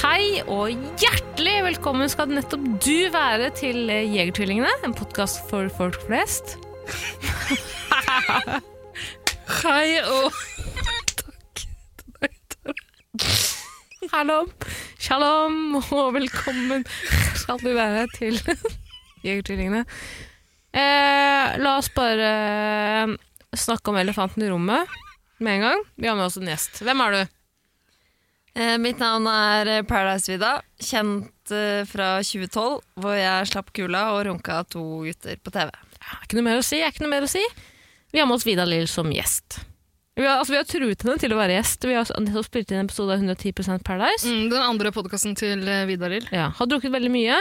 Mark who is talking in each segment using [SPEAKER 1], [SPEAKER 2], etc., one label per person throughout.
[SPEAKER 1] Hei og hjertelig velkommen skal nettopp du være til eh, Jegertvillingene, en podkast for folk flest. Hei og Takk. Halom. Shalom og velkommen skal du være til Jegertvillingene. Eh, la oss bare eh, snakke om elefanten i rommet med en gang. Vi har med oss en gjest. Hvem er du?
[SPEAKER 2] Eh, Mitt navn er eh, Paradise Vida, kjent eh, fra 2012, hvor jeg slapp kula og runka to gutter på TV.
[SPEAKER 1] Det er ikke noe mer å si. er ikke noe mer å si. Vi har med oss Vida Lill som gjest. Vi har, altså, vi har truet henne til å være gjest. Vi har nettopp spilt inn en episode av 110 Paradise.
[SPEAKER 3] Mm, den andre podkasten til eh, Vidar Lill.
[SPEAKER 1] Ja, har drukket veldig mye.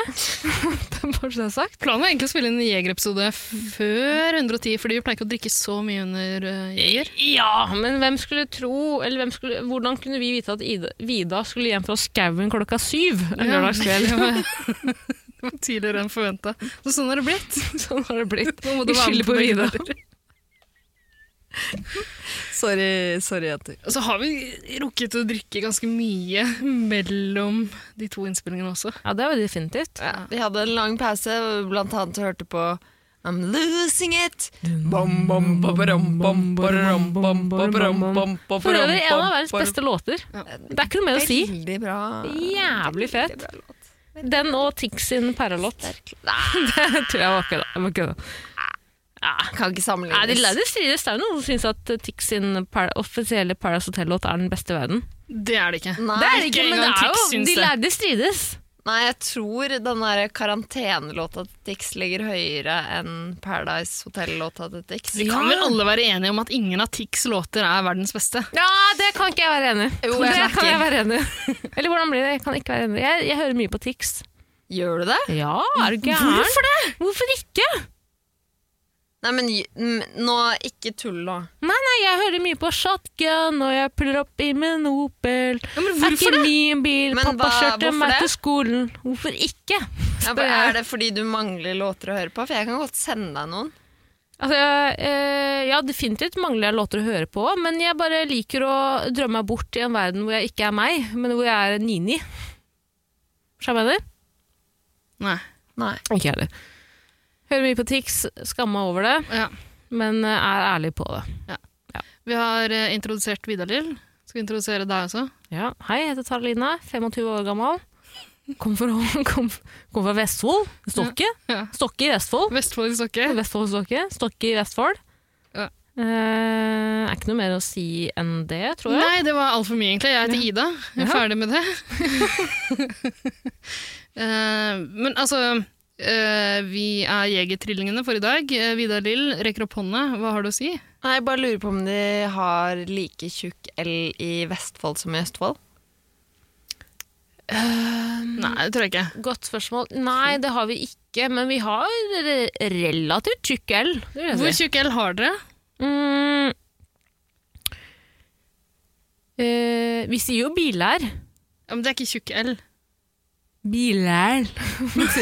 [SPEAKER 1] det er bare så det er sagt.
[SPEAKER 3] Planen var egentlig å spille inn en Jeger-episode før 110, fordi vi pleier ikke å drikke så mye under eh, Jeger.
[SPEAKER 1] Ja, men hvem skulle tro eller hvem skulle, Hvordan kunne vi vite at Ida, Vida skulle hjem fra skauen klokka syv en lørdagskveld?
[SPEAKER 3] Det var- det var tidligere enn forventa. Så sånn har det blitt.
[SPEAKER 1] sånn har det blitt.
[SPEAKER 3] Nå må
[SPEAKER 1] Vi
[SPEAKER 3] du være
[SPEAKER 1] skylder
[SPEAKER 3] med
[SPEAKER 1] på
[SPEAKER 3] på
[SPEAKER 1] Vida.
[SPEAKER 3] Vidar.
[SPEAKER 2] Sorry, sorry jenter.
[SPEAKER 3] Og så har vi rukket å drikke ganske mye mellom de to innspillingene også.
[SPEAKER 1] Ja, det var definitivt.
[SPEAKER 2] Vi hadde en lang pause, hvor vi blant annet hørte på I'm losing it. Bom, bom, ba, barom, bom, barom, bom, ba, barom, bom, ba,
[SPEAKER 1] For øvrig en av
[SPEAKER 2] bom,
[SPEAKER 1] verdens
[SPEAKER 2] barom.
[SPEAKER 1] beste låter. Det er ikke noe mer å si.
[SPEAKER 2] Veldig bra.
[SPEAKER 1] Jævlig fett.
[SPEAKER 2] Veldig bra låt.
[SPEAKER 1] Den og Tix sin perrelåt. Det tror jeg var kødda. Jeg var kødda.
[SPEAKER 2] Kan
[SPEAKER 1] Nei,
[SPEAKER 2] ikke
[SPEAKER 1] det,
[SPEAKER 2] sammenlignes.
[SPEAKER 1] det strides. Det er jo noen som syns at eh, Tix sin par offisielle Paradise Hotel-låt er den beste i verden.
[SPEAKER 3] Det er det ikke.
[SPEAKER 1] Ah,
[SPEAKER 2] Nei,
[SPEAKER 3] ikke engang Tix syns
[SPEAKER 1] de
[SPEAKER 3] det.
[SPEAKER 1] lærde strides.
[SPEAKER 2] nei, jeg tror den der karantenelåta til Tix ligger høyere enn Paradise Hotel-låta til Tix.
[SPEAKER 3] Vi kan vel alle være enige om at ingen av Tix' låter er verdens beste?
[SPEAKER 1] Ja, det kan ikke jeg være enig i.
[SPEAKER 2] Jo, jeg
[SPEAKER 1] Det kan
[SPEAKER 2] merker.
[SPEAKER 1] jeg være enig i. Eller hvordan blir det? Jeg kan ikke være enig. Jeg, jeg hører mye på Tix.
[SPEAKER 2] Gjør du det?
[SPEAKER 1] Ja, er du gæren? Hvorfor det? Hvorfor ikke?
[SPEAKER 2] Nei, men j- m- nå, ikke tull nå.
[SPEAKER 1] Nei, jeg hører mye på Shotgun, og jeg puller opp i min Opel.
[SPEAKER 3] men
[SPEAKER 1] er ikke min bil,
[SPEAKER 2] Men
[SPEAKER 1] pappa
[SPEAKER 2] hva-
[SPEAKER 1] kjørte
[SPEAKER 2] hvorfor
[SPEAKER 1] meg
[SPEAKER 2] det?
[SPEAKER 1] til skolen. Hvorfor ikke?
[SPEAKER 2] Ja,
[SPEAKER 1] Spør
[SPEAKER 2] bare,
[SPEAKER 1] jeg.
[SPEAKER 2] er det fordi du mangler låter å høre på? For jeg kan godt sende deg noen.
[SPEAKER 1] Altså, eh, ja, definitivt mangler jeg låter å høre på, men jeg bare liker å drømme meg bort i en verden hvor jeg ikke er meg, men hvor jeg er en Nini. Skjønner du hva jeg mener?
[SPEAKER 3] Nei.
[SPEAKER 2] Nei.
[SPEAKER 1] Ikke jeg heller. Hører mye på Tix, skammer meg over det,
[SPEAKER 3] Ja.
[SPEAKER 1] men eh, er ærlig på det.
[SPEAKER 3] Vi har eh, introdusert Vidar Lill. Skal vi introdusere deg også?
[SPEAKER 1] Ja. Hei, jeg heter Taralina, 25 år gammel. Kom fra, kom, kom fra Vestfold, Stokke.
[SPEAKER 3] Ja.
[SPEAKER 1] Stokke i Vestfold.
[SPEAKER 3] Vestfold i Stokke.
[SPEAKER 1] Vestfold Stokke. Stokke i Vestfold.
[SPEAKER 3] Ja.
[SPEAKER 1] Eh, er ikke noe mer å si enn det, tror jeg.
[SPEAKER 3] Nei, det var altfor mye, egentlig. Jeg heter Ida. Jeg er
[SPEAKER 1] Ja.
[SPEAKER 3] ferdig med det. Eh, men altså eh, Vi er Jegertrillingene for i dag. Eh, Vidar Lill rekker opp hånda. Hva har du å si?
[SPEAKER 2] Nei, jeg bare lurer på om de har like tjukk L i Vestfold som i Østfold.
[SPEAKER 1] Mm.
[SPEAKER 3] Nei, det tror jeg ikke.
[SPEAKER 1] Godt spørsmål. Nei, det har vi ikke, men vi har re- relativt tjukk L. det vil jeg
[SPEAKER 3] Hvor
[SPEAKER 1] si.
[SPEAKER 3] tjukk L har dere?
[SPEAKER 1] Mm. Eh, vi sier jo bilær.
[SPEAKER 3] Ja, men det er ikke tjukk L.
[SPEAKER 1] Bilær.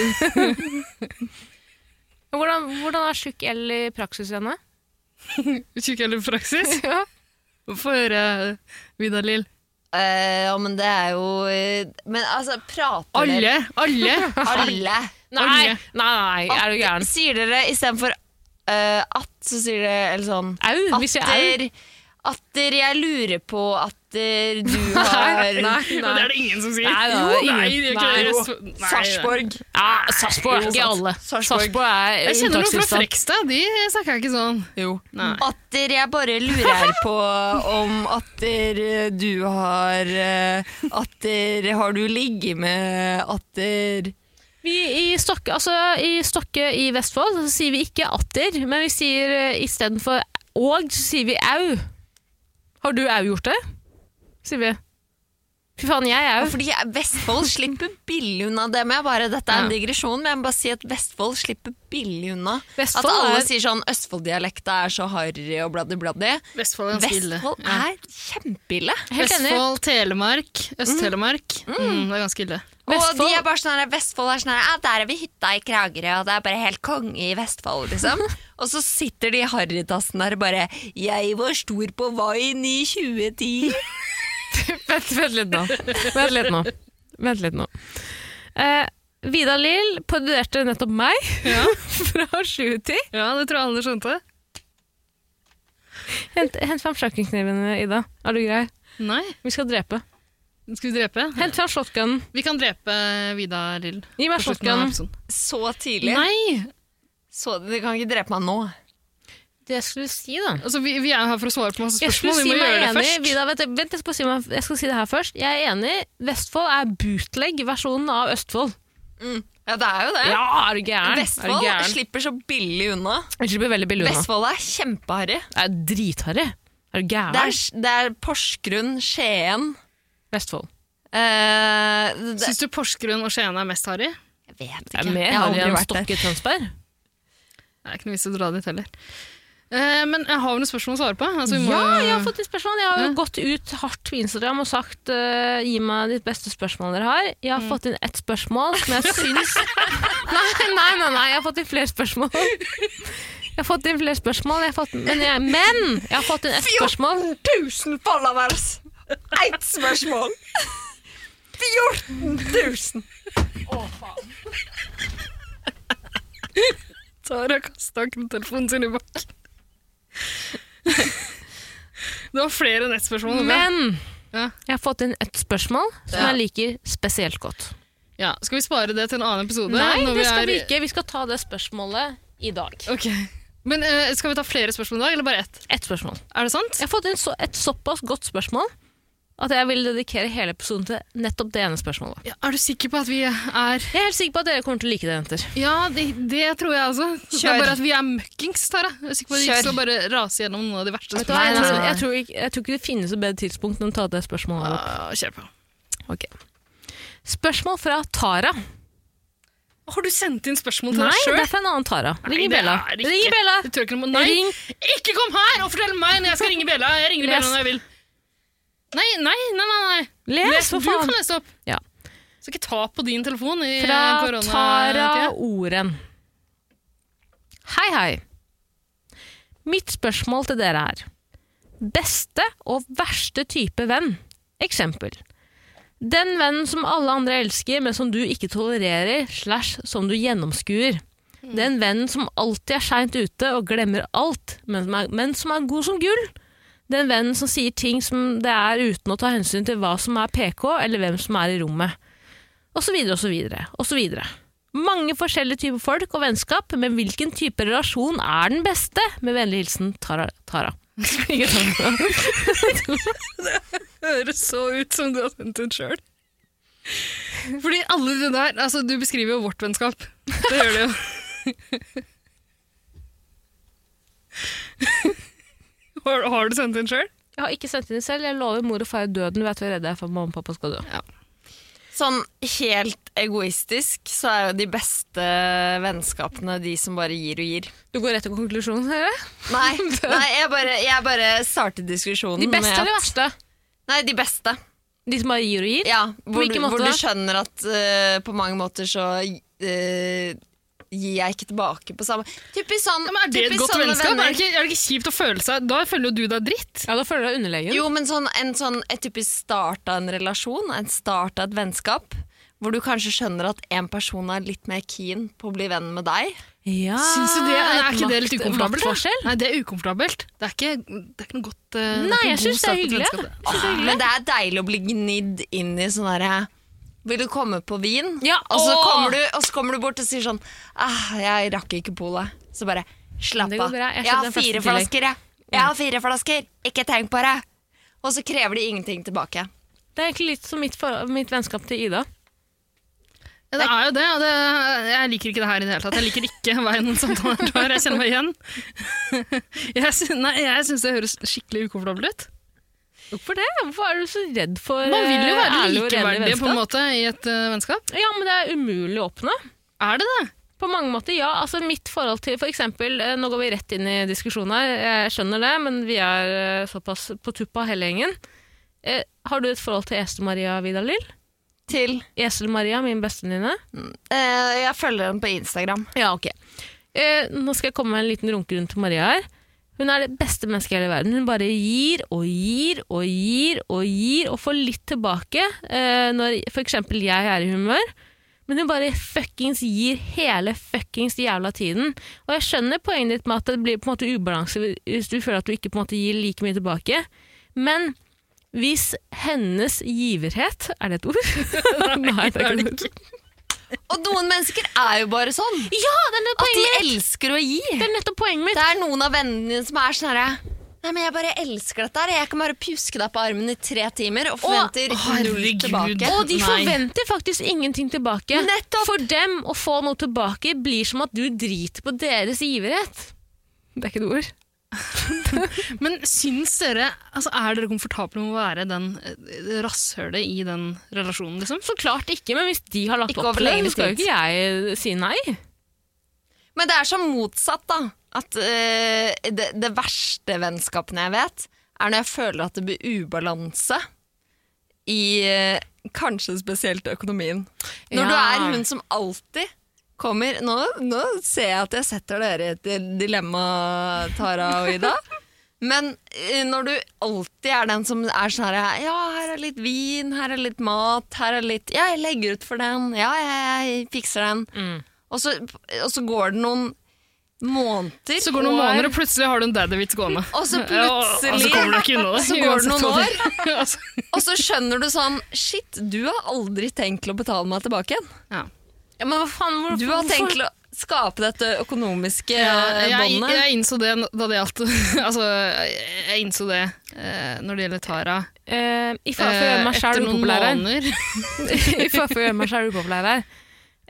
[SPEAKER 1] hvordan, hvordan er tjukk L i praksis henne?
[SPEAKER 3] Tjukk L i praksis. Få høre, Vidar Lill.
[SPEAKER 2] Eh, ja, men det er jo eh, Men altså, prater dere
[SPEAKER 3] Alle! Alle!
[SPEAKER 2] Alle!
[SPEAKER 1] Nei,
[SPEAKER 3] Olje.
[SPEAKER 1] nei, nei, er du gæren?
[SPEAKER 2] Sier dere istedenfor uh, at, så sier dere eller sånn
[SPEAKER 1] Au, hvis jeg er
[SPEAKER 2] Atter, atter jeg lurer på atter du har
[SPEAKER 3] Men det er det ingen som sier.
[SPEAKER 1] Nei, det er
[SPEAKER 3] Jo,
[SPEAKER 1] det ingen.
[SPEAKER 3] nei, det er ikke
[SPEAKER 1] Nei.
[SPEAKER 3] det. Resp- nei, det er-
[SPEAKER 2] Sarpsborg.
[SPEAKER 1] Ja, Sarpsborg er ikke alle.
[SPEAKER 2] Sarpsborg.
[SPEAKER 1] Sarpsborg er
[SPEAKER 3] Jeg kjenner noen fra
[SPEAKER 1] unntakstilstand.
[SPEAKER 3] Frekstad. De snakka ikke sånn.
[SPEAKER 2] Jo.
[SPEAKER 3] Nei.
[SPEAKER 2] Atter jeg bare lurer på om atter eh, du har eh, Atter har du ligget med atter
[SPEAKER 1] Vi i Stokke, altså, I Stokke i Vestfold så sier vi ikke atter, men vi sier eh, istedenfor og så sier vi au. Har du au gjort det? Sier vi. Fy faen, jeg er
[SPEAKER 2] Ja,
[SPEAKER 1] jo
[SPEAKER 2] Fordi Vestfold slipper billig unna det med. Bare, dette er en
[SPEAKER 3] Ja.
[SPEAKER 2] digresjon, men jeg må bare si at Vestfold slipper billig unna.
[SPEAKER 1] Vestfold
[SPEAKER 2] at alle
[SPEAKER 1] er-
[SPEAKER 2] sier sånn Østfold-dialekta er så harry og bladdi-bladdi.
[SPEAKER 3] Vestfold er ganske ille.
[SPEAKER 2] Vestfold
[SPEAKER 3] Ja.
[SPEAKER 2] er kjempeille.
[SPEAKER 1] helt enig.
[SPEAKER 3] Vestfold, Telemark, Øst-Telemark. Mm, det er ganske ille.
[SPEAKER 2] Og de
[SPEAKER 1] Vestfold-
[SPEAKER 2] er bare sånn her, Vestfold er sånn her, ja, der er vi hytta i Kragerø, og det er bare helt konge i Vestfold, liksom. og så sitter de i harrytassen der og bare 'Jeg var stor på Vine i 2010'.
[SPEAKER 1] Vent, vent litt nå. Vent litt nå. Vent litt nå. Eh, Vida Lill parodierte nettopp meg
[SPEAKER 3] Ja.
[SPEAKER 1] fra 710.
[SPEAKER 3] ja, det tror jeg alle skjønte.
[SPEAKER 1] Hent, hent fram kjøkkenknivene, Ida. Er du grei?
[SPEAKER 3] Nei,
[SPEAKER 1] Vi skal drepe.
[SPEAKER 3] skal vi drepe?
[SPEAKER 1] Hent fram shotgunen.
[SPEAKER 3] Vi kan drepe Vida Lill.
[SPEAKER 1] Gi
[SPEAKER 3] på
[SPEAKER 1] meg
[SPEAKER 3] slutten av
[SPEAKER 1] shotgunen.
[SPEAKER 3] episoden.
[SPEAKER 2] Så tidlig.
[SPEAKER 3] Nei!
[SPEAKER 2] Så, du kan ikke drepe meg nå.
[SPEAKER 1] Det jeg skulle si, da.
[SPEAKER 3] Altså, vi, vi er jo her for å svare på masse
[SPEAKER 1] Jeg skulle si
[SPEAKER 3] spørsmål. Vi må
[SPEAKER 1] meg
[SPEAKER 3] gjøre det
[SPEAKER 1] enig.
[SPEAKER 3] først.
[SPEAKER 1] Vida, vent, vent, jeg, skal si meg, jeg skal si det her først. Jeg er enig. Vestfold er bootleg-versjonen av Østfold.
[SPEAKER 2] Ja, det er jo det.
[SPEAKER 1] Ja, er du gæren? Er du
[SPEAKER 2] Vestfold
[SPEAKER 1] gæren?
[SPEAKER 2] slipper så billig unna.
[SPEAKER 1] Jeg slipper veldig billig unna.
[SPEAKER 2] Vestfold er kjempeharry.
[SPEAKER 1] Det er dritharry. Er du
[SPEAKER 2] Det er,
[SPEAKER 1] gæren?
[SPEAKER 2] det er Porsgrunn, Skien
[SPEAKER 1] Vestfold.
[SPEAKER 2] eh, det,
[SPEAKER 3] Syns du Porsgrunn og Skien er mest harry?
[SPEAKER 2] Jeg vet
[SPEAKER 1] Det
[SPEAKER 2] ikke.
[SPEAKER 1] er mer
[SPEAKER 2] Jeg har
[SPEAKER 1] harry
[SPEAKER 2] aldri
[SPEAKER 1] enn
[SPEAKER 2] vært der.
[SPEAKER 1] Stokke i Tønsberg.
[SPEAKER 3] Det er ikke noe vits i å dra dit heller. Eh, men jeg har jo noen spørsmål å svare på. Altså, vi må...
[SPEAKER 1] Ja, jeg har fått litt spørsmål. Jeg har jo
[SPEAKER 3] Ja.
[SPEAKER 1] gått ut hardt på Instagram og sagt eh, gi meg ditt beste spørsmål dere har. Jeg
[SPEAKER 3] Mm.
[SPEAKER 1] har fått inn ett spørsmål som jeg syns nei, nei, nei, nei, jeg har fått inn flere spørsmål. Jeg har fått inn flere spørsmål, jeg har fått, men, jeg, men jeg har fått inn ett spørsmål.
[SPEAKER 2] 1000 followers! Ett spørsmål! 14 000!
[SPEAKER 3] Tara kasta telefonen sin i bakken. Det var flere nettspørsmål. Ola.
[SPEAKER 1] Men
[SPEAKER 3] Ja.
[SPEAKER 1] jeg har fått inn ett spørsmål som
[SPEAKER 2] Ja.
[SPEAKER 1] jeg liker spesielt godt.
[SPEAKER 3] Ja, skal vi spare det til en annen episode?
[SPEAKER 1] Nei,
[SPEAKER 3] når
[SPEAKER 1] det skal vi
[SPEAKER 3] er-
[SPEAKER 1] ikke. Vi skal ta det spørsmålet i dag.
[SPEAKER 3] Ok. Men eh, skal vi ta flere spørsmål i dag, eller bare ett?
[SPEAKER 1] Ett spørsmål.
[SPEAKER 3] Er det sant?
[SPEAKER 1] Jeg har fått inn så, et såpass godt spørsmål at jeg vil dedikere hele episoden til nettopp det ene spørsmålet.
[SPEAKER 3] Ja, er du sikker på at vi er
[SPEAKER 1] Jeg er helt sikker på at dere kommer til å like det, jenter.
[SPEAKER 3] Ja, det, det tror jeg også. Det
[SPEAKER 2] Kjør.
[SPEAKER 3] er bare at vi er møkkings, Tara. Jeg er sikker på at vi
[SPEAKER 2] Kjør.
[SPEAKER 3] ikke skal bare rase gjennom noen av de verste
[SPEAKER 1] Vet du hva, jeg,
[SPEAKER 2] nei,
[SPEAKER 1] tror,
[SPEAKER 2] nei.
[SPEAKER 1] jeg, tror ikke, jeg tror ikke det finnes et bedre tidspunkt enn å ta det spørsmålet. opp.
[SPEAKER 3] Ja, Ah, Kjør på.
[SPEAKER 1] Ok. Spørsmål fra Tara.
[SPEAKER 3] Har du sendt inn spørsmål til
[SPEAKER 1] Nei,
[SPEAKER 3] deg
[SPEAKER 1] det
[SPEAKER 3] sjøl?
[SPEAKER 1] er fra en annen Tara. Ring
[SPEAKER 3] Nei, det
[SPEAKER 1] Bella.
[SPEAKER 3] er det
[SPEAKER 1] Ring
[SPEAKER 3] ikke.
[SPEAKER 1] Bella!
[SPEAKER 3] Det tror jeg ikke noe om. Nei,
[SPEAKER 1] Ring.
[SPEAKER 3] ikke kom her og fortell meg når jeg skal ringe Bella! Jeg ringer
[SPEAKER 1] Les.
[SPEAKER 3] Bella når jeg vil. Nei, nei, nei. nei, nei.
[SPEAKER 1] Les,
[SPEAKER 3] Les,
[SPEAKER 1] for
[SPEAKER 3] du kan
[SPEAKER 1] faen!
[SPEAKER 3] lese opp.
[SPEAKER 1] Ja.
[SPEAKER 3] Så ikke ta på din telefon i
[SPEAKER 1] Fra
[SPEAKER 3] eh,
[SPEAKER 1] Tara
[SPEAKER 3] koronatida.
[SPEAKER 1] Oren. Hei, hei. Mitt spørsmål til dere er Beste og verste type venn. Eksempel. Den vennen som alle andre elsker, men som du ikke tolererer, slash som du gjennomskuer.
[SPEAKER 3] Mm.
[SPEAKER 1] Den vennen som alltid er seint ute og glemmer alt, men som, er, men som er god som gull. Den vennen som sier ting som det er uten å ta hensyn til hva som er PK, eller hvem som er i rommet. Og så videre og så videre og så videre. Mange forskjellige typer folk og vennskap, men hvilken type relasjon er den beste? Med vennlig hilsen Tara. Tara. Ikke Tara.
[SPEAKER 3] høres så ut som du har sendt den sjøl. Fordi alle de der Altså, du beskriver jo vårt vennskap. Det gjør du jo. Har, har du sendt den sjøl?
[SPEAKER 1] Jeg har ikke sendt inn selv. Jeg lover mor og far døden. Vet du hvor redd jeg er for at mamma og pappa skal dø.
[SPEAKER 2] Sånn helt egoistisk så er jo de beste vennskapene de som bare gir og gir.
[SPEAKER 1] Du går rett til konklusjonen? Her.
[SPEAKER 2] Nei, nei jeg, bare, jeg bare startet diskusjonen
[SPEAKER 1] De beste
[SPEAKER 2] med
[SPEAKER 1] eller verste?
[SPEAKER 2] Nei, de beste.
[SPEAKER 1] De som bare gir og gir?
[SPEAKER 2] Ja, hvor,
[SPEAKER 1] hvilken
[SPEAKER 2] du,
[SPEAKER 1] måte
[SPEAKER 2] hvor
[SPEAKER 1] da?
[SPEAKER 2] du skjønner at eh, på mange måter så eh, gir jeg ikke tilbake på samme Typisk sånn
[SPEAKER 3] Ja, men er det et
[SPEAKER 2] typisk
[SPEAKER 3] godt
[SPEAKER 2] sånne
[SPEAKER 3] vennskap? Er
[SPEAKER 2] venner.
[SPEAKER 3] det, ikke, er det ikke kjipt å føle seg Da føler jo du deg dritt.
[SPEAKER 1] Ja, da føler du deg underlegen.
[SPEAKER 2] Jo, men sånn, en sånn, et typisk start av en relasjon, en start av et vennskap, hvor du kanskje skjønner at en person er litt mer keen på å bli venn med deg.
[SPEAKER 1] Ja,
[SPEAKER 3] Syns du det? Er, er ikke det
[SPEAKER 1] Ah, makt-
[SPEAKER 3] litt ukomfortabelt? da?
[SPEAKER 1] maktforskjell?
[SPEAKER 3] Nei, det er ukomfortabelt. Det er ikke, det er ikke noe godt eh, det er
[SPEAKER 1] Nei,
[SPEAKER 3] ikke
[SPEAKER 1] jeg
[SPEAKER 3] god
[SPEAKER 1] syns det
[SPEAKER 3] start
[SPEAKER 1] er
[SPEAKER 3] på et
[SPEAKER 1] hyggelig.
[SPEAKER 3] vennskap.
[SPEAKER 1] Jeg synes det er hyggelig.
[SPEAKER 2] Men det er deilig å bli gnidd inn i sånn herre Vil du komme på vin?
[SPEAKER 1] Ja,
[SPEAKER 2] og, så
[SPEAKER 1] åh!
[SPEAKER 2] kommer du, og så kommer du bort og sier sånn ah, 'Jeg rakk ikke polet.' Så bare Slapp
[SPEAKER 1] Det går
[SPEAKER 2] av.
[SPEAKER 1] bra, jeg
[SPEAKER 2] Jeg har
[SPEAKER 1] skjønner den
[SPEAKER 2] fire
[SPEAKER 1] første i tillegg.»
[SPEAKER 2] flasker, jeg. Jeg har fire flasker. Ikke tenk på det. Og så krever de ingenting tilbake.
[SPEAKER 1] Det er egentlig litt som mitt, for, mitt vennskap til Ida.
[SPEAKER 3] Ja, det er jo det, og det. Jeg liker ikke det her i det hele tatt. Jeg liker ikke veien noen samtaler tar. Jeg kjenner meg igjen. Jeg, sy- nei, jeg syns det høres skikkelig ukomfortabelt ut.
[SPEAKER 1] Hvorfor det? Hvorfor er du så redd for
[SPEAKER 3] Man vil jo
[SPEAKER 1] eh,
[SPEAKER 3] være
[SPEAKER 1] ærlig og redelig
[SPEAKER 3] likeverdige på en
[SPEAKER 1] vennskap?
[SPEAKER 3] måte i et eh, vennskap.
[SPEAKER 1] Ja, men det er umulig å oppnå.
[SPEAKER 3] Er det det?
[SPEAKER 1] På mange måter, ja. Altså, mitt forhold til for eksempel, eh, Nå går vi rett inn i diskusjonen her, jeg skjønner det, men vi er eh, såpass på tuppa hele gjengen. Eh, Har du et forhold til Esel-Maria Vidalil?
[SPEAKER 2] Til
[SPEAKER 1] Esel-Maria, min bestevenninne?
[SPEAKER 2] eh, Jeg følger henne på Instagram.
[SPEAKER 1] Ja, ok. Eh, nå skal jeg komme med en liten runkerunde til Maria her. Hun er det beste mennesket i hele verden. Hun bare gir og gir og gir og gir og får litt tilbake eh, når f.eks. jeg er i humør. Men hun bare fuckings gir hele fuckings jævla tiden. Og jeg skjønner poenget ditt med at det blir på en måte ubalanse hvis du føler at du ikke på en måte gir like mye tilbake. Men hvis hennes giverhet Er det et ord? Nei, det er ikke et ord.
[SPEAKER 2] Og noen mennesker er jo bare sånn.
[SPEAKER 1] Ja, det er nettopp
[SPEAKER 2] At de
[SPEAKER 1] poenget mitt!
[SPEAKER 2] elsker å gi.
[SPEAKER 1] Det er nettopp poenget mitt.
[SPEAKER 2] Det er noen av vennene dine som er sånn herre Nei, men jeg bare elsker dette her. Jeg kan bare pjuske deg på armen i tre timer og forventer null
[SPEAKER 3] herregud.
[SPEAKER 2] tilbake.
[SPEAKER 1] Og de
[SPEAKER 3] Nei.
[SPEAKER 1] forventer faktisk ingenting tilbake.
[SPEAKER 2] Nettopp!
[SPEAKER 1] For dem å få noe tilbake blir som at du driter på deres iverhet. Det er ikke et ord.
[SPEAKER 3] Men syns dere altså, Er dere komfortable med å være den eh, rasshølet i den relasjonen, liksom?
[SPEAKER 1] Så klart ikke, men hvis de har lagt
[SPEAKER 2] Ikke
[SPEAKER 1] opp
[SPEAKER 2] over
[SPEAKER 1] til det,
[SPEAKER 2] lengre
[SPEAKER 1] så skal jo
[SPEAKER 2] tid.
[SPEAKER 1] ikke jeg si nei.
[SPEAKER 2] Men det er så motsatt, da. At eh, det, det verste vennskapen jeg vet, er når jeg føler at det blir ubalanse i eh, kanskje spesielt økonomien. Når du
[SPEAKER 1] Ja.
[SPEAKER 2] er hun som alltid kommer Nå, nå ser jeg at jeg setter dere i et dilemma, Tara og Ida. Men eh, når du alltid er den som er sånn her Ja, her er litt vin, her er litt mat, her er litt Ja, jeg legger ut for den. Ja, jeg, jeg fikser den. Og, så, og så går det noen måneder
[SPEAKER 3] Så går det noen
[SPEAKER 2] år,
[SPEAKER 3] måneder, og plutselig har du en daddy-vits gående.
[SPEAKER 2] Og så
[SPEAKER 3] Ja, og- og så
[SPEAKER 2] plutselig-
[SPEAKER 3] kommer du ikke unna det.
[SPEAKER 2] så går det noen
[SPEAKER 3] uansett hva du- Altså,
[SPEAKER 2] Og så skjønner du sånn Shit, du har aldri tenkt til å betale meg tilbake igjen.
[SPEAKER 3] ja.
[SPEAKER 1] Ja, men hva faen, hvor,
[SPEAKER 2] Du har
[SPEAKER 1] hvorfor-
[SPEAKER 2] tenkt til å skape dette økonomiske
[SPEAKER 3] Ja,
[SPEAKER 2] eh,
[SPEAKER 3] jeg,
[SPEAKER 2] båndet.
[SPEAKER 3] jeg innså det da det gjaldt Altså, jeg- jeg innså det eh, når det gjelder Tara.
[SPEAKER 1] Eh, I fare for å gjøre
[SPEAKER 3] Eh,
[SPEAKER 1] meg
[SPEAKER 3] etter
[SPEAKER 1] sjæl
[SPEAKER 3] noen
[SPEAKER 1] upopulær her.
[SPEAKER 3] måneder.
[SPEAKER 1] I fare for å gjøre meg sjæl upopulær her.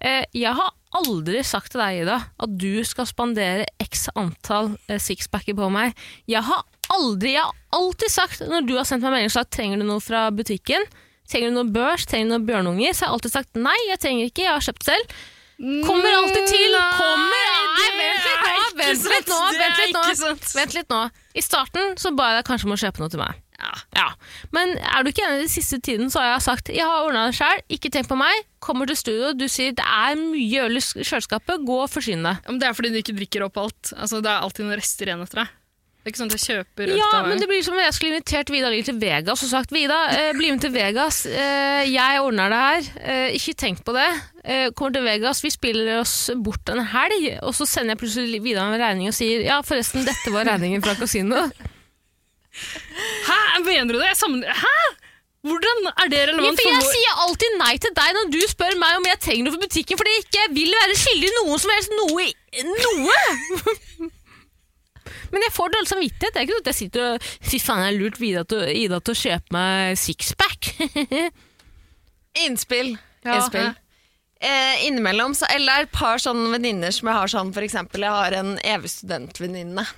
[SPEAKER 1] Eh, jeg har aldri sagt til deg, Ida, at du skal spandere x antall eh, sixpacker på meg. Jeg har aldri, jeg har alltid sagt, når du har sendt meg melding og sagt trenger du noe fra butikken, trenger du noe børs, trenger du noe bjørnunger, så har jeg alltid sagt nei, jeg trenger ikke, jeg har kjøpt selv. Kommer alltid til,
[SPEAKER 3] Nei,
[SPEAKER 1] kommer Nei, vent litt nå, vent litt
[SPEAKER 3] det er ikke
[SPEAKER 1] nå,
[SPEAKER 3] sant,
[SPEAKER 1] vent
[SPEAKER 3] det er
[SPEAKER 1] litt nå.
[SPEAKER 3] ikke sant.
[SPEAKER 1] Vent litt nå. I starten så ba jeg deg kanskje om å kjøpe noe til meg.
[SPEAKER 3] Ja.
[SPEAKER 1] Ja, Men er du ikke enig i den siste tiden, så har jeg sagt jeg har ordna det sjøl, ikke tenk på meg. Kommer til studio, du sier det er mye øl i sk- kjøleskapet, gå og forsyn deg.
[SPEAKER 3] Ja, Men det er fordi du ikke drikker opp alt. Altså, det er alltid noen rester igjen etter deg. Det er ikke sånn at jeg kjøper øl
[SPEAKER 1] Ja,
[SPEAKER 3] til
[SPEAKER 1] men
[SPEAKER 3] meg.
[SPEAKER 1] det blir som om jeg skulle invitert Vidar Lill til Vegas og sagt Vida, eh, bli med til Vegas, eh, jeg ordner det her, eh, ikke tenk på det. Eh, kommer til Vegas, vi spiller oss bort en helg, og så sender jeg plutselig Vidar en regning og sier ja, forresten, dette var regningen fra kasino.
[SPEAKER 3] Hæ, mener du det? Jeg sammen... Hæ? Hvordan er det
[SPEAKER 1] Ja,
[SPEAKER 3] relevant
[SPEAKER 1] for
[SPEAKER 3] for
[SPEAKER 1] jeg
[SPEAKER 3] vår
[SPEAKER 1] sier alltid nei til deg når du spør meg om jeg trenger noe for butikken, fordi jeg ikke vil være skyldig noen som helst noe. i- noe. Men jeg får dårlig samvittighet. Det er ikke sånn at jeg sitter og Fy faen, jeg har lurt Ida til, Ida til å kjøpe meg sixpack.
[SPEAKER 2] Innspill.
[SPEAKER 1] Ja.
[SPEAKER 2] Innspill. Eh, innimellom så Eller det er et par sånne venninner som jeg har sånn, for eksempel jeg har en evig studentvenninne.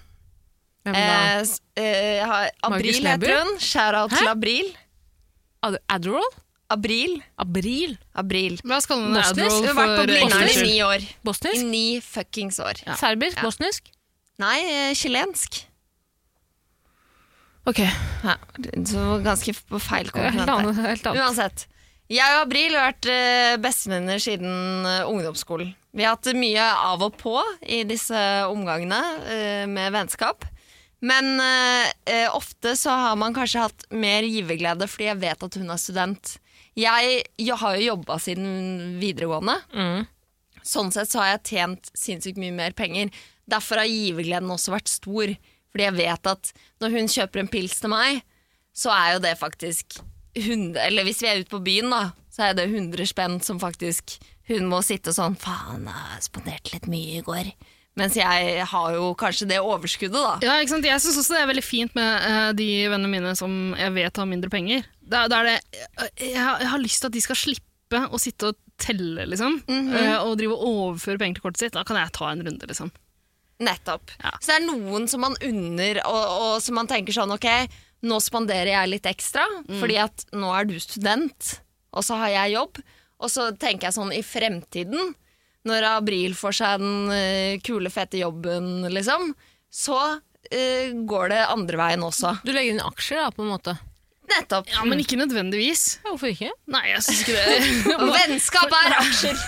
[SPEAKER 2] Eh, s- eh, jeg har-
[SPEAKER 1] Markus
[SPEAKER 2] Abril
[SPEAKER 1] Neby?
[SPEAKER 2] heter hun. Shout-out
[SPEAKER 1] Hæ?
[SPEAKER 2] til Abril.
[SPEAKER 1] Ad Adderall?
[SPEAKER 2] Abril.
[SPEAKER 1] Abril?
[SPEAKER 2] Abril.
[SPEAKER 3] La oss kalle den
[SPEAKER 1] Bosnisk?
[SPEAKER 3] Adderall
[SPEAKER 2] Hun har vært
[SPEAKER 3] for
[SPEAKER 2] på Blindern i
[SPEAKER 3] engelsk.
[SPEAKER 2] ni år. I
[SPEAKER 1] Bosnisk?
[SPEAKER 2] ni fuckings år.
[SPEAKER 1] Serbisk? Bosnisk?
[SPEAKER 2] Nei, eh, chilensk.
[SPEAKER 1] Ok.
[SPEAKER 2] Ja. Så ganske f- på feil
[SPEAKER 1] Helt
[SPEAKER 2] kontinent.
[SPEAKER 1] annet. Helt annet.
[SPEAKER 2] Uansett. Jeg og Abril har vært eh, bestevenner siden eh, ungdomsskolen. Vi har hatt mye av og på i disse omgangene eh, med vennskap. Men eh, eh, ofte så har man kanskje hatt mer giverglede fordi jeg vet at hun er student. Jeg, jeg har jo jobba siden videregående.
[SPEAKER 1] Mm.
[SPEAKER 2] Sånn sett så har jeg tjent sinnssykt mye mer penger. Derfor har givergleden også vært stor. Fordi jeg vet at når hun kjøper en pils til meg, så er jo det faktisk 100 Eller hvis vi er ute på byen, da, så er det 100 spenn som faktisk Hun må sitte sånn Faen, jeg spanderte litt mye i går. Mens jeg har jo kanskje det overskuddet, da.
[SPEAKER 3] Ja, ikke sant? Jeg syns også det er veldig fint med eh, de vennene mine som jeg vet har mindre penger. Da, da er det, jeg, jeg har- jeg har lyst til at de skal slippe å sitte og telle, liksom.
[SPEAKER 1] Mhm.
[SPEAKER 3] eh, og drive og overføre penger til kortet sitt. Da kan jeg ta en runde, liksom.
[SPEAKER 2] Nettopp.
[SPEAKER 3] Ja.
[SPEAKER 2] Så det er noen som man unner, og, og som man tenker sånn Ok, nå spanderer jeg litt ekstra, fordi at nå er du student, og så har jeg jobb. Og så tenker jeg sånn i fremtiden, når Abril får seg den eh, kule, fete jobben, liksom, så eh, går det andre veien også.
[SPEAKER 1] Du legger inn aksjer, da, på en måte.
[SPEAKER 2] Nettopp.
[SPEAKER 3] Ja, men ikke nødvendigvis.
[SPEAKER 1] Ja, hvorfor ikke?
[SPEAKER 3] Nei, jeg syns ikke det.
[SPEAKER 2] Og vennskap er aksjer!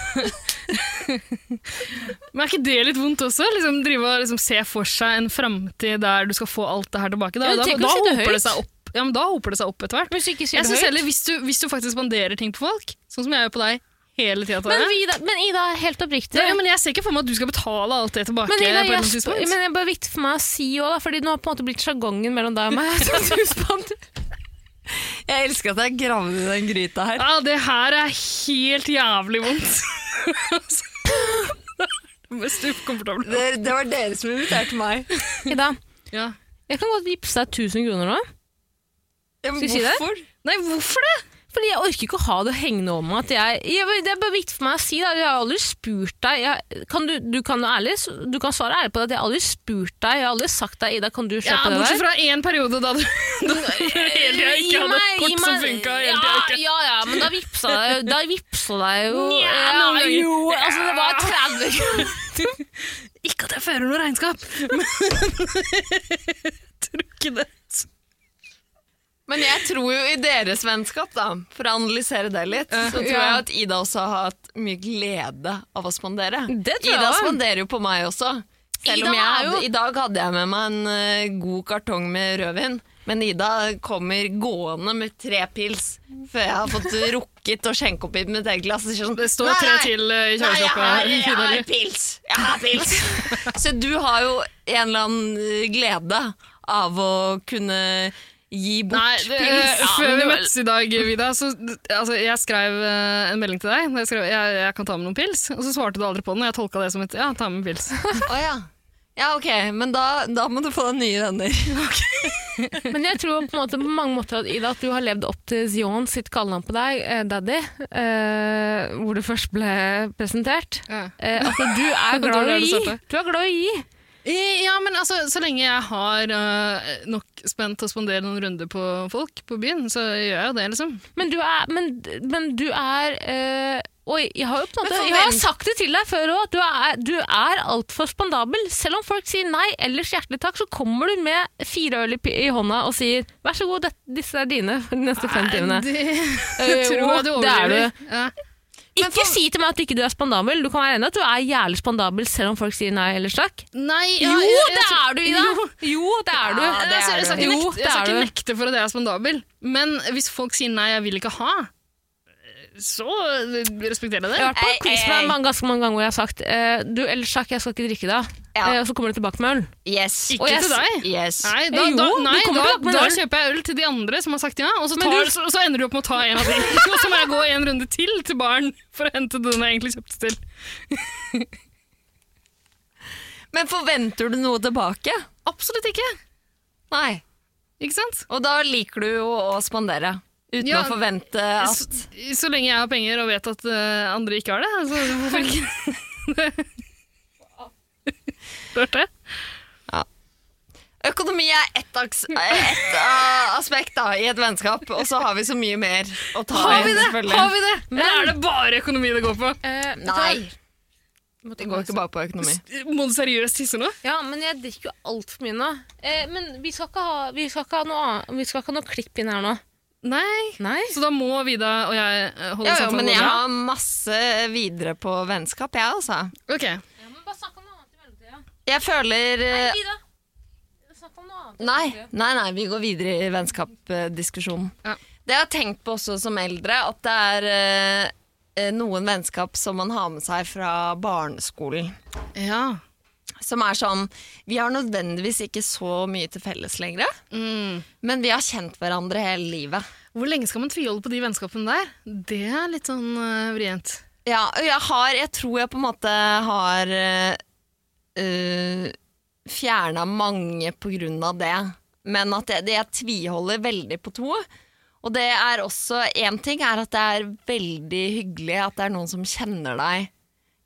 [SPEAKER 3] Men er ikke det litt vondt også? Liksom, drive og liksom, se for seg en framtid der du skal få alt det her tilbake.
[SPEAKER 1] Ja,
[SPEAKER 3] Da,
[SPEAKER 1] men
[SPEAKER 3] da,
[SPEAKER 1] tenk å
[SPEAKER 3] da,
[SPEAKER 1] si det
[SPEAKER 3] hoper det
[SPEAKER 1] høyt.
[SPEAKER 3] seg opp. Ja, men da hoper det seg opp etter hvert.
[SPEAKER 1] Hvis du ikke sier
[SPEAKER 3] Jeg
[SPEAKER 1] det
[SPEAKER 3] synes
[SPEAKER 1] høyt.
[SPEAKER 3] heller hvis du, hvis du faktisk spanderer ting på folk, sånn som jeg gjør på deg hele tida
[SPEAKER 1] Men, vi, da, men Ida, helt oppriktig.
[SPEAKER 3] ja, men jeg ser ikke for meg at du skal betale alt det tilbake.
[SPEAKER 1] Men Ida,
[SPEAKER 3] på et eller
[SPEAKER 1] jeg,
[SPEAKER 3] annet
[SPEAKER 1] sp-
[SPEAKER 3] tidspunkt.
[SPEAKER 1] men det er bare viktig for meg å si òg, da, fordi nå har på en måte blitt sjargongen mellom deg og meg. Så du spanderer-
[SPEAKER 2] Jeg elsker at jeg gravde i den gryta her.
[SPEAKER 3] Ja, det her er helt jævlig vondt. det mest ukomfortable.
[SPEAKER 2] Det, var dere som inviterte meg.
[SPEAKER 1] Ida,
[SPEAKER 3] Ja.
[SPEAKER 1] jeg kan godt vippse deg 1000 kroner nå.
[SPEAKER 2] Skal
[SPEAKER 1] vi si det?
[SPEAKER 3] Nei, hvorfor det?
[SPEAKER 1] Fordi jeg orker ikke å ha det hengende om meg at jeg, jeg Det er bare viktig for meg å si det. Jeg har aldri spurt deg jeg, kan du, du, kan jo ærlig, du kan svare ærlig på det at jeg har aldri spurt deg. Jeg har aldri sagt deg Ida, kan du
[SPEAKER 3] Ja,
[SPEAKER 1] kjøpe det
[SPEAKER 3] Bortsett
[SPEAKER 1] der?
[SPEAKER 3] fra én periode da du da du hele tida ikke hadde et kort som funka.
[SPEAKER 1] ja, ja, ja, men da vipsa jeg da vipsa jeg jo
[SPEAKER 3] Nja,
[SPEAKER 1] ja,
[SPEAKER 3] noen ganger.
[SPEAKER 1] Jo, altså det var 30 kroner.
[SPEAKER 3] Ikke at jeg fører noe regnskap, men jeg tror ikke det.
[SPEAKER 2] Men jeg tror jo i deres vennskap, da, for å analysere det litt, så tror jeg at Ida også har hatt mye glede av å spandere.
[SPEAKER 1] Det tror jeg
[SPEAKER 2] Ida
[SPEAKER 1] også.
[SPEAKER 2] spanderer jo på meg også. Selv
[SPEAKER 1] Ida
[SPEAKER 2] om jeg
[SPEAKER 1] er jo-
[SPEAKER 2] hadde, I dag hadde jeg med meg en eh, god kartong med rødvin, men Ida kommer gående med tre pils før jeg har fått rukket å skjenke opp i mitt eget glass. Det, sånn,
[SPEAKER 3] Det står
[SPEAKER 2] «Nei,
[SPEAKER 3] tre
[SPEAKER 2] nei,
[SPEAKER 3] til eh,
[SPEAKER 2] Nei,
[SPEAKER 3] i
[SPEAKER 2] jeg har,
[SPEAKER 3] kjøleskapet.
[SPEAKER 2] jeg
[SPEAKER 3] Ida,
[SPEAKER 2] har
[SPEAKER 3] eller?
[SPEAKER 2] pils! Jeg har pils! Så du har jo en eller annen eh, glede av å kunne gi bort
[SPEAKER 3] Nei, det,
[SPEAKER 2] pils. Ja,
[SPEAKER 3] før
[SPEAKER 2] men
[SPEAKER 3] vi
[SPEAKER 2] det var-
[SPEAKER 3] møttes i dag, Vida, så altså, jeg skrev eh, en melding til deg. Jeg, skrev, jeg, jeg kan ta med noen pils, og så svarte du aldri på den. Og jeg tolka det som et ja, ta med pils.
[SPEAKER 2] Å ja. Ja, ok, men da, da må du få deg nye venner.
[SPEAKER 1] Men jeg tror på, en måte, på mange måter at, Ida, at du har levd opp til Zion sitt kallenavn på deg, eh, Daddy, eh, hvor det først ble presentert. Eh, at du er glad i å
[SPEAKER 3] Dårlig
[SPEAKER 1] gi.
[SPEAKER 3] resultat.
[SPEAKER 1] Du er glad i å gi.
[SPEAKER 3] Eh, Ja, men altså, så lenge jeg har eh, nok spent til å spandere noen runder på folk på byen, så gjør jeg jo det, liksom.
[SPEAKER 1] Men du er, men, men du er eh, Oi, jeg har jo på en måte
[SPEAKER 2] Men for
[SPEAKER 1] Jeg har
[SPEAKER 2] hvem?
[SPEAKER 1] sagt det til deg før òg, at du er, du er altfor spandabel. Selv om folk sier nei, ellers hjertelig takk, så kommer du med fire øl i, pi- i hånda og sier vær så god, det, disse er dine for de neste fem timene.
[SPEAKER 3] Det
[SPEAKER 1] Eh,
[SPEAKER 3] tror
[SPEAKER 1] jo,
[SPEAKER 3] jeg du
[SPEAKER 1] det er
[SPEAKER 3] overdriver. Ja.
[SPEAKER 1] Ikke si til meg at du ikke du er spandabel. Du kan være enig i at du er jævlig spandabel selv om folk sier nei ellers takk.
[SPEAKER 3] Nei,
[SPEAKER 1] jo,
[SPEAKER 3] ja, jeg- jeg
[SPEAKER 1] det
[SPEAKER 3] tror-
[SPEAKER 1] er du, Ida! Jo, det er du.
[SPEAKER 2] Ja, det
[SPEAKER 3] Altså,
[SPEAKER 2] er
[SPEAKER 3] jeg
[SPEAKER 2] du.
[SPEAKER 3] skal ikke,
[SPEAKER 1] Jo,
[SPEAKER 3] nekte,
[SPEAKER 1] det
[SPEAKER 3] jeg skal
[SPEAKER 1] er
[SPEAKER 3] ikke
[SPEAKER 1] du.
[SPEAKER 3] nekte for at jeg er spandabel, men hvis folk sier nei, jeg vil ikke ha, så eh, respekterer
[SPEAKER 1] Jeg
[SPEAKER 3] jeg det.
[SPEAKER 1] har vært på
[SPEAKER 2] Ei,
[SPEAKER 1] quiz
[SPEAKER 2] ei,
[SPEAKER 1] med
[SPEAKER 2] ei.
[SPEAKER 3] eh.
[SPEAKER 1] deg mange, ganske mange ganger hvor jeg har sagt eh, du, ellers takk, jeg skal ikke drikke da.
[SPEAKER 2] Ja.
[SPEAKER 1] Eh, og så kommer du tilbake med øl.
[SPEAKER 2] Yes.
[SPEAKER 3] Ikke
[SPEAKER 1] Og jeg-
[SPEAKER 3] til deg.
[SPEAKER 2] yes.
[SPEAKER 3] Nei, da,
[SPEAKER 1] Jo,
[SPEAKER 3] da,
[SPEAKER 1] du
[SPEAKER 3] nei,
[SPEAKER 1] kommer
[SPEAKER 3] da,
[SPEAKER 1] tilbake med
[SPEAKER 3] da
[SPEAKER 1] øl.
[SPEAKER 3] kjøper jeg øl til de andre som har sagt ja, og så,
[SPEAKER 1] Men
[SPEAKER 3] tar,
[SPEAKER 1] du-
[SPEAKER 3] så, så ender du opp med å ta en av de. Og så må jeg gå en runde til til baren for å hente den jeg egentlig kjøpte til.
[SPEAKER 2] Men forventer du noe tilbake?
[SPEAKER 3] Absolutt ikke.
[SPEAKER 2] Nei.
[SPEAKER 3] Ikke sant?
[SPEAKER 2] Og da liker du jo å spandere. Uten
[SPEAKER 3] Ja.
[SPEAKER 2] å forvente
[SPEAKER 3] Så,
[SPEAKER 2] at
[SPEAKER 3] så lenge jeg har penger og vet at eh, andre ikke har det, så hvorfor ikke? Hørte jeg?
[SPEAKER 2] Økonomi er ett aks- ett, uh, aspekt da, i et vennskap, og så har vi så mye mer å ta
[SPEAKER 3] Har vi
[SPEAKER 2] i,
[SPEAKER 3] det?
[SPEAKER 2] selvfølgelig.
[SPEAKER 3] Har vi det? Eller
[SPEAKER 1] Men- Eh,
[SPEAKER 3] er det bare økonomi det går på?
[SPEAKER 2] Nei, det går ikke bare på økonomi.
[SPEAKER 3] Må du seriøst tisse nå?
[SPEAKER 1] Ja, men jeg drikker jo altfor mye nå. Eh, men vi skal, ikke ha, vi, skal ikke ha noe annet, vi skal ikke ha noe klipp inn her nå.
[SPEAKER 3] Nei.
[SPEAKER 1] Nei.
[SPEAKER 3] Så da må Vida og jeg eh, holde
[SPEAKER 2] Jo, jo,
[SPEAKER 3] samtalen
[SPEAKER 2] men jeg
[SPEAKER 3] gående?
[SPEAKER 2] har masse videre på vennskap, jeg, altså.
[SPEAKER 3] Ok.
[SPEAKER 1] Ja, men bare snakk om noe annet i mellomtida.
[SPEAKER 2] Jeg føler uh,
[SPEAKER 1] Ida, snakk om noe annet. i
[SPEAKER 2] Nei,
[SPEAKER 1] mellomtida.
[SPEAKER 2] nei, nei, vi går videre i vennskapsdiskusjonen.
[SPEAKER 3] Ja.
[SPEAKER 2] Det jeg har tenkt på også som eldre, at det er eh, eh, noen vennskap som man har med seg fra barneskolen.
[SPEAKER 3] Ja.
[SPEAKER 2] Som er sånn Vi har nødvendigvis ikke så mye til felles lenger,
[SPEAKER 3] Mm.
[SPEAKER 2] men vi har kjent hverandre hele livet.
[SPEAKER 3] Hvor lenge skal man tviholde på de vennskapene der? Det er litt sånn eh, vrient.
[SPEAKER 2] Ja, og jeg har Jeg tror jeg på en måte har eh, uh, fjerna mange på grunn av det. Men at jeg, det jeg tviholder veldig på to. Og det er også én ting er at det er veldig hyggelig at det er noen som kjenner deg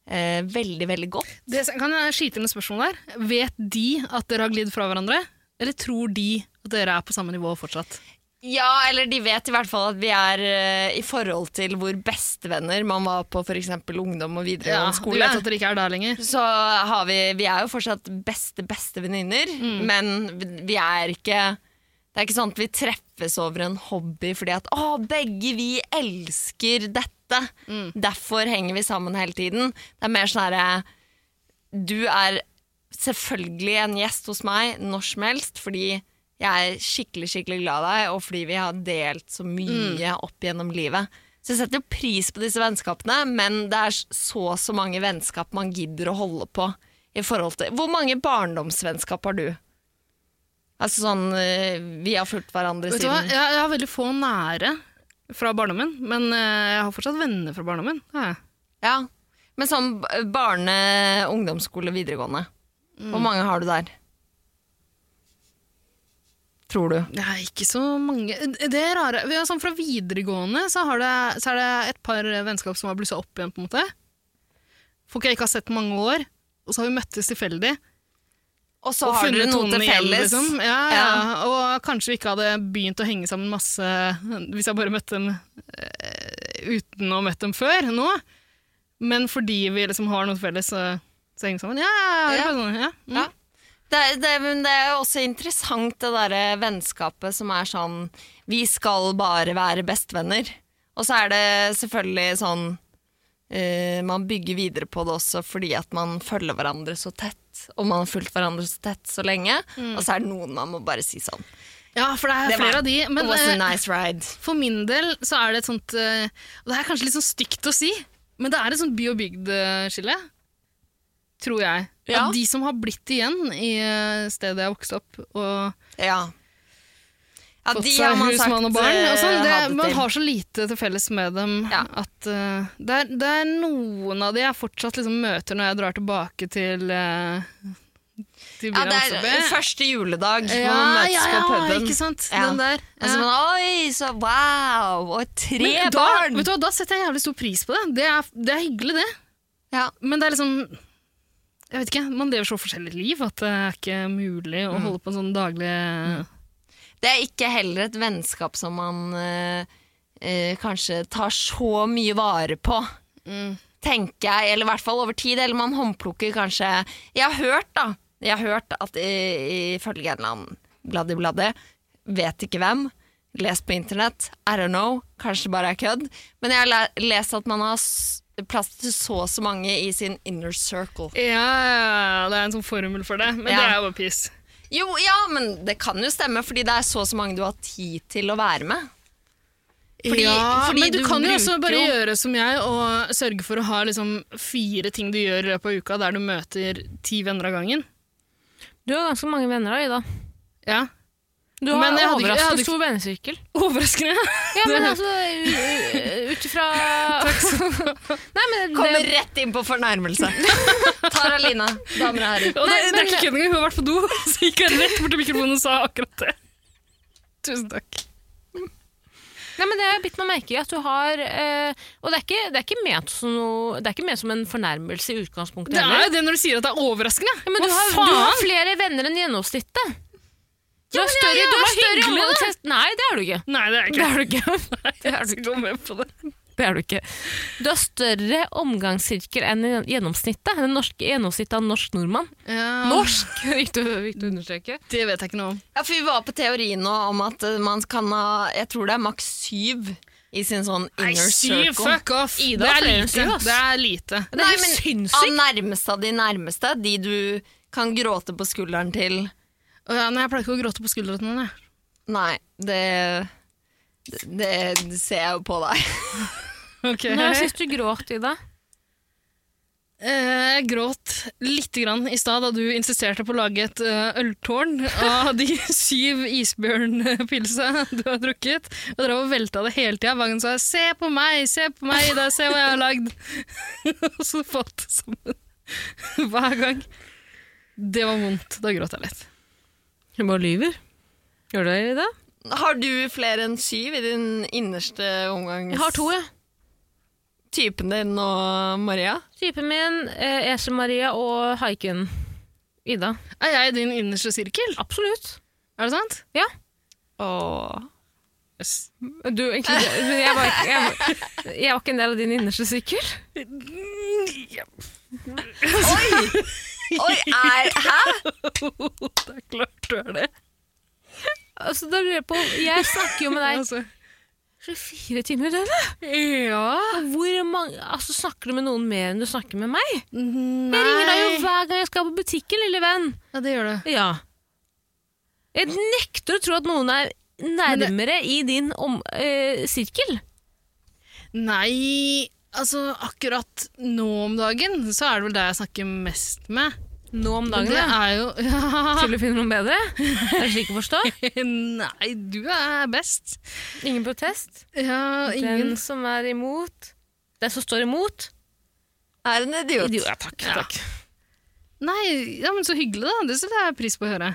[SPEAKER 2] eh, veldig, veldig godt.
[SPEAKER 3] Det, kan jeg skyte inn et spørsmål der? Vet de at dere har glidd fra hverandre? Eller tror de At dere er på samme nivå fortsatt.
[SPEAKER 2] Ja, eller de vet i hvert fall at vi er eh, i forhold til hvor bestevenner man var på f.eks. ungdom og videregående
[SPEAKER 3] du
[SPEAKER 2] skole.
[SPEAKER 3] vet at dere ikke er der lenger.
[SPEAKER 2] Så har vi Vi er jo fortsatt beste, beste venninner, men vi- vi er ikke Det er ikke sånn at vi treffes over en hobby fordi at å, begge vi elsker dette. Derfor henger vi sammen hele tiden. Det er mer sånn herre Du er selvfølgelig en gjest hos meg når som helst, fordi jeg er skikkelig skikkelig glad i deg, og fordi vi har delt så mye
[SPEAKER 3] Mm.
[SPEAKER 2] opp gjennom livet. Så jeg setter jo pris på disse vennskapene, men det er så så mange vennskap man gidder å holde på. i forhold til... Hvor mange barndomsvennskap har du? Altså sånn eh, Vi har fulgt hverandre
[SPEAKER 3] Vet du hva?
[SPEAKER 2] siden
[SPEAKER 3] Jeg, jeg har veldig få nære fra barndommen, men eh, jeg har fortsatt venner fra barndommen. det har jeg.
[SPEAKER 2] Ja. Men sånn b- barne-, ungdomsskole, videregående. Hvor mange har du der? Tror du?
[SPEAKER 3] Det er ikke så mange. Det er rare. Vi har sånn fra videregående så, har det, så er det et par vennskap som har blussa opp igjen, på en måte. Folk jeg ikke har sett på mange år. Og så har vi møttes tilfeldig.
[SPEAKER 2] Og så
[SPEAKER 3] og
[SPEAKER 2] har dere
[SPEAKER 3] funnet
[SPEAKER 2] noe
[SPEAKER 3] tonen
[SPEAKER 2] til
[SPEAKER 3] igjen,
[SPEAKER 2] felles.
[SPEAKER 3] liksom. Ja, ja. Og kanskje vi ikke hadde begynt å henge sammen masse hvis jeg bare møtte dem eh, uten å ha møtt dem før nå. Men fordi vi liksom har noe til felles, så, så henger vi sammen. Ja, ja, ja.
[SPEAKER 2] Ja.
[SPEAKER 3] Sånn, ja. Mm.
[SPEAKER 2] Ja. Det, er- det, er- men det er jo også interessant det derre vennskapet som er sånn Vi skal bare være bestevenner. Og så er det selvfølgelig sånn eh, Man bygger videre på det også fordi at man følger hverandre så tett. Og man har fulgt hverandre så tett så lenge. Og så er det noen man må bare si sånn.
[SPEAKER 3] ja, for det er
[SPEAKER 2] Det var-
[SPEAKER 3] flere av de.
[SPEAKER 2] It
[SPEAKER 3] Men
[SPEAKER 2] was a
[SPEAKER 3] eh,
[SPEAKER 2] nice ride.
[SPEAKER 3] for min del så er det et sånt eh, Og det er kanskje litt sånn stygt å si, men det er et sånt by og bygd-skille. Tror jeg.
[SPEAKER 2] Ja.
[SPEAKER 3] At de som har blitt igjen i eh, stedet jeg vokste opp, og
[SPEAKER 2] Ja. ja
[SPEAKER 3] fått seg hus, mann og barn. Og sånn, det,
[SPEAKER 2] eh, ha det
[SPEAKER 3] man
[SPEAKER 2] til.
[SPEAKER 3] har så lite til felles med dem
[SPEAKER 2] Ja.
[SPEAKER 3] at eh, det, er, det er noen av de jeg fortsatt liksom møter når jeg drar tilbake til eh,
[SPEAKER 2] ja,
[SPEAKER 3] til byen
[SPEAKER 2] det
[SPEAKER 3] jeg vokste opp i.
[SPEAKER 2] er første juledag når
[SPEAKER 3] ja,
[SPEAKER 2] man møtes
[SPEAKER 3] ja,
[SPEAKER 2] på
[SPEAKER 3] ja,
[SPEAKER 2] puben.
[SPEAKER 3] ikke sant?
[SPEAKER 2] Ja.
[SPEAKER 3] Den der.
[SPEAKER 2] Og så
[SPEAKER 3] Ja.
[SPEAKER 2] man, Oi, så wow! Og tre
[SPEAKER 3] Men da,
[SPEAKER 2] barn!
[SPEAKER 3] vet du hva, da setter jeg jævlig stor pris på det. Det er, det er hyggelig, det.
[SPEAKER 2] Ja.
[SPEAKER 3] Men det er liksom Jeg vet ikke, man lever så forskjellig liv at det er ikke mulig
[SPEAKER 2] Mm.
[SPEAKER 3] å holde på en sånn daglig
[SPEAKER 2] Det er ikke heller et vennskap som man eh, eh, kanskje tar så mye vare på. Mm. Tenker jeg, eller i hvert fall over tid. Eller man håndplukker kanskje Jeg har hørt, da. Jeg har hørt at i- ifølge en eller annen bladdi-bladdi, vet ikke hvem, les på internett, I don't know, kanskje bare er kødd, men jeg har le- lest at man har s- plass til så og så mange i sin inner circle.
[SPEAKER 3] Ja, ja, det er en sånn formel for det, men
[SPEAKER 2] Ja.
[SPEAKER 3] det er jo bare piss.
[SPEAKER 2] Jo, ja, men det kan jo stemme, fordi det er så og så mange du har tid til å være med. Fordi-
[SPEAKER 3] ja,
[SPEAKER 2] fordi
[SPEAKER 3] men du,
[SPEAKER 2] du
[SPEAKER 3] kan jo også
[SPEAKER 2] bruker
[SPEAKER 3] bare
[SPEAKER 2] jo-
[SPEAKER 3] gjøre som jeg og sørge for å ha liksom fire ting du gjør i løpet av uka der du møter ti venner av gangen.
[SPEAKER 1] Du har ganske mange venner da, Ida.
[SPEAKER 3] Ja.
[SPEAKER 1] Du har
[SPEAKER 3] Men jeg hadde ikke- jeg
[SPEAKER 1] overraskende
[SPEAKER 3] hadde ikke-
[SPEAKER 1] stor vennesirkel.
[SPEAKER 3] Overraskende!
[SPEAKER 1] Ja, men altså, u- ut ifra Nei, men
[SPEAKER 2] Kommer
[SPEAKER 1] det,
[SPEAKER 2] rett inn på fornærmelse. Tar Alina, damer og herrer.
[SPEAKER 3] Og det,
[SPEAKER 1] Nei,
[SPEAKER 3] det er
[SPEAKER 1] men-
[SPEAKER 3] ikke kødd engang, hun har vært på do, så gikk jeg rett bort til mikrofonen og sa akkurat det. Tusen takk.
[SPEAKER 1] nei, men det har jeg bitt meg merke i at du har eh, Og det er ikke, det er ikke ment som noe Det er ikke ment som en fornærmelse i utgangspunktet
[SPEAKER 3] Det er
[SPEAKER 1] heller.
[SPEAKER 3] jo det når du sier at det er overraskende.
[SPEAKER 1] Ja, men du
[SPEAKER 3] Hva
[SPEAKER 1] har, du har flere venner enn gjennomsnittet. Du
[SPEAKER 3] Ja,
[SPEAKER 1] har
[SPEAKER 3] men
[SPEAKER 1] større,
[SPEAKER 3] det er
[SPEAKER 1] du har
[SPEAKER 3] jævla
[SPEAKER 1] større
[SPEAKER 3] hyggelig, da.
[SPEAKER 1] omgangstest. Nei, det er du ikke.
[SPEAKER 3] Nei, det er
[SPEAKER 1] Det
[SPEAKER 3] ikke
[SPEAKER 1] er du ikke.
[SPEAKER 3] det. Jeg skal gå med på det.
[SPEAKER 1] Det er du ikke. Du har større omgangssirkel enn gjennomsnittet. Den norske gjennomsnittet av en norsk nordmann. Norsk, viktig å viktig å understreke.
[SPEAKER 3] Det vet jeg ikke noe om.
[SPEAKER 2] Ja, for vi var på teori nå om at eh, man kan ha Jeg tror det er maks syv i sin sånn
[SPEAKER 3] Nei,
[SPEAKER 2] inner
[SPEAKER 3] syv,
[SPEAKER 2] circle.
[SPEAKER 3] fuck off!
[SPEAKER 1] Ida
[SPEAKER 3] det
[SPEAKER 1] har
[SPEAKER 3] er
[SPEAKER 1] flere enn
[SPEAKER 3] lite.
[SPEAKER 1] syv, ass.
[SPEAKER 3] Det er lite.
[SPEAKER 1] Det er helt
[SPEAKER 2] Av
[SPEAKER 1] sinnssykt.
[SPEAKER 2] nærmeste av de nærmeste. De du kan gråte på skulderen til.
[SPEAKER 3] Å ja, nei, jeg pleier ikke å gråte på skuldrene til noen, jeg.
[SPEAKER 2] Nei, det det det ser jeg jo på deg.
[SPEAKER 3] Okay.
[SPEAKER 1] Når sist du gråt, Ida?
[SPEAKER 3] Eh, Jeg gråt lite grann i stad da du insisterte på å lage et eh, øltårn av de syv isbjørnpilsa du har drukket. Og dere har velta det hele tida. Hver gang sa jeg 'se på meg, se på meg, Ida, se hva jeg har lagd'. Og så falt det sammen hver gang. Det var vondt. Da gråt jeg litt.
[SPEAKER 1] Hun bare lyver. Gjør du det, Ida?
[SPEAKER 2] Har du flere enn syv i din innerste omgangs...
[SPEAKER 1] Jeg har to, jeg.
[SPEAKER 2] Typen din og Maria?
[SPEAKER 1] Typen min, eh, Esel Maria og haikun. Ida.
[SPEAKER 3] Er jeg i din innerste sirkel?
[SPEAKER 1] Absolutt.
[SPEAKER 3] Er det sant?
[SPEAKER 1] Ja.
[SPEAKER 3] Åh. Yes.
[SPEAKER 1] Du, egentlig, jeg var, ikke- jeg, var- jeg var ikke en del av din innerste sykkel.
[SPEAKER 2] Oi, er, hæ?
[SPEAKER 3] det er klart du er det.
[SPEAKER 1] Altså, da lurer jeg på Jeg snakker jo med deg
[SPEAKER 3] Altså,
[SPEAKER 1] 24 timer i døgnet.
[SPEAKER 3] ja.
[SPEAKER 1] Hvor mange Altså, snakker du med noen mer enn du snakker med meg?
[SPEAKER 3] Mhm, Nei.
[SPEAKER 1] Jeg ringer deg jo hver gang jeg skal på butikken, lille venn.
[SPEAKER 3] Ja, det gjør det.
[SPEAKER 1] Ja. Jeg nekter å tro at noen er nærmere i din om, eh, sirkel.
[SPEAKER 3] Nei, altså akkurat nå om dagen så er det vel der jeg snakker mest med.
[SPEAKER 1] Nå om
[SPEAKER 3] Men
[SPEAKER 1] dagen,
[SPEAKER 3] det
[SPEAKER 1] ja.
[SPEAKER 3] er jo ja.
[SPEAKER 1] Til du finner noen bedre? Det er slik å forstå.
[SPEAKER 3] Nei, du er best.
[SPEAKER 1] Ingen protest.
[SPEAKER 3] Ja, ingen
[SPEAKER 1] Den som er imot Den som står imot.
[SPEAKER 2] Er en idiot.
[SPEAKER 1] Idiot. Ja, takk.
[SPEAKER 3] Ja.
[SPEAKER 1] takk.
[SPEAKER 3] Nei, ja, men så hyggelig, da. Det setter jeg pris på å høre.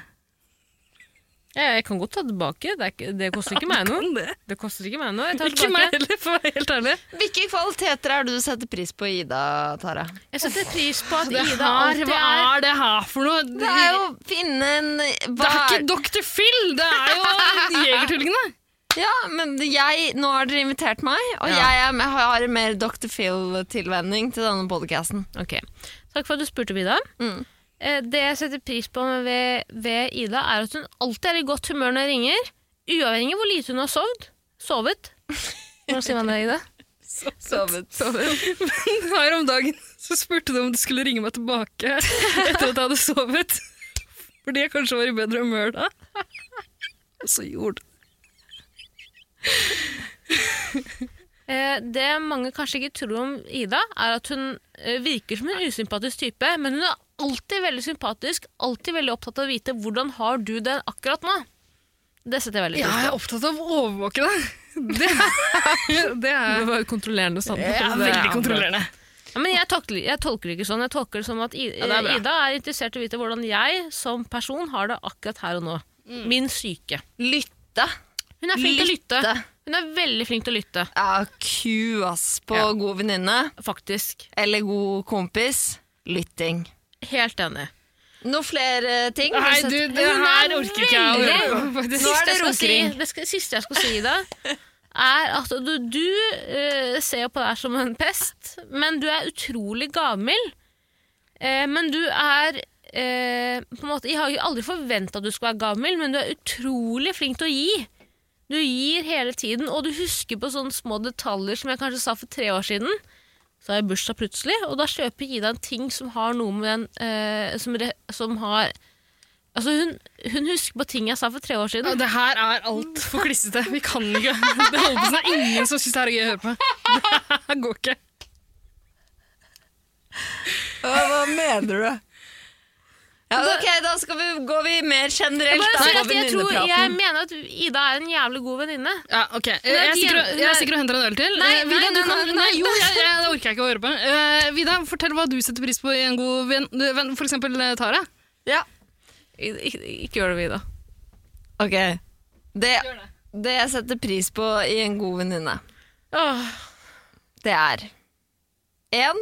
[SPEAKER 1] Jeg, jeg kan godt ta det tilbake. Det, er, ikke- det koster ikke meg noe.
[SPEAKER 3] det.
[SPEAKER 1] Det koster ikke meg noe. Jeg tar
[SPEAKER 3] Ikke
[SPEAKER 1] tilbake.
[SPEAKER 3] meg heller, for å være helt ærlig.
[SPEAKER 2] Hvilke kvaliteter er det du setter pris på i Ida, Tara?
[SPEAKER 1] Jeg setter pris på at
[SPEAKER 3] Det
[SPEAKER 1] Ida
[SPEAKER 3] her,
[SPEAKER 1] alltid
[SPEAKER 3] hva
[SPEAKER 1] er
[SPEAKER 3] er det her for noe?
[SPEAKER 2] Det er jo finne en
[SPEAKER 3] Det er ikke Dr. Phil, det er jo Jegertvillingene.
[SPEAKER 2] Ja, men jeg, nå har dere invitert meg, og
[SPEAKER 1] Ja.
[SPEAKER 2] jeg, er, jeg har mer Dr. Phil-tilvenning til denne podcasten.
[SPEAKER 1] Ok, Takk for at du spurte, Vida.
[SPEAKER 2] Mm.
[SPEAKER 1] Eh, Det jeg setter pris på ved, ved Ida, er at hun alltid er i godt humør når jeg ringer. Uavhengig av hvor lite hun har sovd. Sovet. Hvordan sier man det, Ida?
[SPEAKER 2] Sovet.
[SPEAKER 3] Her om dagen så spurte du om du skulle ringe meg tilbake etter at jeg hadde sovet. Fordi jeg kanskje var i bedre humør da. Og så gjorde du
[SPEAKER 1] Eh, Det mange kanskje ikke tror om Ida, er at hun eh, virker som en usympatisk type, men hun er alltid veldig sympatisk, alltid veldig opptatt av å vite hvordan har du det akkurat nå. Det setter jeg veldig
[SPEAKER 3] Ja,
[SPEAKER 1] pris på.
[SPEAKER 3] jeg er opptatt av å overvåke deg. Det er, det er,
[SPEAKER 1] var kontrollerende
[SPEAKER 3] jeg er veldig kontrollerende.
[SPEAKER 1] Ja, men jeg tolker, jeg tolker det ikke sånn. Jeg tolker det som at I,
[SPEAKER 3] det er bra.
[SPEAKER 1] Ida er interessert i å vite hvordan jeg som person har det akkurat her og nå.
[SPEAKER 3] Mm.
[SPEAKER 1] Min syke.
[SPEAKER 2] Lytte.
[SPEAKER 1] Hun er flink til å lytte. Hun er veldig flink til å lytte,
[SPEAKER 2] Ja, ku, ass, på
[SPEAKER 1] Ja.
[SPEAKER 2] god venninne
[SPEAKER 1] faktisk.
[SPEAKER 2] eller god kompis. Lytting.
[SPEAKER 1] Helt enig.
[SPEAKER 2] Noen flere eh, ting?
[SPEAKER 3] Nei,
[SPEAKER 2] setter-
[SPEAKER 3] du, det
[SPEAKER 1] Hun er
[SPEAKER 3] her orker ikke jeg. å-
[SPEAKER 1] Det
[SPEAKER 2] Nå er
[SPEAKER 1] siste,
[SPEAKER 2] det
[SPEAKER 1] jeg skal si,
[SPEAKER 2] runkering.
[SPEAKER 1] det skal, siste jeg skal si, Ida, er at du, du eh, ser jo på deg som en pest, men du er utrolig gavmild. Eh, men du er eh, på en måte, Jeg har jo aldri forventa at du skal være gavmild, men du er utrolig flink til å gi. Du gir hele tiden, og du husker på sånne små detaljer som jeg kanskje sa for tre år siden. Så har jeg bursdag plutselig, og da kjøper Ida en ting som har noe med den eh, som, re, som har Altså, hun, hun husker på ting jeg sa for tre år
[SPEAKER 3] Ja,
[SPEAKER 1] siden.
[SPEAKER 3] det her er altfor klissete. Vi kan ikke. Det holder på sånn. Det er ingen som syns det her er gøy å høre på. Det her går ikke.
[SPEAKER 2] Hva, hva mener du? Ja, ok, da skal vi, går vi mer
[SPEAKER 1] Jeg,
[SPEAKER 2] generelt
[SPEAKER 1] bare
[SPEAKER 2] da,
[SPEAKER 1] sier
[SPEAKER 2] på
[SPEAKER 1] at jeg, tror, jeg
[SPEAKER 2] venninnepraten.
[SPEAKER 1] mener at Ida er en jævlig god venninne.
[SPEAKER 3] Ja, ok. Jeg,
[SPEAKER 1] er
[SPEAKER 3] jeg,
[SPEAKER 1] ikke
[SPEAKER 3] stikker,
[SPEAKER 1] jævlig-
[SPEAKER 3] og- jeg stikker og henter en øl til.
[SPEAKER 1] Nei,
[SPEAKER 3] Eh,
[SPEAKER 1] nei, nei,
[SPEAKER 3] du kan-
[SPEAKER 1] nei,
[SPEAKER 3] nei,
[SPEAKER 1] nei.
[SPEAKER 3] jo, jeg, jeg, det orker jeg ikke å høre på. Eh, Vida, fortell hva du setter pris på i en god venn, du- venn for eksempel eh, Tara.
[SPEAKER 2] Ja.
[SPEAKER 1] Ikke, gjør det, Ida.
[SPEAKER 2] Ok. Det, det jeg setter pris på i en god venninne,
[SPEAKER 1] Åh,
[SPEAKER 2] det er En,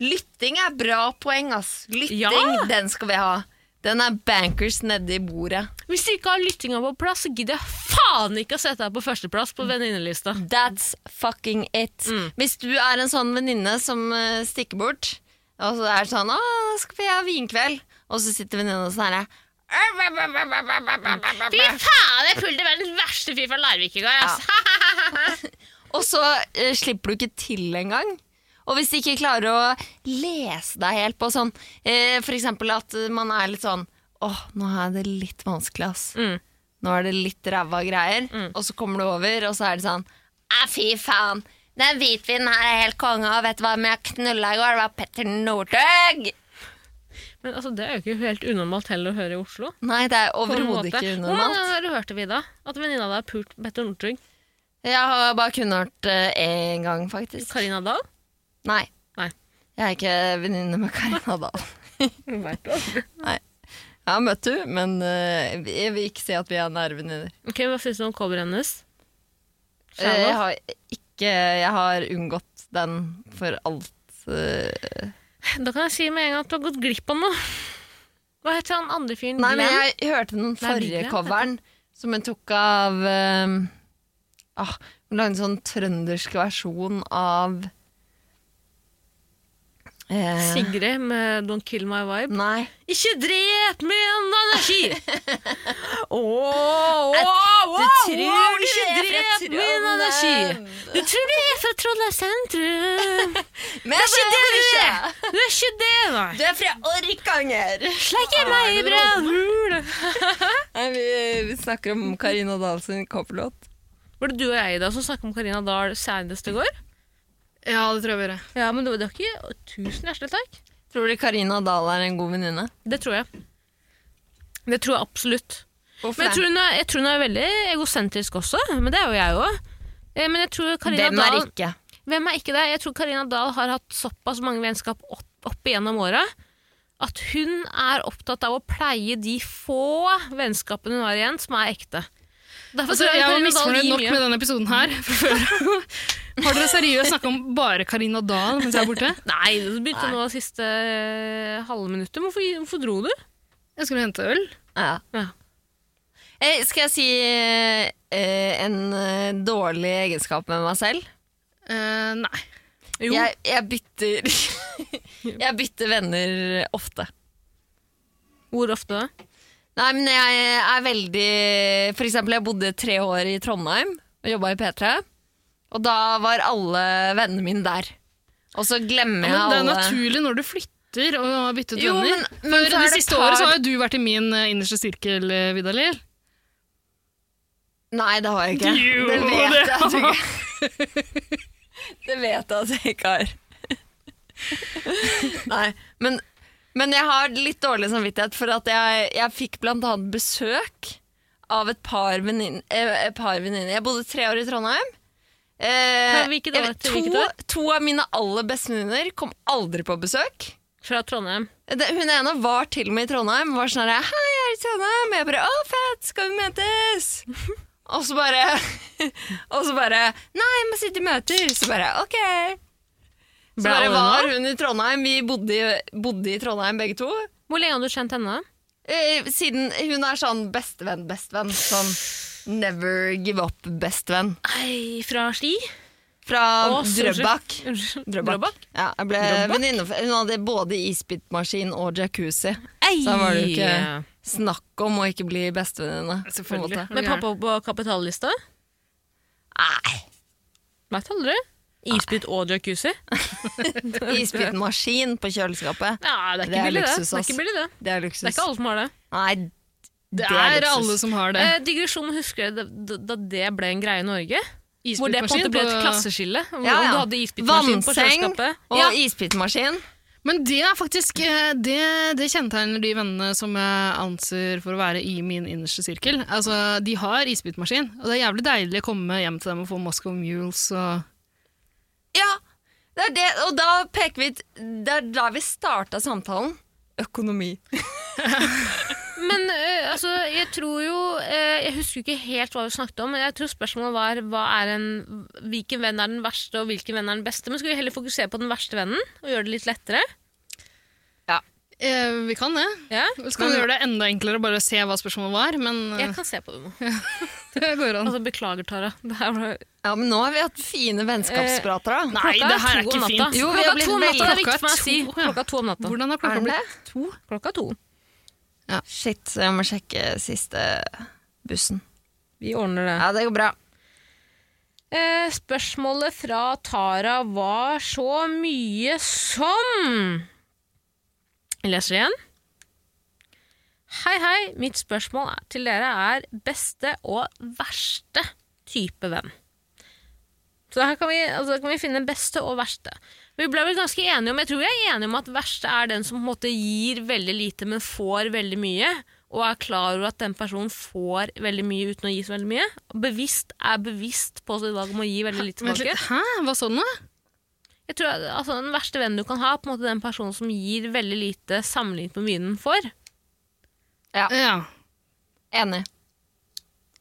[SPEAKER 2] lytting er bra poeng, ass. Lytting,
[SPEAKER 1] Ja.
[SPEAKER 2] den skal vi ha. Den er bankers nedi bordet.
[SPEAKER 1] hvis du ikke har lyttinga på plass, så gidder jeg faen ikke å sette deg på førsteplass på venninnelista.
[SPEAKER 2] That's fucking it.
[SPEAKER 1] Mm.
[SPEAKER 2] Hvis du er en sånn venninne som eh, stikker bort, og så er det sånn 'Å, skal vi ha vinkveld?' Og så sitter venninna sånn her
[SPEAKER 1] Fy faen, jeg pulte verdens verste fyr fra Larvik i går. ass.
[SPEAKER 2] Og så eh, slipper du ikke til engang. Og hvis de ikke klarer å lese deg helt på sånn eh, For eksempel at man er litt sånn Åh, nå er det litt vanskelig, ass.
[SPEAKER 1] Mm.
[SPEAKER 2] Nå er det litt ræva greier. Og så kommer du over, og så er det sånn Æ, fy faen. Den hvitvinen her er helt konge, og vet du hvem jeg knulla i går? Det var Petter Northug!
[SPEAKER 1] Men altså, det er jo ikke helt unormalt heller å høre i Oslo.
[SPEAKER 2] Nei, det er
[SPEAKER 1] på en
[SPEAKER 2] overhodet
[SPEAKER 1] måte.
[SPEAKER 2] ikke
[SPEAKER 1] Hvor mange
[SPEAKER 2] unormalt.
[SPEAKER 1] ganger har du hørt det, Vida? At venninna di har pult Petter Northug?
[SPEAKER 2] Jeg har bare kun hørt eh, én gang, faktisk.
[SPEAKER 1] Karina Dahl?
[SPEAKER 2] Nei.
[SPEAKER 1] Nei.
[SPEAKER 2] Jeg er ikke venninne med Karina Dahl.
[SPEAKER 1] Hun vet det aldri.
[SPEAKER 2] Jeg har møtt henne, men eh, jeg vil ikke si at vi er nære venninner.
[SPEAKER 1] Ok, Hva syns du om coveret hennes?
[SPEAKER 2] Eh, Jeg har ikke Jeg har unngått den for alt. eh,
[SPEAKER 1] Da kan jeg si med en gang at du har gått glipp av noe. Hva heter han andre fyren?
[SPEAKER 2] Nei, men
[SPEAKER 1] Glenn?
[SPEAKER 2] jeg hørte den
[SPEAKER 1] Glenn,
[SPEAKER 2] forrige
[SPEAKER 1] vet du.
[SPEAKER 2] coveren som hun tok av um, ah, Hun lagde en sånn trøndersk versjon av eh,
[SPEAKER 1] Sigrid med Don't Kill My Vibe.
[SPEAKER 2] Nei.
[SPEAKER 1] Ikke drep min energi! Åh, åh, åh, åh,
[SPEAKER 2] tror du
[SPEAKER 1] ikke
[SPEAKER 2] er fra
[SPEAKER 1] drep min
[SPEAKER 2] Trondheim.
[SPEAKER 1] energi! Du tror du er fra Trondheim sentrum.
[SPEAKER 2] Men det
[SPEAKER 1] Ikke det du er! Du er ikke det, nei.
[SPEAKER 2] Du er fra Orkanger!
[SPEAKER 1] Slik er meg i brevhul.
[SPEAKER 2] Nei, vi, vi snakker om Karina Dahl sin coverlåt.
[SPEAKER 1] Var det du og jeg Ida, som snakket om Karina Dahl senest i går?
[SPEAKER 3] Ja, det tror jeg vi gjør.
[SPEAKER 1] Ja, men det var det var ikke Tusen hjertelig takk.
[SPEAKER 2] Tror du Karina Dahl er en god venninne?
[SPEAKER 1] Det tror jeg. Det tror jeg absolutt. Men
[SPEAKER 2] Hvorfor
[SPEAKER 1] jeg tror, hun er, jeg tror hun er veldig egosentrisk også, men det er jo jeg òg. Men jeg tror Karina
[SPEAKER 2] Hvem er
[SPEAKER 1] Dahl
[SPEAKER 2] ikke?
[SPEAKER 1] Hvem er ikke det? Jeg tror Karina Dahl har hatt såpass mange vennskap opp, opp igjennom åra at hun er opptatt av å pleie de få vennskapene hun har igjen, som er ekte. Derfor
[SPEAKER 3] Altså,
[SPEAKER 1] tror
[SPEAKER 3] jeg var
[SPEAKER 1] Karina Dahl
[SPEAKER 3] misfornøyd
[SPEAKER 1] gir
[SPEAKER 3] nok
[SPEAKER 1] mye.
[SPEAKER 3] med denne episoden her. fra før. Har dere seriøst snakka om bare Karina Dahl mens jeg er borte?
[SPEAKER 1] Nei, du begynte nå siste eh, halve minuttet. Hvorfor, hvorfor dro du?
[SPEAKER 3] Jeg skulle hente øl.
[SPEAKER 2] Ja.
[SPEAKER 1] Ja.
[SPEAKER 2] Eh, Skal jeg si eh, en eh, dårlig egenskap med meg selv?
[SPEAKER 3] Eh, nei.
[SPEAKER 1] Jo.
[SPEAKER 2] Jeg, jeg bytter Jeg bytter venner ofte.
[SPEAKER 1] Hvor ofte da?
[SPEAKER 2] Nei, men jeg er veldig For eksempel, jeg bodde tre år i Trondheim og jobba i P3. Og da var alle vennene mine der. Og så glemmer jeg
[SPEAKER 3] Men det er
[SPEAKER 2] alle
[SPEAKER 3] naturlig når du flytter og har byttet
[SPEAKER 2] Jo,
[SPEAKER 3] venner.
[SPEAKER 2] men- men så
[SPEAKER 3] For
[SPEAKER 2] er
[SPEAKER 3] det
[SPEAKER 2] det
[SPEAKER 3] siste
[SPEAKER 2] par-
[SPEAKER 3] året så har jo du vært i min eh, innerste sirkel, eh, Vidar-Lill.
[SPEAKER 2] Nei, det har jeg ikke.
[SPEAKER 3] Jo,
[SPEAKER 2] det vet
[SPEAKER 3] det
[SPEAKER 2] jeg at du ikke Det vet jeg at jeg ikke har. Nei, men, men jeg har litt dårlig samvittighet for at jeg, jeg fikk blant annet besøk av et par venninner. Et par venninner. Jeg bodde tre år i Trondheim. Eh,
[SPEAKER 1] Fra hvilket
[SPEAKER 2] jeg
[SPEAKER 1] år
[SPEAKER 2] vet-
[SPEAKER 1] til
[SPEAKER 2] to,
[SPEAKER 1] hvilket år?
[SPEAKER 2] to av mine aller beste venninner kom aldri på besøk.
[SPEAKER 1] Fra Trondheim.
[SPEAKER 2] Det, hun ene var til og med i Trondheim. Var sånn her, Hei, jeg er i Trondheim. Jeg bare Å, fett! Skal vi møtes? og så bare Og så bare Nei, jeg må sitte i møter. Så bare OK. Så
[SPEAKER 1] Ble
[SPEAKER 2] bare
[SPEAKER 1] alle
[SPEAKER 2] var
[SPEAKER 1] venner?
[SPEAKER 2] hun i Trondheim. Vi bodde, i- bodde i Trondheim begge to.
[SPEAKER 1] Hvor lenge har du kjent henne?
[SPEAKER 2] Eh, siden hun er sånn bestevenn, bestevenn. Sånn never give up-bestevenn.
[SPEAKER 1] Ei, fra Ski?
[SPEAKER 2] Fra
[SPEAKER 1] Å, sorry.
[SPEAKER 2] Drøbak.
[SPEAKER 1] Unnskyld.
[SPEAKER 2] Drøbak. Ja, jeg ble venninne for- Hun hadde både isbitmaskin og jacuzzi.
[SPEAKER 1] Ei.
[SPEAKER 2] Så da var det jo ikke snakk om å ikke bli bestevenninne. på en
[SPEAKER 3] Selvfølgelig.
[SPEAKER 2] måte.
[SPEAKER 1] Med pappa på kapitallista?
[SPEAKER 2] Nei,
[SPEAKER 1] Veit aldri. Isbit og jacuzzi?
[SPEAKER 2] isbitmaskin på kjøleskapet.
[SPEAKER 1] Ja, det er
[SPEAKER 2] Det
[SPEAKER 1] ikke
[SPEAKER 2] er
[SPEAKER 1] billig, det.
[SPEAKER 2] luksus,
[SPEAKER 1] Det er
[SPEAKER 2] ass.
[SPEAKER 1] ikke billig, det.
[SPEAKER 2] Det er
[SPEAKER 1] Det
[SPEAKER 2] luksus.
[SPEAKER 1] er ikke alle som har det.
[SPEAKER 2] Nei,
[SPEAKER 3] Det
[SPEAKER 2] er
[SPEAKER 3] er
[SPEAKER 2] luksus.
[SPEAKER 3] alle som har det.
[SPEAKER 1] Eh, digresjon, husker dere da, da det ble en greie i Norge? Hvor det på en måte
[SPEAKER 3] Isbitmaskin
[SPEAKER 1] ble et
[SPEAKER 3] på-
[SPEAKER 1] klasseskille? Hvor
[SPEAKER 2] Ja, ja.
[SPEAKER 1] du hadde isbitmaskin på
[SPEAKER 2] Vannseng
[SPEAKER 1] kjøleskapet?
[SPEAKER 2] og
[SPEAKER 1] Ja.
[SPEAKER 2] isbitmaskin.
[SPEAKER 3] Men det er faktisk eh, det, det kjennetegner de vennene som jeg anser for å være i min innerste sirkel. Altså, De har isbitmaskin, og det er jævlig deilig å komme hjem til dem og få Moscow Mules og
[SPEAKER 2] Ja, det er det. Og da peker vi ut Det er da vi starta samtalen. Økonomi.
[SPEAKER 1] Men eh, altså, jeg tror jo eh, Jeg husker jo ikke helt hva vi snakket om, men jeg tror spørsmålet var hva er en, hvilken venn er den verste, og hvilken venn er den beste. Men skal vi heller fokusere på den verste vennen og gjøre det litt lettere?
[SPEAKER 3] eh, Vi kan det.
[SPEAKER 1] Ja?
[SPEAKER 3] Så kan vi gjøre det enda enklere og bare se hva spørsmålet var, men eh,
[SPEAKER 1] Jeg kan se på det nå.
[SPEAKER 3] det går an.
[SPEAKER 1] Altså, beklager, Tara. Det her var
[SPEAKER 2] Ja, men nå har vi hatt fine vennskapsprater, da.
[SPEAKER 3] Nei,
[SPEAKER 1] Klokka
[SPEAKER 3] det her er
[SPEAKER 1] to om
[SPEAKER 3] ikke
[SPEAKER 1] natta.
[SPEAKER 3] fint.
[SPEAKER 2] Jo, vi
[SPEAKER 1] klokka
[SPEAKER 2] har blitt
[SPEAKER 1] to om natta, det er
[SPEAKER 3] veldig-
[SPEAKER 1] viktig for meg å si.
[SPEAKER 3] Klokka to, ja.
[SPEAKER 1] Klokka to om natta.
[SPEAKER 3] Hvordan har
[SPEAKER 2] Er
[SPEAKER 3] klokka
[SPEAKER 2] den
[SPEAKER 3] blitt?
[SPEAKER 2] det?
[SPEAKER 1] To? Klokka to.
[SPEAKER 2] Shit, så jeg må sjekke siste bussen.
[SPEAKER 1] Vi ordner det.
[SPEAKER 2] Ja, det går bra.
[SPEAKER 1] Eh, spørsmålet fra Tara var så mye som Jeg leser igjen. Hei, hei. Mitt spørsmål er- til dere er beste og verste type venn. Så her kan vi, altså, kan vi finne beste og verste. Vi ble vel ganske enige om, Jeg tror vi er enige om at verste er den som på en måte gir veldig lite, men får veldig mye. Og er klar over at den personen får veldig mye uten å gi så veldig mye. Bevisst er bevisst på sitt valg om å gi veldig lite
[SPEAKER 3] Vent
[SPEAKER 1] tilbake.
[SPEAKER 3] litt. Hæ, hva så du nå?
[SPEAKER 1] Jeg tror at, altså, Den verste vennen du kan ha, er på en måte den personen som gir veldig lite sammenlignet med mye den får.
[SPEAKER 3] Ja.
[SPEAKER 2] Enig.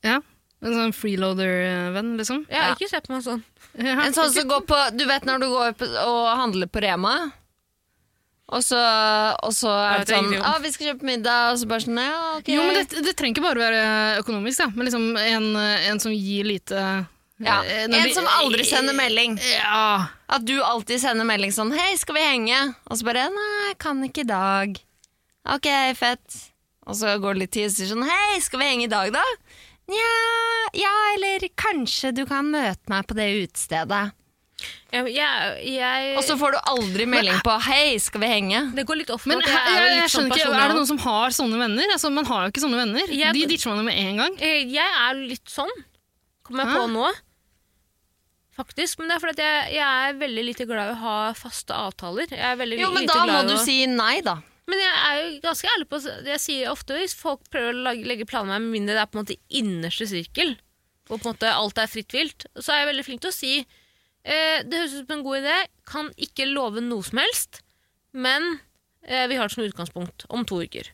[SPEAKER 3] ja. En sånn freeloader-venn, liksom?
[SPEAKER 1] Ja,
[SPEAKER 2] Ja.
[SPEAKER 1] Ikke se på meg sånn.
[SPEAKER 3] Ja.
[SPEAKER 2] En sånn som går på Du vet når du går på, og handler på Rema, Og så, og så er
[SPEAKER 1] vet
[SPEAKER 2] det
[SPEAKER 1] jeg
[SPEAKER 2] sånn
[SPEAKER 1] ingenting om.
[SPEAKER 2] ah, 'Vi skal kjøpe middag', og så bare sånn ja, ok.
[SPEAKER 3] Jo, men det, det trenger ikke bare være økonomisk, da. Men liksom en, en som gir lite
[SPEAKER 2] ja.
[SPEAKER 3] eh, når
[SPEAKER 2] En
[SPEAKER 3] de-
[SPEAKER 2] som aldri sender melding.
[SPEAKER 3] Ja.
[SPEAKER 2] At du alltid sender melding sånn 'Hei, skal vi henge?' Og så bare 'Nei, kan ikke i dag'. Ok, fett. Og så går det litt tid, og så sier sånn 'Hei, skal vi henge i dag, da?' Nja, ja, eller kanskje du kan møte meg på det utestedet.
[SPEAKER 1] Jeg, jeg, jeg,
[SPEAKER 2] Og
[SPEAKER 3] Altså,
[SPEAKER 2] så får du aldri melding på 'Hei, skal vi henge?'
[SPEAKER 1] det går litt off.
[SPEAKER 3] Men
[SPEAKER 1] at
[SPEAKER 3] her,
[SPEAKER 1] jeg er jo
[SPEAKER 3] jeg,
[SPEAKER 1] litt
[SPEAKER 3] jeg
[SPEAKER 1] sånn
[SPEAKER 3] skjønner ikke,
[SPEAKER 1] person
[SPEAKER 3] er det
[SPEAKER 1] også.
[SPEAKER 3] noen som har sånne venner? Altså, man har jo ikke sånne venner.
[SPEAKER 1] Jeg-
[SPEAKER 3] De ditcher man jo med en gang.
[SPEAKER 1] Eh, Jeg er litt sånn, kommer jeg
[SPEAKER 3] Hæ?
[SPEAKER 1] på nå. Faktisk, men det er fordi at jeg, jeg er veldig lite glad i å ha faste avtaler. Jeg er veldig
[SPEAKER 2] Jo, men
[SPEAKER 1] lite
[SPEAKER 2] da må
[SPEAKER 1] glad i
[SPEAKER 2] du
[SPEAKER 1] å...
[SPEAKER 2] si nei, da.
[SPEAKER 1] Men jeg er jo ganske ærlig på Jeg sier ofte hvis folk prøver å lage, legge planer med meg, med mindre det er på en måte innerste sirkel, hvor på en måte alt er fritt vilt, så er jeg veldig flink til å si eh, Det høres ut som en god idé, kan ikke love noe som helst, men eh, vi har det som utgangspunkt om to uker.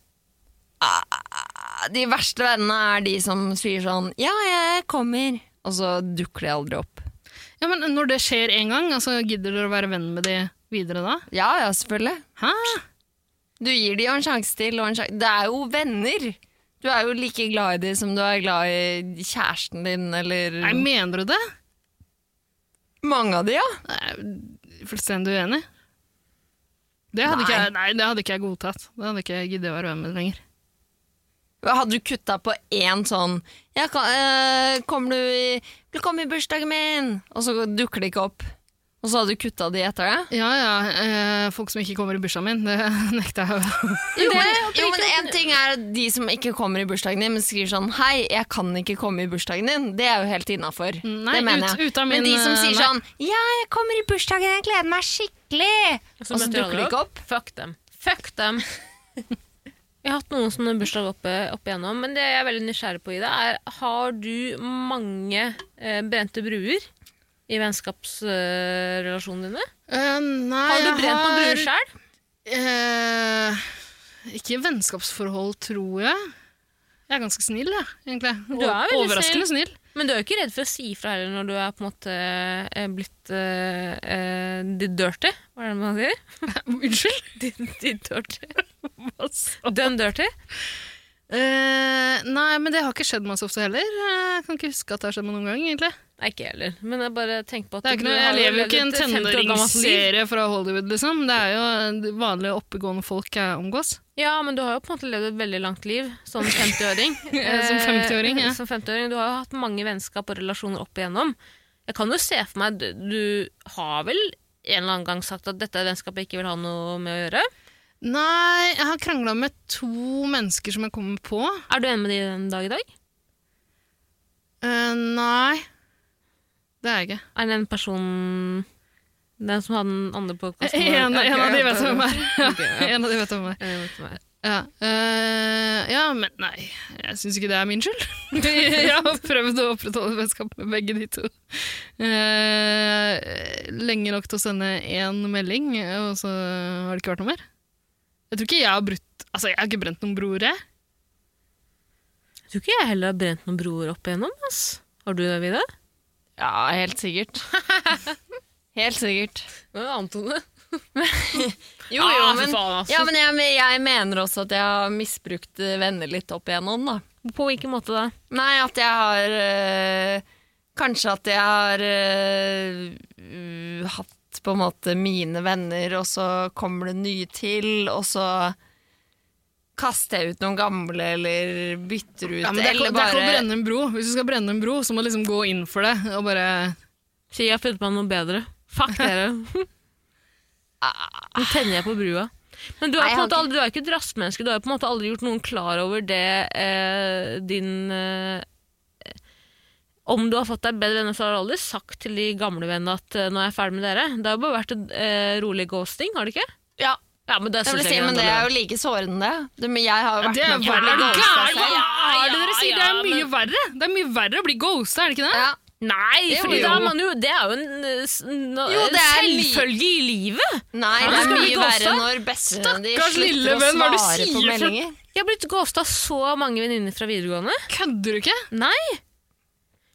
[SPEAKER 2] De verste vennene er de som sier sånn 'Ja, jeg kommer', og så dukker de aldri opp.
[SPEAKER 3] Ja, men Når det skjer en gang, altså, gidder dere å være venn med de videre da?
[SPEAKER 2] Ja, ja, selvfølgelig.
[SPEAKER 3] Hæ?
[SPEAKER 1] Mm.
[SPEAKER 2] Du gir de jo en sjanse til. Og en sjanse. Det er jo venner! Du er jo like glad i de som du er glad i kjæresten din, eller
[SPEAKER 3] Nei, mener du det?
[SPEAKER 2] Mange av de, ja.
[SPEAKER 3] Jeg er fullstendig uenig. Det hadde, ikke jeg, nei, det hadde ikke jeg godtatt. Det hadde ikke jeg giddet å være venn med lenger.
[SPEAKER 2] Hadde du kutta på én sånn ja, kan, eh, 'Kommer du i Vil du komme i bursdagen min?' Og så dukker de ikke opp. Og så hadde du kutta de etter det?
[SPEAKER 3] Ja, ja, eh, folk som ikke kommer i bursdagen min, det nekter jeg å
[SPEAKER 2] Jo, men, jo, men en ting er de som ikke kommer i bursdagen din, men skriver sånn 'Hei, jeg kan ikke komme i bursdagen din'. Det er jo helt innafor.
[SPEAKER 3] Mm, Nei,
[SPEAKER 2] Det mener
[SPEAKER 3] ut-
[SPEAKER 2] jeg.
[SPEAKER 3] ut av
[SPEAKER 2] men de
[SPEAKER 3] min,
[SPEAKER 2] som
[SPEAKER 3] eh,
[SPEAKER 2] sier
[SPEAKER 3] nei.
[SPEAKER 2] sånn 'Ja, jeg kommer i bursdagen, jeg gleder meg skikkelig', og så
[SPEAKER 1] møter
[SPEAKER 2] Altså, dukker de
[SPEAKER 1] alle
[SPEAKER 2] ikke opp.
[SPEAKER 1] Fuck dem. Fuck dem. Jeg har hatt noen sånne bursdag oppe, opp igjennom, men det jeg er veldig nysgjerrig på, Ida, er har du mange eh, brente bruer i vennskapsrelasjonene dine?
[SPEAKER 3] Eh, nei,
[SPEAKER 1] Har du
[SPEAKER 3] jeg
[SPEAKER 1] brent noen bruer sjøl?
[SPEAKER 3] Eh, ikke vennskapsforhold, tror jeg. Jeg er ganske snill, jeg, egentlig.
[SPEAKER 1] Du er veldig
[SPEAKER 3] Overraskende snill.
[SPEAKER 1] Men du er jo ikke redd for å si ifra heller når du er på en måte eh, blitt eh, eh, the dirty, hva er det man sier?
[SPEAKER 3] Unnskyld?
[SPEAKER 1] The, the dirty.
[SPEAKER 3] Hva sa-
[SPEAKER 1] Done dirty.
[SPEAKER 3] Eh, nei, men det har ikke skjedd meg så ofte heller. Jeg kan ikke huske at det har skjedd meg noen gang, egentlig.
[SPEAKER 1] Nei, ikke jeg heller, men jeg bare tenker på at
[SPEAKER 3] Det er ikke
[SPEAKER 1] du
[SPEAKER 3] noe,
[SPEAKER 1] har
[SPEAKER 3] jeg lever jo ikke i en
[SPEAKER 1] levd et 50 år gammelt liv.
[SPEAKER 3] tenåringsserie fra Hollywood, liksom. Det er jo vanlige oppegående folk jeg omgås.
[SPEAKER 1] Ja, men du har jo på en måte levd et veldig langt liv som 50-åring.
[SPEAKER 3] Ja, som 50-åring, ja.
[SPEAKER 1] Eh, Som 50-åring, Du har jo hatt mange vennskap og relasjoner opp igjennom. Jeg kan jo se for meg at Du har vel en eller annen gang sagt at dette er et vennskap jeg ikke vil ha noe med å gjøre?
[SPEAKER 3] Nei, jeg har krangla med to mennesker som jeg kommer på.
[SPEAKER 1] Er du enig med de den dag i dag?
[SPEAKER 3] Eh, nei, det er jeg ikke.
[SPEAKER 1] Er det den personen Den som hadde den andre på kassen?
[SPEAKER 3] En,
[SPEAKER 1] Ja,
[SPEAKER 3] en av de
[SPEAKER 1] ok,
[SPEAKER 3] vet
[SPEAKER 1] ja,
[SPEAKER 3] hvem er.
[SPEAKER 1] ok, ja.
[SPEAKER 3] En av de vet hvem er.
[SPEAKER 1] Jeg vet hvem det er.
[SPEAKER 3] Ja, eh, ja men nei, jeg syns ikke det er min skyld. jeg har prøvd å opprettholde vennskap med begge de to. Eh, lenge nok til å sende én melding, og så har det ikke vært noe mer. Jeg tror ikke jeg har brutt Altså, jeg har ikke brent noen broer, jeg.
[SPEAKER 1] Jeg tror ikke jeg heller har brent noen broer opp igjennom. Ass. Har du det, Vida?
[SPEAKER 2] Ja, helt sikkert. helt sikkert.
[SPEAKER 3] Ah,
[SPEAKER 1] Antone.
[SPEAKER 2] Jo,
[SPEAKER 1] Ah,
[SPEAKER 2] jo,
[SPEAKER 1] fy
[SPEAKER 2] men,
[SPEAKER 1] faen, altså.
[SPEAKER 2] ja, men jeg, jeg mener også at jeg har misbrukt eh, venner litt opp igjennom, da.
[SPEAKER 1] På hvilken måte da?
[SPEAKER 2] Nei, at jeg har eh, Kanskje at jeg har eh, uh, hatt på en måte mine venner, og så kommer det nye til, og så kaster jeg ut noen gamle, eller bytter ut,
[SPEAKER 3] Ja, men det er, ikke-
[SPEAKER 2] eller
[SPEAKER 3] det er ikke å
[SPEAKER 2] bare
[SPEAKER 3] brenne en bro. Hvis du skal brenne en bro, så må du liksom gå inn for det. Og bare
[SPEAKER 1] Si jeg har funnet meg noe bedre. Fuck dere. Nå tenner jeg på brua. Men du er,
[SPEAKER 2] Nei, jeg
[SPEAKER 1] på en måte
[SPEAKER 2] har
[SPEAKER 1] aldri, du er ikke et rassmenneske. Du har jo på en måte aldri gjort noen klar over det eh, din eh, Om du har fått deg bedre venner, så har du aldri sagt til de gamle vennene at eh, 'nå er jeg ferdig med dere'. Det har jo bare vært en eh, rolig ghosting, har det ikke?
[SPEAKER 2] Ja,
[SPEAKER 1] Ja, men det,
[SPEAKER 2] jeg vil si, men det er jo like sårende, det. Men jeg har jo vært
[SPEAKER 3] Det er
[SPEAKER 2] med
[SPEAKER 3] verre. Er
[SPEAKER 2] å
[SPEAKER 3] du
[SPEAKER 2] ghoste
[SPEAKER 3] gæren?
[SPEAKER 2] seg.
[SPEAKER 3] Hva er det dere sier?
[SPEAKER 1] altså?
[SPEAKER 3] Det
[SPEAKER 1] Ja,
[SPEAKER 3] er
[SPEAKER 1] men-
[SPEAKER 3] mye verre. Det er mye verre å bli ghosta, er det ikke det?
[SPEAKER 2] Ja.
[SPEAKER 1] Nei,
[SPEAKER 2] Jo,
[SPEAKER 1] for
[SPEAKER 2] jo.
[SPEAKER 1] det er, man jo, det er jo en, eh, s- n-
[SPEAKER 2] Jo, det er li-
[SPEAKER 1] selvfølge i livet!
[SPEAKER 2] Nei,
[SPEAKER 1] Ja,
[SPEAKER 2] det er
[SPEAKER 1] skal vi
[SPEAKER 2] mye
[SPEAKER 1] ghoste?
[SPEAKER 2] verre når bestene de
[SPEAKER 3] Stakkars lille
[SPEAKER 2] slutter å
[SPEAKER 3] venn, hva er det du
[SPEAKER 2] svare på
[SPEAKER 3] sier for-
[SPEAKER 2] meldinger.
[SPEAKER 1] Jeg har blitt ghosta av så mange venninner fra videregående.
[SPEAKER 3] Kødder du ikke?
[SPEAKER 1] Nei!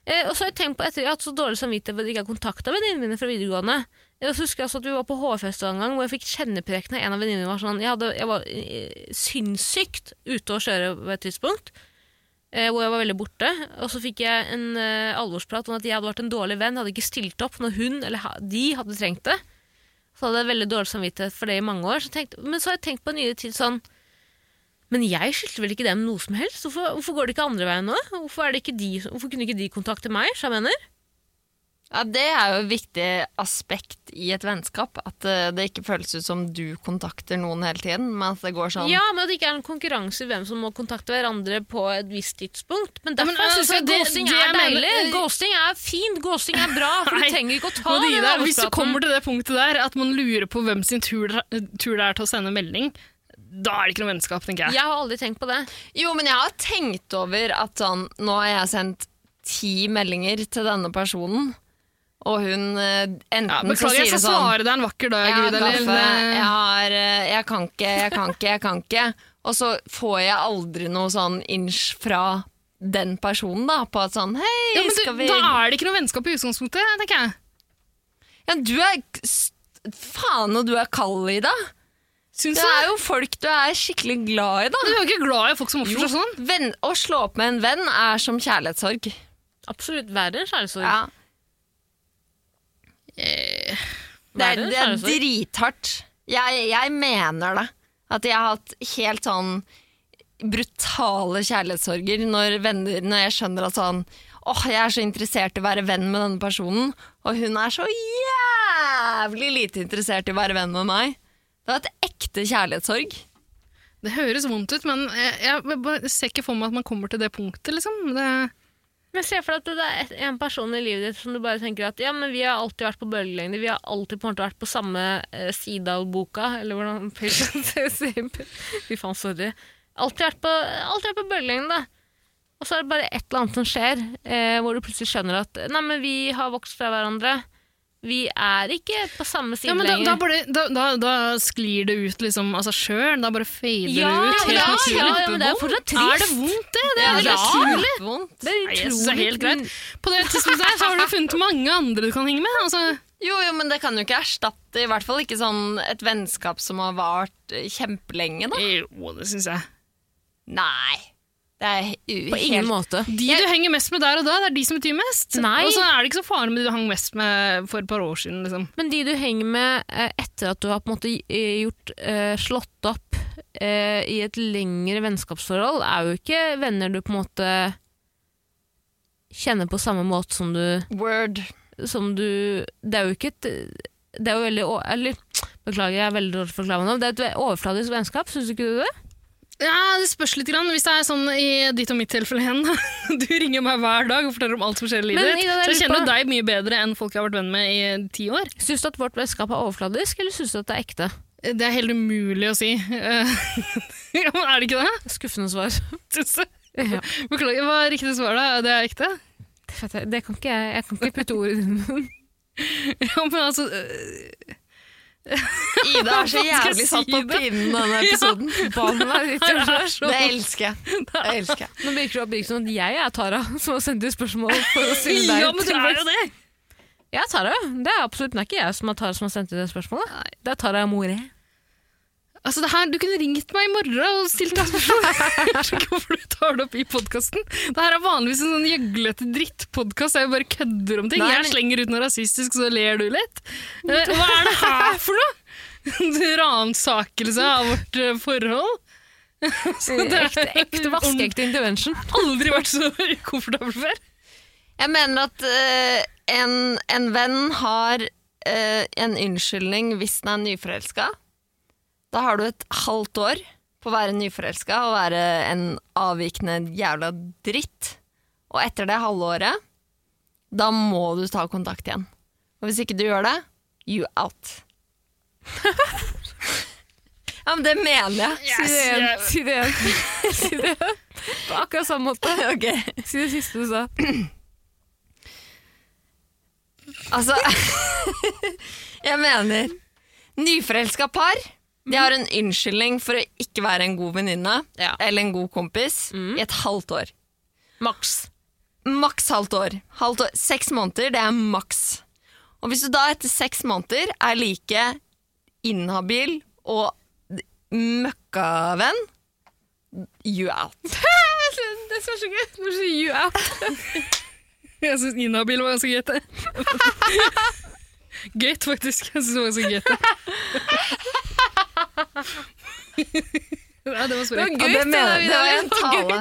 [SPEAKER 1] Eh, og så har jeg tenkt på etter, jeg har hatt så dårlig samvittighet for at jeg ikke har kontakta venninnene mine fra videregående. Jeg husker også at vi var på HF-fest en gang, hvor jeg fikk kjennepreken av en av venninnene. var Sånn, jeg, hadde, jeg var eh, sinnssykt ute å kjøre på et tidspunkt, eh, hvor jeg var veldig borte. Og så fikk jeg en eh, alvorsprat om at jeg hadde vært en dårlig venn, hadde ikke stilt opp når hun eller ha- de hadde trengt det. Så hadde jeg veldig dårlig samvittighet for det i mange år. Så tenkte, men så har jeg tenkt på en nyere tid sånn men jeg skyldte vel ikke dem noe som helst? Hvorfor, hvorfor går det ikke andre veien nå? Hvorfor, er det ikke de, hvorfor kunne ikke de kontakte meg? Så jeg mener?
[SPEAKER 2] Ja, Det er jo et viktig aspekt i et vennskap. At eh, det ikke føles ut som du kontakter noen hele tiden. Men at det går sånn
[SPEAKER 1] Ja, men at det ikke er en konkurranse i hvem som må kontakte hverandre på et visst tidspunkt. Men
[SPEAKER 3] Ja,
[SPEAKER 1] derfor
[SPEAKER 3] men,
[SPEAKER 1] synes
[SPEAKER 3] altså,
[SPEAKER 1] jeg
[SPEAKER 3] det-
[SPEAKER 1] ghosting
[SPEAKER 3] det
[SPEAKER 1] er
[SPEAKER 3] jeg mener-
[SPEAKER 1] deilig. Ghosting er fint, ghosting er bra, for
[SPEAKER 3] Nei,
[SPEAKER 1] du trenger ikke å ta
[SPEAKER 3] Og de
[SPEAKER 1] den
[SPEAKER 3] der, hvis du
[SPEAKER 1] arbeidsplaten.
[SPEAKER 3] kommer til det punktet der at man lurer på hvem sin tur, tur det er til å sende melding, da er det ikke noe vennskap, tenker jeg.
[SPEAKER 1] Jeg har aldri tenkt på det.
[SPEAKER 2] Jo, men jeg har tenkt over at sånn Nå har jeg sendt ti meldinger til denne personen, og hun eh, enten
[SPEAKER 3] Ja,
[SPEAKER 2] så
[SPEAKER 3] beklager,
[SPEAKER 2] sier
[SPEAKER 3] jeg skal
[SPEAKER 2] det sånn
[SPEAKER 3] svare deg en vakker dag,
[SPEAKER 2] Jeg har
[SPEAKER 3] Gud, eller
[SPEAKER 2] kaffe, jeg, har, eh, jeg kan ikke, jeg kan ikke, jeg kan ikke. Og så får jeg aldri noe sånn inch fra den personen da, på at sånn, hei,
[SPEAKER 3] ja, men du,
[SPEAKER 2] skal vi...
[SPEAKER 3] Da er det ikke noe vennskap i utgangspunktet, tenker jeg.
[SPEAKER 2] Ja, du er... st- Faen, og du er kald i dag.
[SPEAKER 3] Syns
[SPEAKER 2] Det
[SPEAKER 3] du?
[SPEAKER 2] er jo folk du er skikkelig glad i da.
[SPEAKER 3] Du er jo ikke glad i folk som oppfører seg sånn.
[SPEAKER 2] Venn, å slå opp med en venn er som kjærlighetssorg.
[SPEAKER 1] Absolutt verre enn kjærlighetssorg.
[SPEAKER 2] Ja. Det
[SPEAKER 1] Verre
[SPEAKER 2] Eh, er,
[SPEAKER 1] enn
[SPEAKER 2] det er
[SPEAKER 1] kjærlighetssorg.
[SPEAKER 2] drithardt. Jeg, jeg mener det. At jeg har hatt helt sånn brutale kjærlighetssorger når, venner, når jeg skjønner at sånn Åh, jeg er så interessert i å være venn med denne personen, og hun er så jævlig lite interessert i å være venn med meg. Det var et ekte kjærlighetssorg.
[SPEAKER 3] Det høres vondt ut, men jeg, jeg bare ser ikke for meg at man kommer til det punktet, liksom. Det,
[SPEAKER 1] Men se for deg at det er et- en person i livet ditt som du bare tenker at ja, men vi har alltid vært på bølgelengde, vi har alltid på en måte vært på samme eh, side av boka, eller hvordan Fy faen, sorry. Alltid vært på, alltid vært på bølgelengde, da. Og så er det bare et eller annet som skjer, eh, hvor du plutselig skjønner at nei, men vi har vokst fra hverandre. Vi er ikke på samme side
[SPEAKER 3] ja, men da,
[SPEAKER 1] lenger.
[SPEAKER 3] da, bare, da, da, da sklir det ut liksom, av seg sjøl. Da bare fader
[SPEAKER 1] Ja,
[SPEAKER 3] det ut.
[SPEAKER 1] men
[SPEAKER 3] helt
[SPEAKER 1] ja,
[SPEAKER 3] naturlig.
[SPEAKER 1] ja, men det er fortsatt trist.
[SPEAKER 3] Er det vondt, det? Det
[SPEAKER 1] Ja,
[SPEAKER 3] er
[SPEAKER 1] det
[SPEAKER 3] ja,
[SPEAKER 1] er
[SPEAKER 2] Vondt.
[SPEAKER 1] det er
[SPEAKER 3] Nei, jeg synes det er
[SPEAKER 1] utrolig-
[SPEAKER 3] helt greit. På det tidspunktet der så har du funnet mange andre du kan henge med. Altså,
[SPEAKER 2] Jo, jo, men det kan jo ikke erstatte i hvert fall ikke sånn et vennskap som har vart eh, kjempelenge, da.
[SPEAKER 3] jo, det syns jeg.
[SPEAKER 2] Nei. Det er u-
[SPEAKER 1] På ingen
[SPEAKER 2] helt
[SPEAKER 1] måte.
[SPEAKER 3] De du henger mest med der og da, det er de som betyr mest.
[SPEAKER 1] Nei.
[SPEAKER 3] Og så er det ikke så fare med de du hang mest med for et par år siden. Liksom.
[SPEAKER 1] Men de du henger med eh, etter at du har på en måte eh, gjort eh, slått opp eh, i et lengre vennskapsforhold, er jo ikke venner du på en måte kjenner på samme måte som du,
[SPEAKER 2] Word.
[SPEAKER 1] som du Det er jo ikke et Det er jo veldig å- Eller beklager, jeg er veldig dårlig til å forklare meg nå. men Det er et ve- overfladisk vennskap, syns du ikke du det?
[SPEAKER 3] Ja, Det spørs litt. Grann. Hvis det er sånn i ditt og mitt tilfelle igjen Du ringer meg hver dag og forteller om alt som skjer i livet
[SPEAKER 1] Men
[SPEAKER 3] ditt.
[SPEAKER 1] Ida, det er
[SPEAKER 3] Så jeg
[SPEAKER 1] litt
[SPEAKER 3] kjenner
[SPEAKER 1] på-
[SPEAKER 3] jo deg mye bedre enn folk jeg har vært venn med i ti år.
[SPEAKER 1] Syns du at vårt vennskap er overfladisk, eller syns du at det er ekte?
[SPEAKER 3] Det er helt umulig å si. Eh, ja, men er det ikke det?
[SPEAKER 1] Skuffende svar.
[SPEAKER 3] Tusse.
[SPEAKER 1] Ja.
[SPEAKER 3] Beklager, hva er riktig svar da? Det er ekte?
[SPEAKER 1] Det vet jeg- det kan ikke jeg, jeg kan ikke putte ord i din munn.
[SPEAKER 3] Ja, men altså... eh,
[SPEAKER 2] Ida er så
[SPEAKER 3] Hva skal jeg
[SPEAKER 2] jævlig satt
[SPEAKER 3] si
[SPEAKER 2] på
[SPEAKER 3] det?
[SPEAKER 2] pinnen denne episoden.
[SPEAKER 1] Ban meg litt,
[SPEAKER 3] det
[SPEAKER 1] Joshua.
[SPEAKER 3] er så
[SPEAKER 2] Det elsker jeg. Det elsker jeg.
[SPEAKER 1] Nå virker det oppbygget som at jeg er Tara, som har sendt ut spørsmål for å stille deg
[SPEAKER 3] Ja, men du er jo det!
[SPEAKER 1] Jeg er Tara. Det er absolutt det er ikke jeg som er Tara som har sendt ut det spørsmålet. Det er Tara More.
[SPEAKER 3] Altså, det her, du kunne ringt meg i morgen og stilt meg spørsmål. Jeg skjønner ikke hvorfor du tar det opp i podkasten. Det her er vanligvis en sånn gjøglete drittpodkast der jeg bare kødder om ting.
[SPEAKER 2] Nei,
[SPEAKER 3] Jeg
[SPEAKER 2] men-
[SPEAKER 3] slenger ut noe rasistisk, så ler du litt. Eh, Hva er det her for noe?! Ransakelse av vårt eh, forhold. Så det er
[SPEAKER 1] Eh, Ekte, ekte vaskeekte intervention.
[SPEAKER 3] Aldri vært så ukomfortabel før.
[SPEAKER 2] Jeg mener at eh, en, en venn har eh, en unnskyldning hvis den er nyforelska. Da har du et halvt år på å være nyforelska og være en avvikende jævla dritt. Og etter det halvåret, da må du ta kontakt igjen. Og hvis ikke du gjør det, you out. ja, men det mener jeg.
[SPEAKER 1] Si det igjen.
[SPEAKER 3] jeg-
[SPEAKER 1] Si det igjen. Si det igjen. På akkurat samme måte.
[SPEAKER 2] Okay.
[SPEAKER 1] Si det siste du sa.
[SPEAKER 2] Altså Jeg mener Nyforelska par De har en unnskyldning for å ikke være en god venninne
[SPEAKER 1] Ja. Mm.
[SPEAKER 2] Eller en god kompis I et halvt år
[SPEAKER 1] Maks.
[SPEAKER 2] Maks halvt år. halvt år Seks måneder, det er maks Og hvis du da etter seks måneder er like inhabil og d- møkkavenn, you out.
[SPEAKER 1] Det som er så gøy, når du sier you out
[SPEAKER 3] Jeg syns inhabil var ganske greit, det. Greit, faktisk. Jeg syns det var ganske greit, det. Ja, det var
[SPEAKER 1] Det
[SPEAKER 3] sprekt.
[SPEAKER 1] var gøy.
[SPEAKER 2] Ja, det,
[SPEAKER 1] Gutt,
[SPEAKER 2] mener,
[SPEAKER 1] det
[SPEAKER 2] det var
[SPEAKER 1] var
[SPEAKER 2] en
[SPEAKER 1] gutt.
[SPEAKER 2] tale.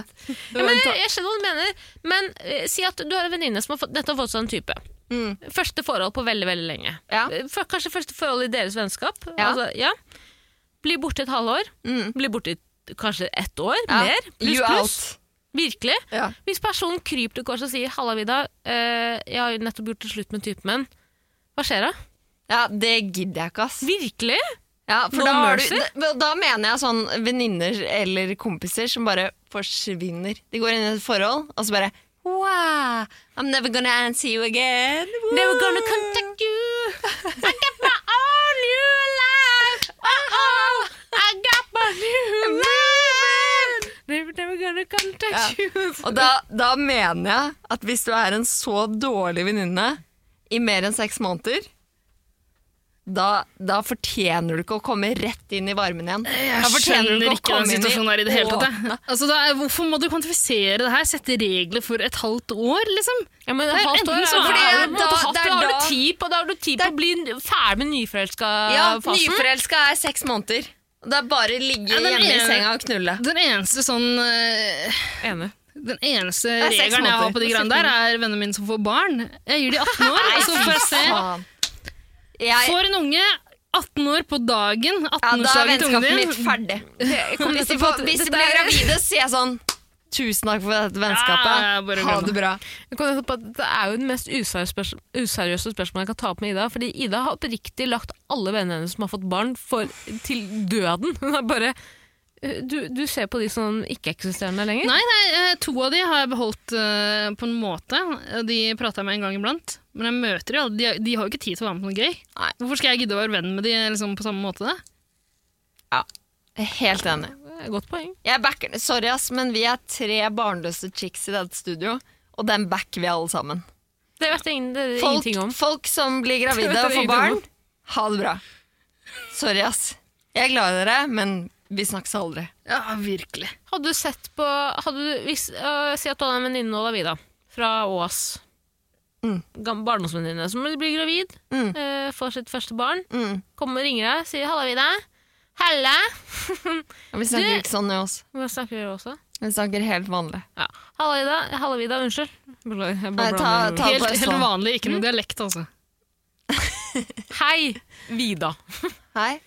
[SPEAKER 1] Ja, men jeg, jeg skjønner hva du mener, men eh, si at du har en venninne som har fått, nettopp fått seg en type.
[SPEAKER 2] Mm.
[SPEAKER 1] Første forhold på veldig veldig lenge.
[SPEAKER 2] Ja.
[SPEAKER 1] Eh, for- Kanskje første forhold i deres vennskap.
[SPEAKER 2] Ja.
[SPEAKER 1] Altså, ja. Blir borte et halvår.
[SPEAKER 2] Mm.
[SPEAKER 1] Blir borte i kanskje ett år.
[SPEAKER 2] Ja.
[SPEAKER 1] Mer. Pluss,
[SPEAKER 2] You
[SPEAKER 1] pluss.
[SPEAKER 2] out.
[SPEAKER 1] Virkelig.
[SPEAKER 2] Ja.
[SPEAKER 1] Hvis personen kryper til korset og sier 'Halla, Vida, eh, jeg har jo nettopp gjort det slutt med typen min', hva skjer da?
[SPEAKER 2] ja, det gidder jeg ikke, ass.
[SPEAKER 1] Virkelig?
[SPEAKER 2] Ja, for
[SPEAKER 1] No
[SPEAKER 2] da, har du,
[SPEAKER 1] mercy?
[SPEAKER 2] da, da mener jeg sånn venninner eller kompiser som bare forsvinner. De går inn i et forhold, og så bare Wow, I'm never gonna see you again. Wow.
[SPEAKER 1] Never gonna contact you. I got my own new life. Uh-oh. I got my new life. Never, never gonna contact you.
[SPEAKER 2] Og da, da mener jeg at hvis du er en så dårlig venninne i mer enn seks måneder da, da fortjener du ikke å komme rett inn i varmen igjen. Da
[SPEAKER 3] Jeg
[SPEAKER 2] fortjener du
[SPEAKER 3] skjønner
[SPEAKER 2] å
[SPEAKER 3] ikke den
[SPEAKER 2] komme inn i
[SPEAKER 3] situasjonen der i det hele tatt. jeg.
[SPEAKER 2] åpne.
[SPEAKER 3] Altså, da, er- hvorfor må du kvantifisere det her? Sette regler for et halvt år, liksom?
[SPEAKER 1] Ja, men
[SPEAKER 3] er
[SPEAKER 1] halvt år
[SPEAKER 3] enten
[SPEAKER 1] er
[SPEAKER 3] så-
[SPEAKER 1] jo-
[SPEAKER 3] fordi
[SPEAKER 1] er jo
[SPEAKER 2] det
[SPEAKER 1] på
[SPEAKER 2] er
[SPEAKER 1] en
[SPEAKER 2] da-
[SPEAKER 1] måte halvt,
[SPEAKER 2] det er
[SPEAKER 1] Da har
[SPEAKER 2] da-
[SPEAKER 1] du tid på, da har du tid på å bli ferdig med
[SPEAKER 3] eh,
[SPEAKER 2] Ja,
[SPEAKER 1] nyforelska-fasen.
[SPEAKER 2] Nyforelska er seks måneder. Og Det er bare å ligge
[SPEAKER 3] Ja, den
[SPEAKER 2] hjemme i
[SPEAKER 3] ene-
[SPEAKER 2] senga og knulle.
[SPEAKER 3] Den eneste sånn eh,
[SPEAKER 1] Enig.
[SPEAKER 3] Den eneste
[SPEAKER 2] er seks
[SPEAKER 3] regelen jeg har
[SPEAKER 2] måneder.
[SPEAKER 3] på de greiene der, er vennene mine som får barn. Jeg gir de 18 år, og så får jeg se.
[SPEAKER 2] Faen. Jeg,
[SPEAKER 3] Får en unge 18 år på dagen,
[SPEAKER 2] ja, da er
[SPEAKER 3] 18-årsdagen til
[SPEAKER 2] vennskapet
[SPEAKER 3] ungen
[SPEAKER 2] mitt
[SPEAKER 3] din
[SPEAKER 2] ferdig. Hvis de, får, hvis de
[SPEAKER 1] dette
[SPEAKER 2] blir
[SPEAKER 1] er-
[SPEAKER 2] gravide, så sier jeg sånn Tusen takk for dette
[SPEAKER 3] Ja, jeg
[SPEAKER 2] vennskapet.
[SPEAKER 3] bare
[SPEAKER 2] ha
[SPEAKER 3] glem
[SPEAKER 2] det bra.
[SPEAKER 1] Jeg kom nettopp på at Det er jo det mest useriøse spørs- useriøse spørsmålet jeg kan ta opp med Ida. Fordi Ida har oppriktig lagt alle vennene hennes som har fått barn, for, til døden. Hun er bare eh, du, du ser på de som ikke-eksisterende lenger?
[SPEAKER 3] Nei, nei, eh, to av de har jeg beholdt eh, på en måte. De prater jeg med en gang iblant. Men jeg møter de aldri. De, de har jo ikke tid til å være med på noe gøy.
[SPEAKER 2] Nei.
[SPEAKER 3] Hvorfor skal jeg gidde å være venn med de liksom, på samme måte? da?
[SPEAKER 2] Jeg er Helt
[SPEAKER 1] Det
[SPEAKER 2] enig.
[SPEAKER 1] er et Godt poeng.
[SPEAKER 2] Jeg backer, sorry, ass, men vi er tre barnløse chicks i dette studio, og den backer vi alle sammen.
[SPEAKER 1] Det vet jeg ingen, det er det
[SPEAKER 2] Folk,
[SPEAKER 1] ingenting om.
[SPEAKER 2] folk som blir
[SPEAKER 1] Det
[SPEAKER 2] gravide
[SPEAKER 1] vet
[SPEAKER 2] og
[SPEAKER 1] jeg
[SPEAKER 2] får
[SPEAKER 1] ingenting
[SPEAKER 2] barn,
[SPEAKER 1] om.
[SPEAKER 2] ha det bra. Sorry, ass. Jeg er glad i dere, men vi snakkes aldri.
[SPEAKER 3] Ja, virkelig.
[SPEAKER 1] Hadde du sett på hadde du, hvis, øh, Si at du hadde en venninne av Vida fra Ås.
[SPEAKER 2] Mm.
[SPEAKER 1] Gam- Barndomsvenninne som blir gravid,
[SPEAKER 2] Mm.
[SPEAKER 1] øh, får sitt første barn.
[SPEAKER 2] Mm.
[SPEAKER 1] Kommer og ringer deg, sier 'halla, Vida'. 'Halla'.
[SPEAKER 2] Vi snakker
[SPEAKER 1] Du-
[SPEAKER 2] ikke sånn med oss.
[SPEAKER 1] Hva snakker dere også?
[SPEAKER 2] Vi snakker helt vanlig.
[SPEAKER 1] Ja. Halla, Ida. Halla, Vida. Unnskyld. Beklager. jeg bare
[SPEAKER 2] Nei, ta-
[SPEAKER 1] blander
[SPEAKER 2] ta-
[SPEAKER 1] ord.
[SPEAKER 3] Helt,
[SPEAKER 2] bare
[SPEAKER 3] helt
[SPEAKER 2] sånn.
[SPEAKER 3] vanlig, ikke noe dialekt, altså.
[SPEAKER 1] Hei, Vida.
[SPEAKER 2] Hei.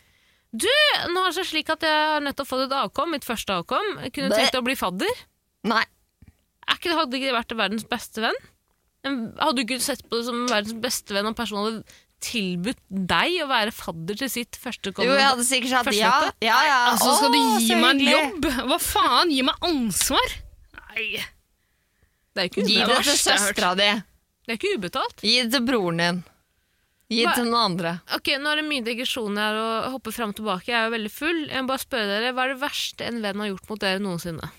[SPEAKER 1] Nå er det seg slik at jeg har nettopp fått et avkom. Mitt første avkom. Jeg kunne
[SPEAKER 2] Det-
[SPEAKER 1] tenkt å bli fadder.
[SPEAKER 2] Nei.
[SPEAKER 1] Er ikke det, hadde ikke det vært verdens beste venn? En- Hadde du ikke sett på det som verdens beste venn om personen hadde tilbudt deg å være fadder til sitt første
[SPEAKER 2] Jo, jeg hadde sikkert sagt ja. ja, ja.
[SPEAKER 3] Altså, skal du
[SPEAKER 2] Å,
[SPEAKER 3] gi
[SPEAKER 2] så
[SPEAKER 3] meg en
[SPEAKER 2] hyggelig.
[SPEAKER 3] jobb? Hva faen? Gi meg ansvar? Nei.
[SPEAKER 1] Det er ikke
[SPEAKER 2] Gi
[SPEAKER 1] ubetalt.
[SPEAKER 2] det til
[SPEAKER 3] verste jeg har hørt.
[SPEAKER 2] søstera di.
[SPEAKER 1] Det er ikke ubetalt.
[SPEAKER 2] Gi det til broren din. Gi det
[SPEAKER 1] Hva-
[SPEAKER 2] til noen andre.
[SPEAKER 1] Ok, Nå er det mye digresjon her og jeg hopper fram og tilbake. Jeg er jo veldig full. Jeg må bare spørre dere, Hva er det verste en venn har gjort mot dere noensinne?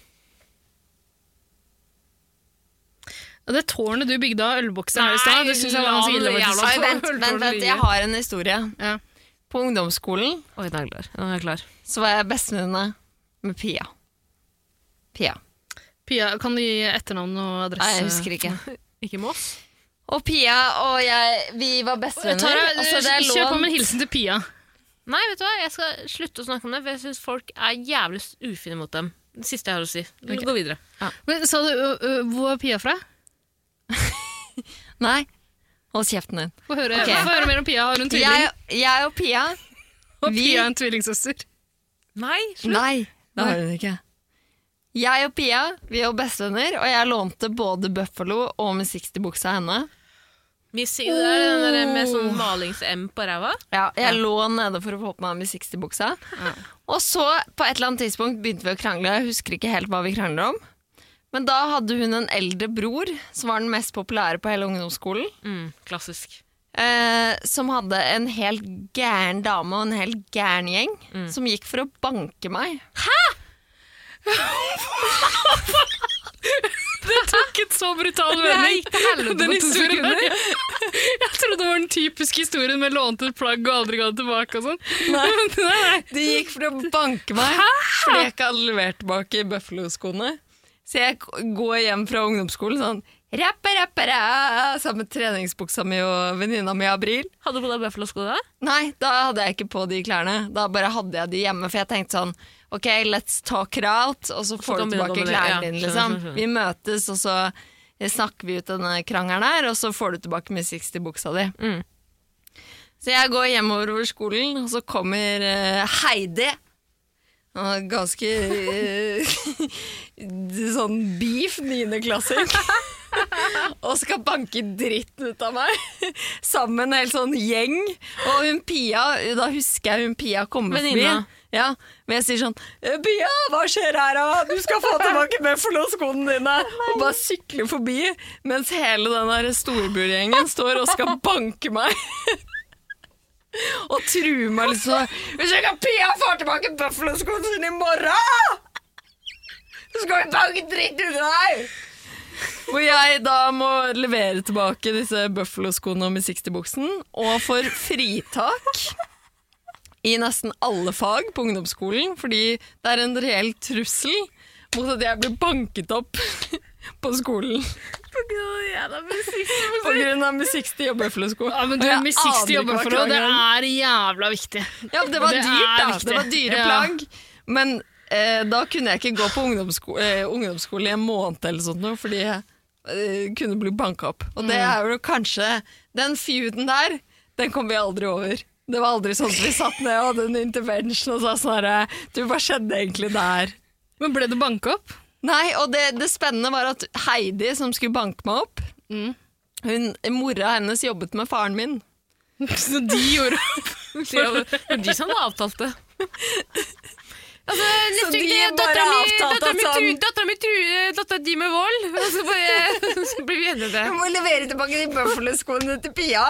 [SPEAKER 3] Det tårnet du bygde av ølbokser her i stad, det syns jeg var ganske ille.
[SPEAKER 1] Nei,
[SPEAKER 3] faktisk.
[SPEAKER 1] jævla
[SPEAKER 2] Oi, vent,
[SPEAKER 1] tårn-
[SPEAKER 2] vent, vent, jeg har en historie.
[SPEAKER 3] Ja.
[SPEAKER 2] På ungdomsskolen
[SPEAKER 1] Oi, nå er jeg klar. Nå er jeg klar.
[SPEAKER 2] så var jeg bestevenninne med Pia. Pia.
[SPEAKER 3] Pia, kan du gi etternavn og adresse?
[SPEAKER 2] Nei, jeg husker ikke.
[SPEAKER 1] Ikke med oss?
[SPEAKER 2] Og Pia og jeg, vi var
[SPEAKER 3] Tara,
[SPEAKER 2] bestevenner. Altså, det er
[SPEAKER 3] kjør på
[SPEAKER 2] lov.
[SPEAKER 3] med en hilsen til Pia.
[SPEAKER 1] Nei, vet du hva? jeg skal slutte å snakke om det, for jeg syns folk er jævlig ufine mot dem. Det siste jeg har å si.
[SPEAKER 3] Ok.
[SPEAKER 1] Gå videre.
[SPEAKER 3] Men, sa du, ø, ø, hvor er Pia fra?
[SPEAKER 2] Nei, hold kjeften din.
[SPEAKER 3] Få høre,
[SPEAKER 2] Ok.
[SPEAKER 3] få høre mer om Pia. Har hun tvilling?
[SPEAKER 2] Jeg, jeg og Pia
[SPEAKER 3] og
[SPEAKER 2] vi-
[SPEAKER 3] Pia er en tvillingsøster.
[SPEAKER 1] Nei,
[SPEAKER 2] Nei, det har hun ikke. Jeg og Pia vi var bestevenner, og jeg lånte både Buffalo og med 60-buksa av henne.
[SPEAKER 1] Missing det er den der med sånn malings-M på ræva.
[SPEAKER 2] Ja, jeg lå nede for å få på meg med 60-buksa. Og så, på et eller annet tidspunkt, begynte vi å krangle. Jeg husker ikke helt hva vi krangla om. Men da hadde hun en eldre bror, som var den mest populære på hele ungdomsskolen.
[SPEAKER 1] Mm, klassisk.
[SPEAKER 2] Eh, som hadde en helt gæren dame og en helt gæren gjeng, som gikk for å banke meg.
[SPEAKER 3] Det tok et så brutal
[SPEAKER 1] Det her
[SPEAKER 3] vending.
[SPEAKER 1] gikk til helvete
[SPEAKER 3] Den
[SPEAKER 1] på to
[SPEAKER 3] historien der,
[SPEAKER 1] sekunder.
[SPEAKER 3] Jeg trodde det var den typiske historien med lånte et plagg og aldri ga det tilbake og sånn. Men Nei, nei.
[SPEAKER 2] De gikk for å banke meg fordi jeg ikke hadde levert tilbake Buffalo-skoene. Så jeg k- går hjem fra ungdomsskolen sånn rappa, rappa, ra, sammen med treningsbuksa mi og venninna mi Abril.
[SPEAKER 1] Hadde du på deg bøffelosko da?
[SPEAKER 2] Nei, da hadde jeg ikke på de klærne. Da bare hadde jeg de hjemme, for jeg tenkte sånn OK, let's talk it out, og så får
[SPEAKER 1] kan
[SPEAKER 2] du
[SPEAKER 1] vi jobbe
[SPEAKER 2] tilbake
[SPEAKER 1] med det, ja.
[SPEAKER 2] klærne dine, liksom.
[SPEAKER 1] Skjønner, skjønner, skjønner.
[SPEAKER 2] Vi møtes, og så snakker vi ut denne krangelen her, og så får du tilbake med 60-buksa di.
[SPEAKER 1] Mm.
[SPEAKER 2] Så jeg går hjemover over skolen, og så kommer eh, Heidi. Han var ganske eh, sånn beef niendeklassing. og skal banke dritten ut av meg. Sammen med en hel sånn gjeng. Og hun Pia, da husker jeg hun Pia kommer
[SPEAKER 1] Venninna.
[SPEAKER 2] forbi. Ja, men jeg sier sånn «Eh, Pia, hva skjer her da? Du skal få tilbake Buffalo-skoene dine! Og bare sykler forbi, mens hele den der storburgjengen står og skal banke meg. Og truer meg liksom Hvis ikke Pia får tilbake bøffelskoene sine i morgen, så skal vi banke dritt ut av deg! Hvor jeg da må levere tilbake disse bøffelskoene og med 60-buksen, og får fritak i nesten alle fag på ungdomsskolen, fordi det er en reell trussel mot at jeg blir banket opp på skolen på grunn av med 60 og bøffelsko.
[SPEAKER 3] Ja, men du,
[SPEAKER 2] Og jeg
[SPEAKER 3] med
[SPEAKER 2] aner
[SPEAKER 3] 60
[SPEAKER 2] ikke
[SPEAKER 3] jobber
[SPEAKER 2] hva
[SPEAKER 3] for det, og det
[SPEAKER 2] krangelen-
[SPEAKER 3] er jævla viktig.
[SPEAKER 2] Ja, det var
[SPEAKER 3] Det
[SPEAKER 2] dyrt,
[SPEAKER 3] er
[SPEAKER 2] da.
[SPEAKER 3] viktig.
[SPEAKER 2] Det var dyre
[SPEAKER 3] Ja.
[SPEAKER 2] plagg. Men eh, da kunne jeg ikke gå på ungdomssko eh, ungdomsskole i en måned eller sånt noe, fordi jeg eh, kunne bli banka opp. Og
[SPEAKER 3] Mm.
[SPEAKER 2] det er jo kanskje Den feuden der, den kom vi aldri over. Det var aldri sånn at vi satt ned og hadde en intervention og sa sånn herre Du, hva skjedde egentlig der?
[SPEAKER 3] Men ble du banka opp?
[SPEAKER 2] Nei, og det, det spennende var at Heidi, som skulle banke meg opp
[SPEAKER 3] Mm.
[SPEAKER 2] hun, Mora hennes jobbet med faren min.
[SPEAKER 3] Så de gjorde opp.
[SPEAKER 1] Det var de som hadde avtalt det. Altså,
[SPEAKER 2] Så
[SPEAKER 1] neste
[SPEAKER 2] de
[SPEAKER 1] uke
[SPEAKER 2] bare
[SPEAKER 1] dattera mi
[SPEAKER 2] avtalte at
[SPEAKER 1] dattera mi
[SPEAKER 2] sånn-
[SPEAKER 1] tru- dattera mi truer dattera di med vold, og så, bare, så blir vi enige om det.
[SPEAKER 2] Jeg må levere tilbake de bøffelskoene til Pia.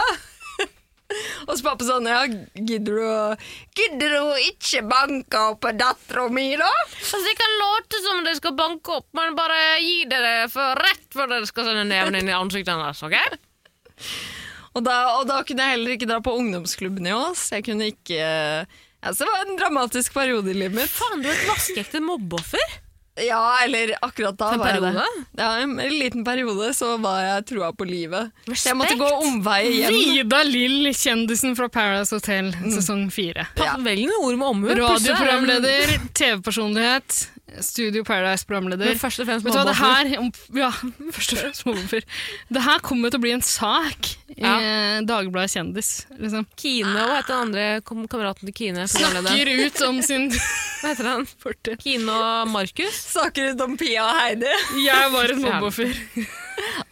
[SPEAKER 2] Og så pappa sånn, ja, gidder du, å- gidder du å ikke banke opp dattera mi, da?
[SPEAKER 1] Altså, det kan late som dere skal banke opp, men bare gi dere for rett før dere skal sende neven inn i ansiktet hennes. ok?
[SPEAKER 2] Og da, og da kunne jeg heller ikke dra på ungdomsklubben i Ås. Jeg kunne ikke ja, Så det var en dramatisk periode i livet mitt.
[SPEAKER 1] Faen, du er et vaskeekte mobbeoffer.
[SPEAKER 2] Ja, eller akkurat da
[SPEAKER 1] For en
[SPEAKER 2] var jeg det.
[SPEAKER 1] periode?
[SPEAKER 2] Ja, en en liten periode så var jeg trua på livet. Så jeg måtte
[SPEAKER 1] Respekt.
[SPEAKER 2] gå omveier hjem.
[SPEAKER 3] Ida Lill, kjendisen fra Paradise Hotel
[SPEAKER 2] Mm.
[SPEAKER 3] sesong fire.
[SPEAKER 2] Ja.
[SPEAKER 1] Velg noen ord med omhu. Plutselig er det en-
[SPEAKER 3] Radioprogramleder, TV-personlighet, Studio Paradise-programleder.
[SPEAKER 1] Men først og fremst
[SPEAKER 3] Vet du hva, det
[SPEAKER 1] mobbeoffer.
[SPEAKER 3] her Ja, først og fremst mobbeoffer. Det her kommer til å bli en sak i
[SPEAKER 1] Ja.
[SPEAKER 3] eh, Dagbladet Kjendis. Liksom.
[SPEAKER 1] Kine, hva heter den andre kom kameraten til Kine? programlederen?
[SPEAKER 3] Snakker ut om sin
[SPEAKER 1] Hva heter han?
[SPEAKER 3] fortid.
[SPEAKER 1] Kine og Markus?
[SPEAKER 2] Snakker ut om Pia og Heidi.
[SPEAKER 3] Jeg var et mobbeoffer.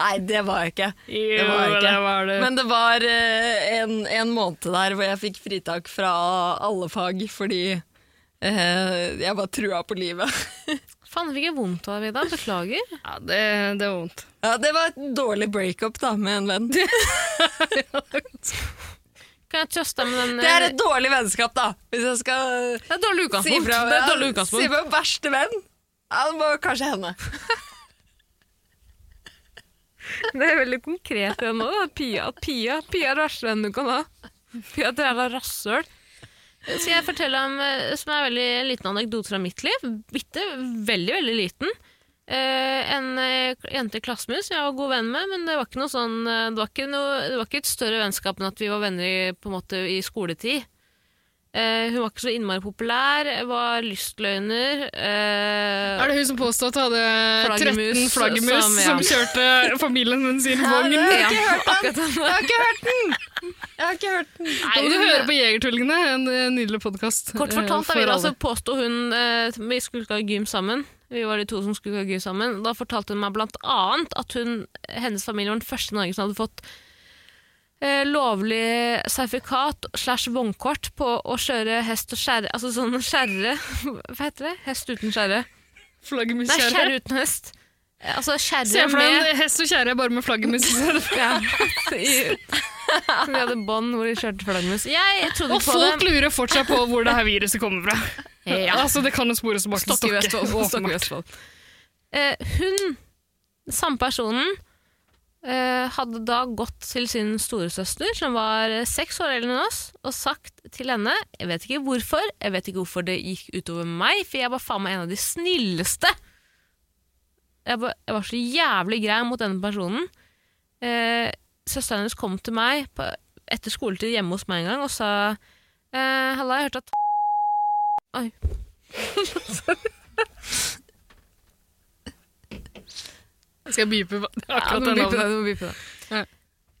[SPEAKER 2] Nei, det var jeg ikke.
[SPEAKER 3] Jo,
[SPEAKER 2] Det var jeg ikke.
[SPEAKER 3] det var det.
[SPEAKER 2] Men det var eh, en, en måned der hvor jeg fikk fritak fra alle fag fordi eh, jeg var trua på livet.
[SPEAKER 1] Faen, jeg fikk jeg vondt av i dag. Beklager.
[SPEAKER 3] ja, det, det var vondt.
[SPEAKER 2] Ja, det var et dårlig breakup da, med en venn.
[SPEAKER 1] Kan jeg trøste deg med den? eh,
[SPEAKER 2] Det er et dårlig vennskap, da, hvis jeg skal
[SPEAKER 1] det er et dårlig
[SPEAKER 2] si
[SPEAKER 1] utgangspunkt.
[SPEAKER 2] fra
[SPEAKER 1] det er et dårlig
[SPEAKER 2] ja, si
[SPEAKER 1] utgangspunkt.
[SPEAKER 2] fra verste venn. Ja, det var kanskje henne.
[SPEAKER 1] Det er veldig konkret igjen nå. da. Pia, Pia, Pia er det verste enn du kan ha. Pia er et jævla rasshøl. Skal jeg fortelle om eh, som er en veldig liten anekdote fra mitt liv? Bitte, veldig, veldig liten. Eh, en eh, jente i klassen min som jeg var god venn med, men det var ikke noe sånn eh, det, var ikke noe, det var ikke et større vennskap enn at vi var venner i, på en måte, i skoletid. Eh, hun var ikke så innmari populær, var lystløgner. eh,
[SPEAKER 3] Er det hun som påstod at hun hadde
[SPEAKER 1] Flaggermus
[SPEAKER 3] 13 flaggermus
[SPEAKER 1] som-
[SPEAKER 3] som,
[SPEAKER 1] ja.
[SPEAKER 3] kjørte familien hennes inn i
[SPEAKER 2] Jeg
[SPEAKER 3] vognen?
[SPEAKER 2] har
[SPEAKER 1] Ja,
[SPEAKER 2] ikke hørt
[SPEAKER 1] akkurat
[SPEAKER 2] den!
[SPEAKER 1] den.
[SPEAKER 2] Jeg har ikke hørt den! Jeg har ikke hørt den.
[SPEAKER 3] Da må du høre på Jegertvillingene, en eh, nydelig podkast.
[SPEAKER 1] Kort fortalt, da ville altså påstå hun eh, Vi skulle ikke ha gym sammen. Vi var de to som skulle ha gym sammen. Da fortalte hun meg blant annet at hun, hennes familie var den første i Norge som hadde fått eh, lovlig sertifikat slash vognkort på å kjøre hest og skjerre Altså sånn skjerre Hva heter det? Hest uten skjerre?
[SPEAKER 3] Flaggermus
[SPEAKER 1] Nei,
[SPEAKER 3] kjære.
[SPEAKER 1] skjerre uten hest. Eh, Altså
[SPEAKER 3] Se
[SPEAKER 1] skjerre
[SPEAKER 3] for deg
[SPEAKER 1] med
[SPEAKER 3] en hest og kjære bare med flaggermus.
[SPEAKER 1] ja, i, Som de hadde bånd hvor de kjørte flaggermus. Jeg trodde
[SPEAKER 3] Og
[SPEAKER 1] ikke på
[SPEAKER 3] folk
[SPEAKER 1] det.
[SPEAKER 3] lurer fortsatt på hvor det her viruset kommer fra.
[SPEAKER 1] Ja.
[SPEAKER 3] Altså, Det kan jo spores tilbake til
[SPEAKER 1] Stokke i
[SPEAKER 3] Stokke.
[SPEAKER 1] Vestfold. Stokke i Vestfold. Eh, hun samme personen eh, hadde da gått til sin storesøster, som var eh, seks år eldre enn oss, og sagt til henne Jeg vet ikke hvorfor, jeg vet ikke hvorfor det gikk utover meg, for jeg var faen meg en av de snilleste. Jeg var, jeg var så jævlig grei mot denne personen. Eh, Søsteren hennes kom til meg på, etter skoletid hjemme hos meg en gang og sa eh, Halla, jeg hørte at Oi.
[SPEAKER 3] Skal jeg beepe hva-
[SPEAKER 1] Ja,
[SPEAKER 3] akkurat
[SPEAKER 1] du må
[SPEAKER 3] det
[SPEAKER 1] bipe det,
[SPEAKER 3] navnet?
[SPEAKER 1] du må bipe det.
[SPEAKER 3] Ja.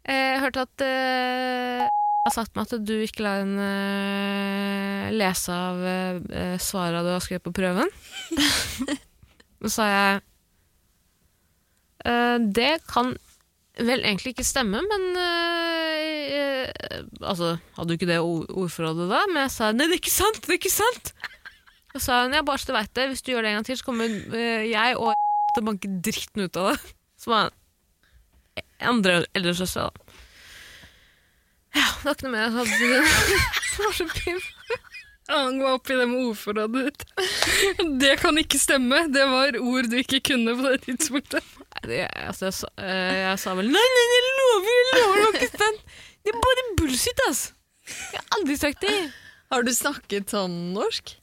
[SPEAKER 1] Eh, Jeg hørte at eh, har sagt meg at du ikke lar henne eh, lese av eh, svara du har skrevet på prøven. Så sa jeg eh, Det kan vel egentlig ikke stemme, men eh, eh, Altså, hadde du ikke det ord- ordforrådet da? Men jeg sa nei, det er ikke sant! Det er ikke sant! Og sa hun ja, bare så du veit det, hvis du gjør det en gang til, så kommer eh, jeg og til å banke dritten ut av det. Som var andre eldre søstre, da. Ja, det var ikke noe mer jeg hadde å si. Det var så pinlig.
[SPEAKER 3] Han var oppi det med ordforrådet ditt. Det kan ikke stemme. Det var ord du ikke kunne på det tidspunktet.
[SPEAKER 1] Nei, det- Altså, jeg, sa- eh, jeg sa vel Nei, nei, jeg lover, jeg lover, det var ikke sant. Det er bare bullshit, ass. Jeg har aldri sagt det.
[SPEAKER 2] Har du snakket sånn norsk?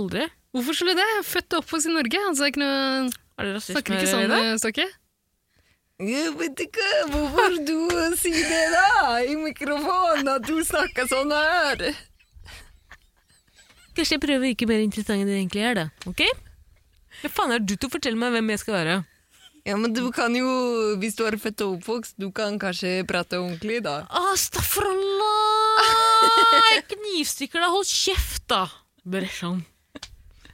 [SPEAKER 1] Aldri.
[SPEAKER 3] Hvorfor skulle det? Jeg er Født og oppvokst i Norge. Altså, det er ikke noe...
[SPEAKER 1] Er det rasisme
[SPEAKER 3] Snakker ikke
[SPEAKER 1] i
[SPEAKER 3] sånn,
[SPEAKER 1] det?
[SPEAKER 3] eh, Stokke?
[SPEAKER 2] Jeg vet ikke hvorfor du sier det da, i mikrofonen, at du snakker sånn her.
[SPEAKER 1] Kanskje jeg prøver å virke mer interessant enn det egentlig er, da. Ok? Hva faen er du til å fortelle meg hvem jeg skal være?
[SPEAKER 2] Ja, men du kan jo, hvis du er født og oppvokst, du kan kanskje prate ordentlig da.
[SPEAKER 1] Astafrallah! Ah, Jeg knivstikker deg, hold kjeft, da! Bresjan.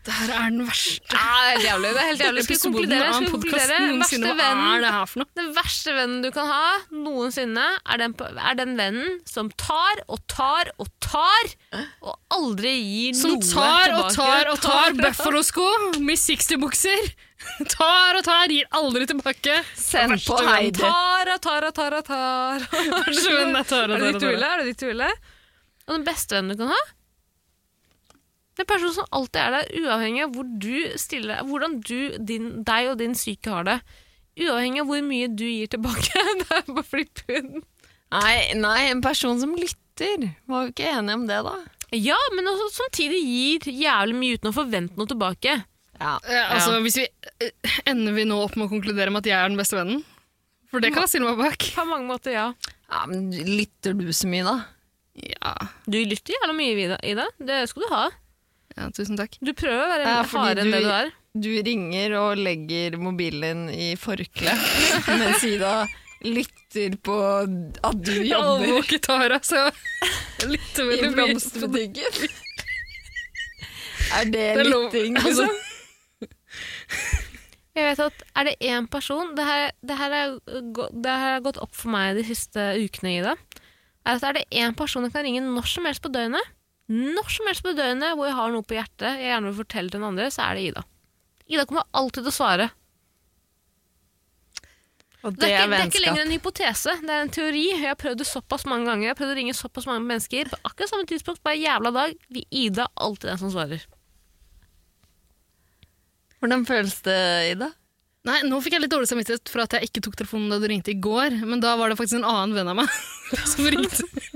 [SPEAKER 3] Det her er den verste
[SPEAKER 1] Ja, det er helt jævlig. Det er helt jævlig. Skal vi konkludere? Skal vi konkludere? Verste
[SPEAKER 3] noensinne. Hva er
[SPEAKER 1] vennen,
[SPEAKER 3] det her for noe?
[SPEAKER 1] den verste vennen du kan ha noensinne, er den, på- er den vennen som tar og tar og tar, og aldri gir
[SPEAKER 3] Som
[SPEAKER 1] noe
[SPEAKER 3] tar og
[SPEAKER 1] tilbake.
[SPEAKER 3] tar og tar Buffalo-sko, Miss 60-bukser. Tar og tar, gir aldri tilbake.
[SPEAKER 2] Send på Heidi.
[SPEAKER 1] Tar og tar og tar og tar.
[SPEAKER 3] Verste vennen er tar
[SPEAKER 1] Er det
[SPEAKER 3] og tar og
[SPEAKER 1] ditt
[SPEAKER 3] tar.
[SPEAKER 1] uhelle? Er det ditt uhelle? Og den beste vennen du kan ha? Den personen som alltid er der, uavhengig av hvor du stiller deg, hvordan du, din, deg og din syke har det. Uavhengig av hvor mye du gir tilbake. Det er bare å flippe hunden.
[SPEAKER 2] Nei, nei, en person som lytter. Var vi ikke enige om det da?
[SPEAKER 1] Ja, men også samtidig gir jævlig mye uten å forvente noe tilbake.
[SPEAKER 2] Ja.
[SPEAKER 3] Eh, Altså, hvis vi, eh, ender vi nå opp med å konkludere med at jeg er den beste vennen? For det kan jeg stille meg bak.
[SPEAKER 1] På mange måter, ja.
[SPEAKER 2] ja, men lytter du så mye da?
[SPEAKER 3] Ja,
[SPEAKER 1] Du lytter jævlig mye, Vida- Ida. Det skal du ha.
[SPEAKER 3] ja tusen takk.
[SPEAKER 1] Du prøver å være
[SPEAKER 2] Ja, fordi
[SPEAKER 1] hardere enn
[SPEAKER 2] du-
[SPEAKER 1] det du er.
[SPEAKER 2] Du ringer og legger mobilen i forkle, mens Ida lytter på at du
[SPEAKER 3] Jeg
[SPEAKER 2] jobber
[SPEAKER 3] overvåker Tara, så jeg lytter
[SPEAKER 2] i
[SPEAKER 3] veldig mye. på det.
[SPEAKER 2] blomsterbutikken. Er det,
[SPEAKER 3] Det er lov-
[SPEAKER 2] lytting,
[SPEAKER 3] altså-
[SPEAKER 2] liksom?
[SPEAKER 1] Jeg vet at er det én person Det her, det her, er, gå- det her har gått opp for meg de siste ukene, Ida. Er at er det én person jeg kan ringe når som helst på døgnet, når som helst på døgnet hvor jeg har noe på hjertet jeg gjerne vil fortelle til den andre, så er det Ida. Ida kommer alltid til å svare.
[SPEAKER 2] Og
[SPEAKER 1] Det er, ikke, det er ikke lenger en hypotese, det er en teori. Jeg har prøvd det såpass mange ganger. Jeg har prøvd å ringe såpass mange mennesker på akkurat samme tidspunkt hver jævla dag. Vi Ida er alltid den som svarer.
[SPEAKER 2] Hvordan føles det, Ida?
[SPEAKER 3] Nei, nå fikk jeg litt dårlig samvittighet for at jeg ikke tok telefonen da du ringte i går, men da var det faktisk en annen venn av meg som ringte.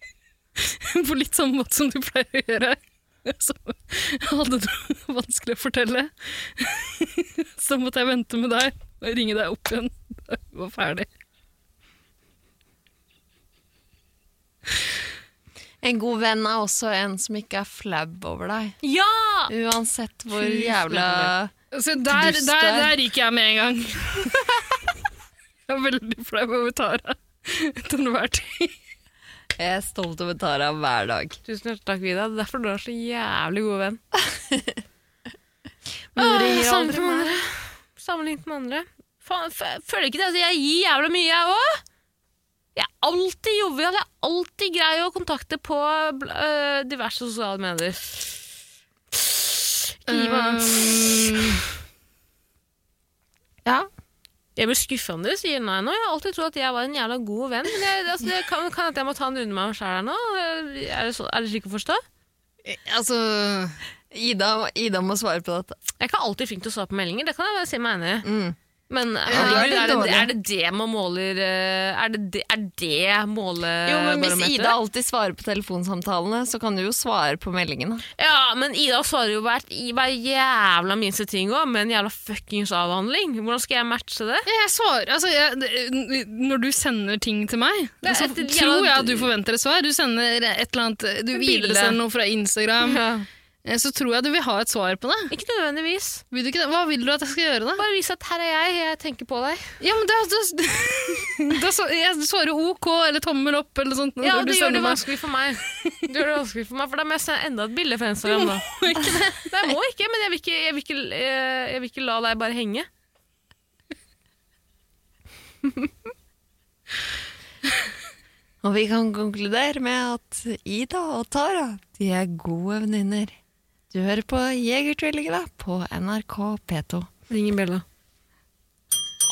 [SPEAKER 3] På litt samme måte som du pleier å gjøre. Som hadde noe vanskelig å fortelle. Så måtte jeg vente med deg og ringe deg opp igjen da vi var ferdig.
[SPEAKER 2] En god venn er også en som ikke er flau over deg.
[SPEAKER 1] Ja!
[SPEAKER 2] Uansett hvor
[SPEAKER 1] Fy
[SPEAKER 2] jævla
[SPEAKER 3] Så der,
[SPEAKER 2] Dust
[SPEAKER 3] der,
[SPEAKER 2] der.
[SPEAKER 3] der gikk jeg med en gang. Jeg er veldig flau over Tara til enhver tid.
[SPEAKER 2] Jeg er stolt over Tara hver dag.
[SPEAKER 1] Tusen hjertelig takk, Vida. Det er derfor du er så jævlig god venn.
[SPEAKER 2] Men du
[SPEAKER 1] Åh,
[SPEAKER 2] ringer
[SPEAKER 1] sammenlignet
[SPEAKER 2] aldri
[SPEAKER 1] med
[SPEAKER 2] meg.
[SPEAKER 1] andre. Sammenlignet med andre. Faen, f- føler ikke det at jeg gir jævla mye, jeg òg? Jeg er alltid jovial. Jeg er alltid grei å kontakte på bl- øh, diverse sosiale medier. Gi meg-
[SPEAKER 3] Um,
[SPEAKER 2] Ja.
[SPEAKER 1] Jeg blir skuffa om dere sier nei nå. Jeg har alltid trodd at jeg var en jævla god venn. Men jeg, altså, det kan, kan at jeg må ta en runde med meg sjæl her nå? Er det, så, er det slik å forstå?
[SPEAKER 3] Altså
[SPEAKER 2] Ida, Ida må svare på dette. Mm.
[SPEAKER 1] Jeg er ikke alltid flink til å svare på meldinger. Det kan jeg si meg enig i. Men
[SPEAKER 2] Ja,
[SPEAKER 1] er,
[SPEAKER 2] det er
[SPEAKER 1] det,
[SPEAKER 2] dårlig.
[SPEAKER 1] er det det man måler eh, Er det det, er det målebarometeret?
[SPEAKER 2] Jo, men Hvis Ida alltid svarer på telefonsamtalene, så kan du jo svare på meldingene.
[SPEAKER 1] Ja, men Ida svarer jo hvert i hver jævla minste ting òg, med en jævla fuckings avhandling. Hvordan skal jeg matche det?
[SPEAKER 3] Jeg svarer, altså jeg, det- Når du sender ting til meg,
[SPEAKER 1] Det er
[SPEAKER 3] så
[SPEAKER 1] et- et
[SPEAKER 3] tror
[SPEAKER 1] jævla-
[SPEAKER 3] jeg at du forventer et svar. Du sender et eller annet eh, Du
[SPEAKER 1] bilde.
[SPEAKER 3] videresender noe fra Instagram. Eh, Så tror jeg du vil ha et svar på det.
[SPEAKER 1] Ikke nødvendigvis.
[SPEAKER 3] Vil du ikke det? Hva vil du at jeg skal gjøre, da?
[SPEAKER 1] Bare vis at her er jeg, jeg tenker på deg.
[SPEAKER 3] Ja, men da, da, da så- Jeg svarer OK eller tommel opp eller sånt.
[SPEAKER 1] Ja, du
[SPEAKER 3] når
[SPEAKER 1] gjør
[SPEAKER 3] sender
[SPEAKER 1] det
[SPEAKER 3] meg.
[SPEAKER 1] vanskelig for meg. Du gjør det vanskelig for meg, For da må jeg sende enda et bilde fra Instagram. Da. Nei, jeg må ikke, men jeg vil ikke, jeg vil ikke, eh, jeg vil ikke la deg bare henge.
[SPEAKER 2] Og vi kan konkludere med at Ida og Tara de er gode venninner. Du hører på Jegertvillingene på NRK P2.
[SPEAKER 1] Ring i bjella.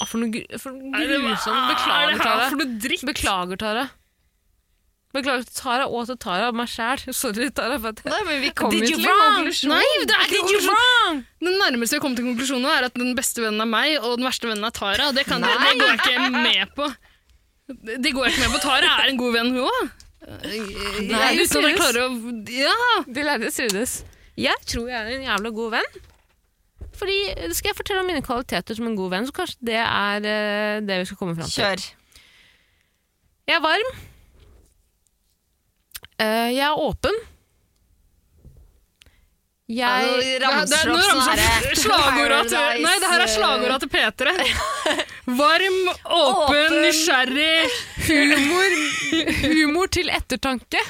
[SPEAKER 1] Ah, for noe, gru- for noe grusomt.
[SPEAKER 3] Er
[SPEAKER 1] Beklager,
[SPEAKER 3] det her
[SPEAKER 1] Tara.
[SPEAKER 3] for noe dritt?
[SPEAKER 1] Beklager, Tara. Beklager til Tara og til Tara og meg sjæl. Sorry, Tara. For at jeg...
[SPEAKER 2] Nei, men vi kom jo
[SPEAKER 1] Did you
[SPEAKER 2] til en
[SPEAKER 1] wrong?
[SPEAKER 2] konklusjon.
[SPEAKER 3] Nei, det er ikke konklusjon.
[SPEAKER 1] wrong?
[SPEAKER 3] Den nærmeste jeg kommer til konklusjonen nå, er at den beste vennen er meg, og den verste vennen er Tara. og Det, kan, det,
[SPEAKER 2] Nei.
[SPEAKER 3] det går jeg ikke med på. Det det går jeg ikke med på. Tara er en god venn, hun òg.
[SPEAKER 1] Nei, du
[SPEAKER 3] Uten at jeg
[SPEAKER 1] trives.
[SPEAKER 3] klarer å sånn Ja!
[SPEAKER 1] De lærde strides. Jeg tror jeg er en jævla god venn. Fordi eh, Skal jeg fortelle om mine kvaliteter som en god venn, så kanskje det er eh, det vi skal komme fram til.
[SPEAKER 2] Kjør.
[SPEAKER 1] Jeg er varm. Eh, jeg er åpen. Jeg
[SPEAKER 2] Ja, nå ramser
[SPEAKER 3] det er-
[SPEAKER 2] du
[SPEAKER 3] nå
[SPEAKER 2] opp sånn
[SPEAKER 3] ramser
[SPEAKER 2] her-
[SPEAKER 3] slagorda til,
[SPEAKER 2] Paradise,
[SPEAKER 3] Nei, det her er slagorda til P3. Varm, åpen,
[SPEAKER 2] Åpen.
[SPEAKER 3] nysgjerrig.
[SPEAKER 1] Humor, humor til ettertanke.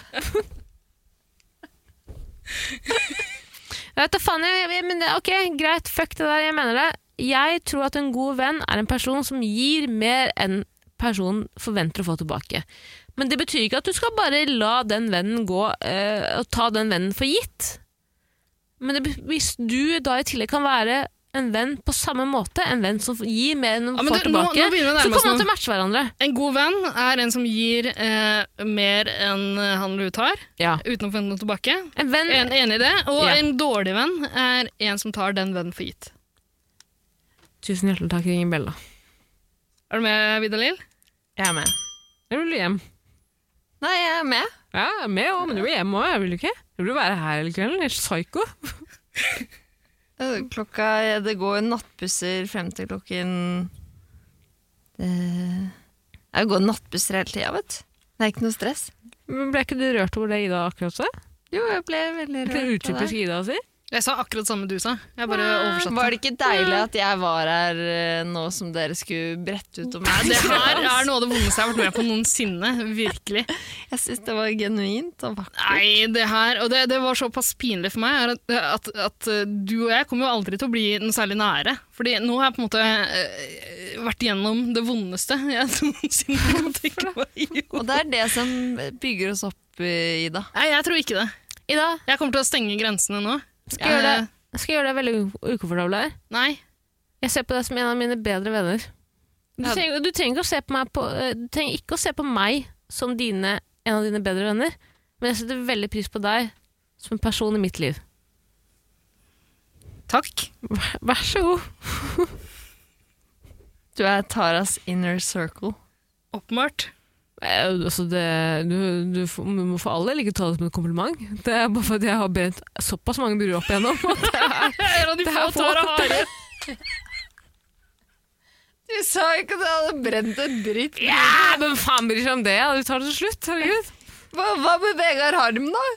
[SPEAKER 1] Jeg vet da faen, jeg, jeg, men det, ok, greit, fuck det der, jeg mener det. Jeg tror at en god venn er en person som gir mer enn personen forventer å få tilbake. Men det betyr ikke at du skal bare la den vennen gå eh, og ta den vennen for gitt. Men det, be- hvis du da i tillegg kan være en venn på samme måte, en venn som gir mer enn
[SPEAKER 3] Ja,
[SPEAKER 1] han
[SPEAKER 3] men
[SPEAKER 1] får
[SPEAKER 3] du, nå-
[SPEAKER 1] tilbake,
[SPEAKER 3] nå begynner vi å
[SPEAKER 1] så
[SPEAKER 3] nærme oss
[SPEAKER 1] kommer
[SPEAKER 3] noe.
[SPEAKER 1] man til å matche hverandre.
[SPEAKER 3] En god venn er en som gir eh, mer enn han eller hun tar,
[SPEAKER 1] Ja.
[SPEAKER 3] uten å få noe tilbake.
[SPEAKER 1] En venn
[SPEAKER 3] En, enig i det. Og
[SPEAKER 1] Ja.
[SPEAKER 3] en dårlig venn er en som tar den vennen for gitt.
[SPEAKER 1] Tusen hjertelig takk, Ingen Bella.
[SPEAKER 3] Er du med, Vidalil?
[SPEAKER 2] Jeg er med.
[SPEAKER 1] Jeg vil hjem.
[SPEAKER 2] Nei, jeg er med.
[SPEAKER 1] Ja, jeg er med òg, men du vil hjem òg, jeg vil ikke. Jeg vil være her hele kvelden, helt psyko.
[SPEAKER 2] Eh, Klokka, det går nattbusser frem til klokken Det Jeg går nattbusser hele tida, vet du. Det er ikke noe stress.
[SPEAKER 1] Men Ble ikke du rørt over det Ida akkurat sa?
[SPEAKER 2] Jo, jeg ble veldig
[SPEAKER 1] Det er utypisk Ida å si.
[SPEAKER 3] Jeg sa akkurat det samme du sa. Jeg bare oversatte.
[SPEAKER 2] Var det ikke deilig at jeg var her eh, nå som dere skulle brette ut om
[SPEAKER 3] Nei, det her
[SPEAKER 2] meg?
[SPEAKER 3] er noe av det vondeste jeg har vært med på noensinne. Virkelig.
[SPEAKER 2] Jeg syns det var genuint og vakkert.
[SPEAKER 3] Nei, det her Og det, det var såpass pinlig for meg er at, at, at eh, du og jeg kommer jo aldri til å bli noe særlig nære. Fordi nå har jeg på en måte eh, vært gjennom det vondeste jeg noensinne kan tenke meg.
[SPEAKER 2] Og det er det som bygger oss opp, eh, Ida.
[SPEAKER 3] Nei, jeg tror ikke det.
[SPEAKER 1] Ida,
[SPEAKER 3] Jeg kommer til å stenge grensene nå.
[SPEAKER 1] skal jeg gjøre det, skal jeg gjøre det veldig u- ukomfortabel her?
[SPEAKER 3] Nei.
[SPEAKER 1] Jeg ser på deg som en av mine bedre venner. Du
[SPEAKER 3] Ja.
[SPEAKER 1] trenger, du trenger, ikke, å se på meg på, eh, du trenger ikke å se på meg som dine, en av dine bedre venner, men jeg setter veldig pris på deg som en person i mitt liv.
[SPEAKER 3] Takk.
[SPEAKER 1] Vær så god.
[SPEAKER 2] Du er Taras inner circle.
[SPEAKER 3] Åpenbart.
[SPEAKER 1] Eh, Altså det, du, du, f- du må for all del ikke ta det som en kompliment. Det er bare fordi jeg har brent såpass mange bruer opp igjennom. at det er-
[SPEAKER 3] Jeg er av de
[SPEAKER 1] Det
[SPEAKER 3] få
[SPEAKER 1] er
[SPEAKER 3] tåra har.
[SPEAKER 2] Du sa ikke at jeg hadde brent et bryt.
[SPEAKER 1] Ja, men faen bryr seg om det? Du tar det til slutt. herregud.
[SPEAKER 2] Hva, hva med Vegard Harm, da?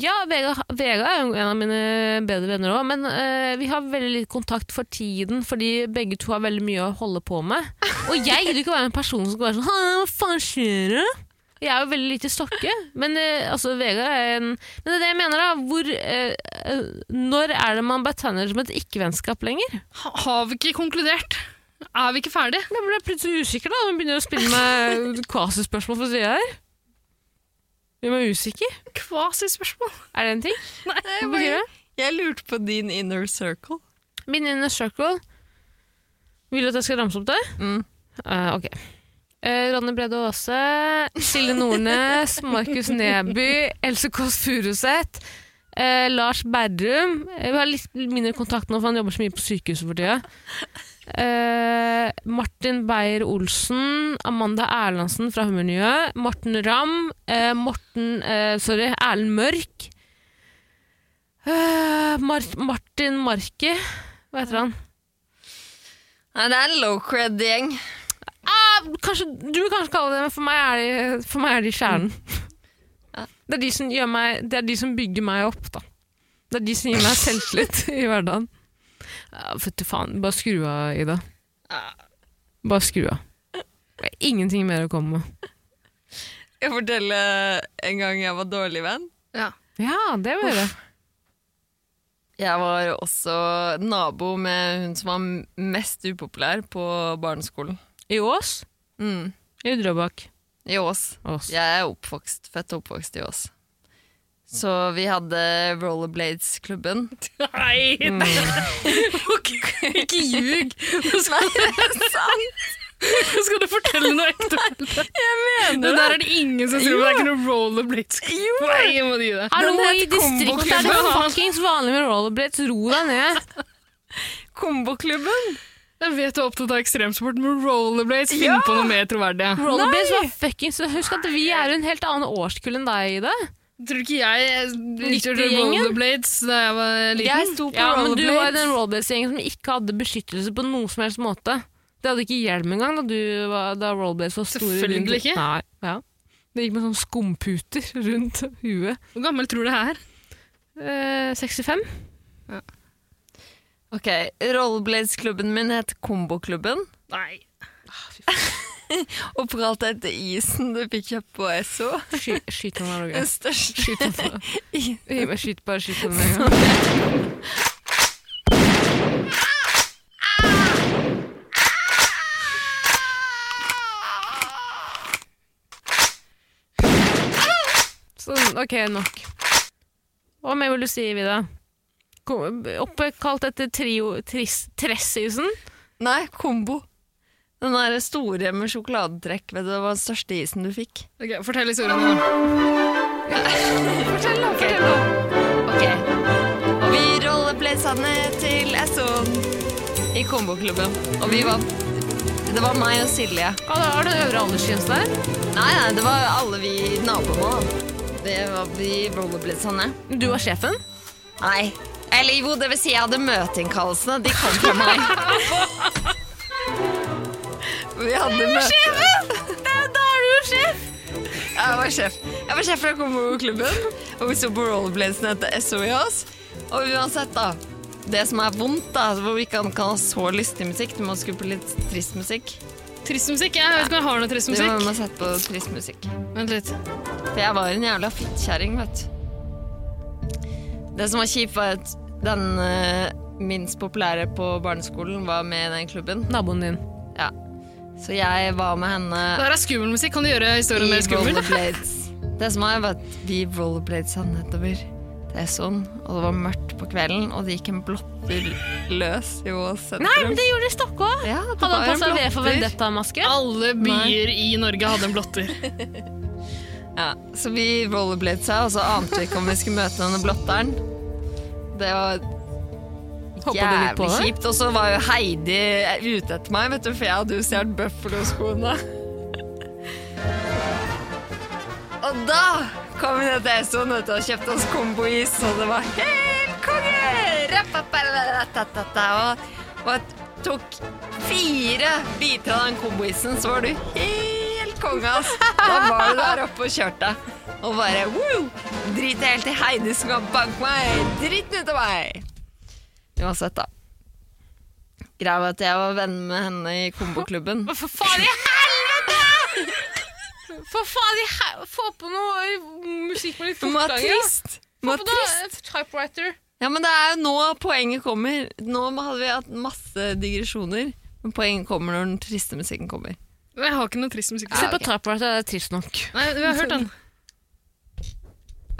[SPEAKER 1] Ja, Vega, Vega er jo en av mine bedre venner òg, men eh, vi har veldig lite kontakt for tiden fordi begge to har veldig mye å holde på med. Og jeg gidder ikke å være en person som skal være sånn «Hæ, Hva faen skjer det? Jeg er jo veldig lite stokke, men eh, altså, Vegard er en Men det er det jeg mener, da. Hvor, eh, eh, når er det man betegner det som et ikke-vennskap lenger?
[SPEAKER 3] Har vi ikke konkludert? Er vi ikke ferdige?
[SPEAKER 1] Jeg ble plutselig usikker da Hun begynner å spille med kvasispørsmål for sida her. Hvem er usikker?
[SPEAKER 3] Kvasispørsmål.
[SPEAKER 1] Er det en ting?
[SPEAKER 2] Nei,
[SPEAKER 1] Hva betyr det?
[SPEAKER 2] Jeg lurte på din inner circle.
[SPEAKER 1] Min inner circle Vil du at jeg skal ramse opp det?
[SPEAKER 2] Mm.
[SPEAKER 1] Eh, ok. Eh, Ronny Brede Aase, Silje Nordnes, Markus Neby, Else Kåss Furuseth, eh, Eh, Lars Berrum. Eh, Vi har litt mindre kontakt nå, for han jobber så mye på sykehuset for tida. Eh, Martin Beyer-Olsen. Amanda Erlandsen fra Hummermiljøet. Morten Ramm. Eh, Morten eh, Sorry, Erlend Mørk. Eh, Mar Martin Marki. Hva heter han?
[SPEAKER 2] Nei, det er en low cred-gjeng.
[SPEAKER 1] Ah, kanskje, du vil kanskje kalle det det, men for meg er de, for meg er de kjernen.
[SPEAKER 2] Mm. Ja.
[SPEAKER 1] Det, er de som gjør meg, det er de som bygger meg opp, da. Det er de som gir meg selvtillit i hverdagen. Ja, Fytti faen, bare skru av, Ida. Bare skru av. Det er Ingenting mer å komme med.
[SPEAKER 2] Jeg forteller en gang jeg var dårlig venn.
[SPEAKER 3] Ja.
[SPEAKER 1] Ja, det vil jeg.
[SPEAKER 2] Jeg var også nabo med hun som var mest upopulær på barneskolen.
[SPEAKER 1] I Ås?
[SPEAKER 2] Mm.
[SPEAKER 1] I Drøbak.
[SPEAKER 2] I Ås.
[SPEAKER 1] Ås.
[SPEAKER 2] Jeg er oppvokst, født og oppvokst i Ås. Så vi hadde Rollerblades-klubben.
[SPEAKER 3] Nei!
[SPEAKER 2] Ikke ljug! Nei, det er sant!
[SPEAKER 3] Skal du fortelle noe ekte?
[SPEAKER 2] Jeg
[SPEAKER 3] Det
[SPEAKER 2] mener det!
[SPEAKER 3] der er det ingen som tror på. Det er ikke noe rollerblades. Nei, jeg må gi det.
[SPEAKER 1] Hallo,
[SPEAKER 2] Den
[SPEAKER 1] i
[SPEAKER 2] het
[SPEAKER 1] distriktet er det fuckings vanlig med rollerblades. Ro deg ned.
[SPEAKER 2] Komboklubben!
[SPEAKER 3] Jeg vet du er opptatt av ekstremsport, men rollerblades, finn
[SPEAKER 2] Ja!
[SPEAKER 3] på noe mer troverdig.
[SPEAKER 1] Rollerblades var fuckings Husk at vi er jo en helt annen årskull enn deg, Ida.
[SPEAKER 3] Tror du ikke jeg utgjorde
[SPEAKER 1] 90-gjengen?
[SPEAKER 3] rollerblades da jeg var
[SPEAKER 2] Jeg
[SPEAKER 3] liten?
[SPEAKER 2] sto på
[SPEAKER 1] Ja, men du var i
[SPEAKER 2] rollerblades.
[SPEAKER 1] den rollbase-gjengen som ikke hadde beskyttelse på noen som helst måte. Det hadde ikke hjelm engang da, du var, da rollbase var store.
[SPEAKER 3] Selvfølgelig
[SPEAKER 1] rundt-
[SPEAKER 3] ikke.
[SPEAKER 1] Nei, ja. Det gikk med sånn skumputer rundt huet.
[SPEAKER 3] Hvor gammel tror du jeg er?
[SPEAKER 1] Eh, 65?
[SPEAKER 2] Ok, Rollerblades-klubben min het Komboklubben.
[SPEAKER 3] Nei.
[SPEAKER 2] Oppkalt etter isen du fikk kjøpt på SO.
[SPEAKER 1] Sky, skyt han der,
[SPEAKER 2] Den
[SPEAKER 1] Roger.
[SPEAKER 2] største
[SPEAKER 1] Skyt han der.
[SPEAKER 2] isen.
[SPEAKER 1] Gi meg Skyt, bare skyt han med en gang. Sånn, ok, nok. Hva mer vil du si, Vida? Kom- Oppkalt etter trio, tris, Tressisen?
[SPEAKER 2] Nei, kombo. Den der store med sjokoladetrekk, vet du, det var den største isen du fikk.
[SPEAKER 3] Ok, Fortell historien din. da.
[SPEAKER 2] Fortell, da, fortell da. Ok. Og vi rolleplaysene til Esson i komboklubben. Og vi var Det var meg og Silje.
[SPEAKER 1] Ja, da har du den øvre aldersgrensen der.
[SPEAKER 2] Nei, nei, det var alle vi naboene. da. Det var vi rolleplaysene.
[SPEAKER 1] Du var sjefen?
[SPEAKER 2] Nei. Eller jo, det vil si jeg hadde møteinnkallelsene. De kom fra meg. Vi hadde møte.
[SPEAKER 1] Da er du jo sjef!
[SPEAKER 2] Jeg var sjef. Jeg var sjef fra Kombo-klubben, og vi sto på rollerbladesen etter SO i oss. Og uansett, da. Det som er vondt, da, hvor vi ikke kan ha så lystig musikk, du må skru på litt trist musikk.
[SPEAKER 3] Trist musikk? Jeg vet ikke om jeg har noe trist
[SPEAKER 2] Du må,
[SPEAKER 3] musikk.
[SPEAKER 2] må sette på trist musikk.
[SPEAKER 3] Vent litt.
[SPEAKER 2] For jeg var en jævla fittkjerring, vet du. Det som var kjipt, var at den eh, minst populære på barneskolen var med i den klubben.
[SPEAKER 1] Naboen din.
[SPEAKER 2] Ja. Så jeg var med henne
[SPEAKER 3] Det her er skummel musikk. Kan du gjøre historien
[SPEAKER 2] i
[SPEAKER 3] mer skummel?
[SPEAKER 2] rollerblades. Det som er, var at vi rollerbladesa nedover. Det er sånn, og det var mørkt på kvelden, og det gikk en blotter løs i Ås sentrum.
[SPEAKER 1] Nei, men det gjorde de i Stockholm!
[SPEAKER 2] ja, det
[SPEAKER 1] Hadde
[SPEAKER 2] var
[SPEAKER 1] han
[SPEAKER 2] en
[SPEAKER 1] passa V for
[SPEAKER 2] blotter.
[SPEAKER 1] vendetta-maske?
[SPEAKER 3] Alle byer i Norge hadde en blotter.
[SPEAKER 2] Ja, så vi rollerbladesa, og så ante vi ikke om vi skulle møte denne blotteren. Det var
[SPEAKER 1] Hoppet du litt på
[SPEAKER 2] jævlig
[SPEAKER 1] det?
[SPEAKER 2] kjipt. Og så var jo Heidi ute etter meg, vet du, for jeg hadde jo stjålet Buffalo-skoene. Og da kom vi ned til Essoen vet du, og kjøpte oss kombois, og det var helt konge! Rapapalatatata, Og, og tok fire biter av den komboisen, så var du helt konge, ass. Da var du der oppe og kjørte. Og bare woo! Drit helt i Heidi som kan banke meg! Dritten ut av meg! Uansett, da. Greia var at jeg var venn med henne i komboklubben.
[SPEAKER 1] For faen i helvete! For faen i helvete! Få på noe eh, musikk med litt
[SPEAKER 2] Du må ha
[SPEAKER 1] fortgang. ja.
[SPEAKER 2] trist! Du må
[SPEAKER 1] Få
[SPEAKER 2] ha
[SPEAKER 1] på noe
[SPEAKER 2] trist.
[SPEAKER 1] eh, typewriter.
[SPEAKER 2] Ja, men det er jo nå poenget kommer. Nå hadde vi hatt masse digresjoner, men poenget kommer når den triste musikken kommer.
[SPEAKER 3] Jeg har ikke noe trist musikk.
[SPEAKER 2] Ja,
[SPEAKER 1] Se på
[SPEAKER 2] ok.
[SPEAKER 1] typewriter, det er trist nok.
[SPEAKER 3] Nei, vi har hørt den.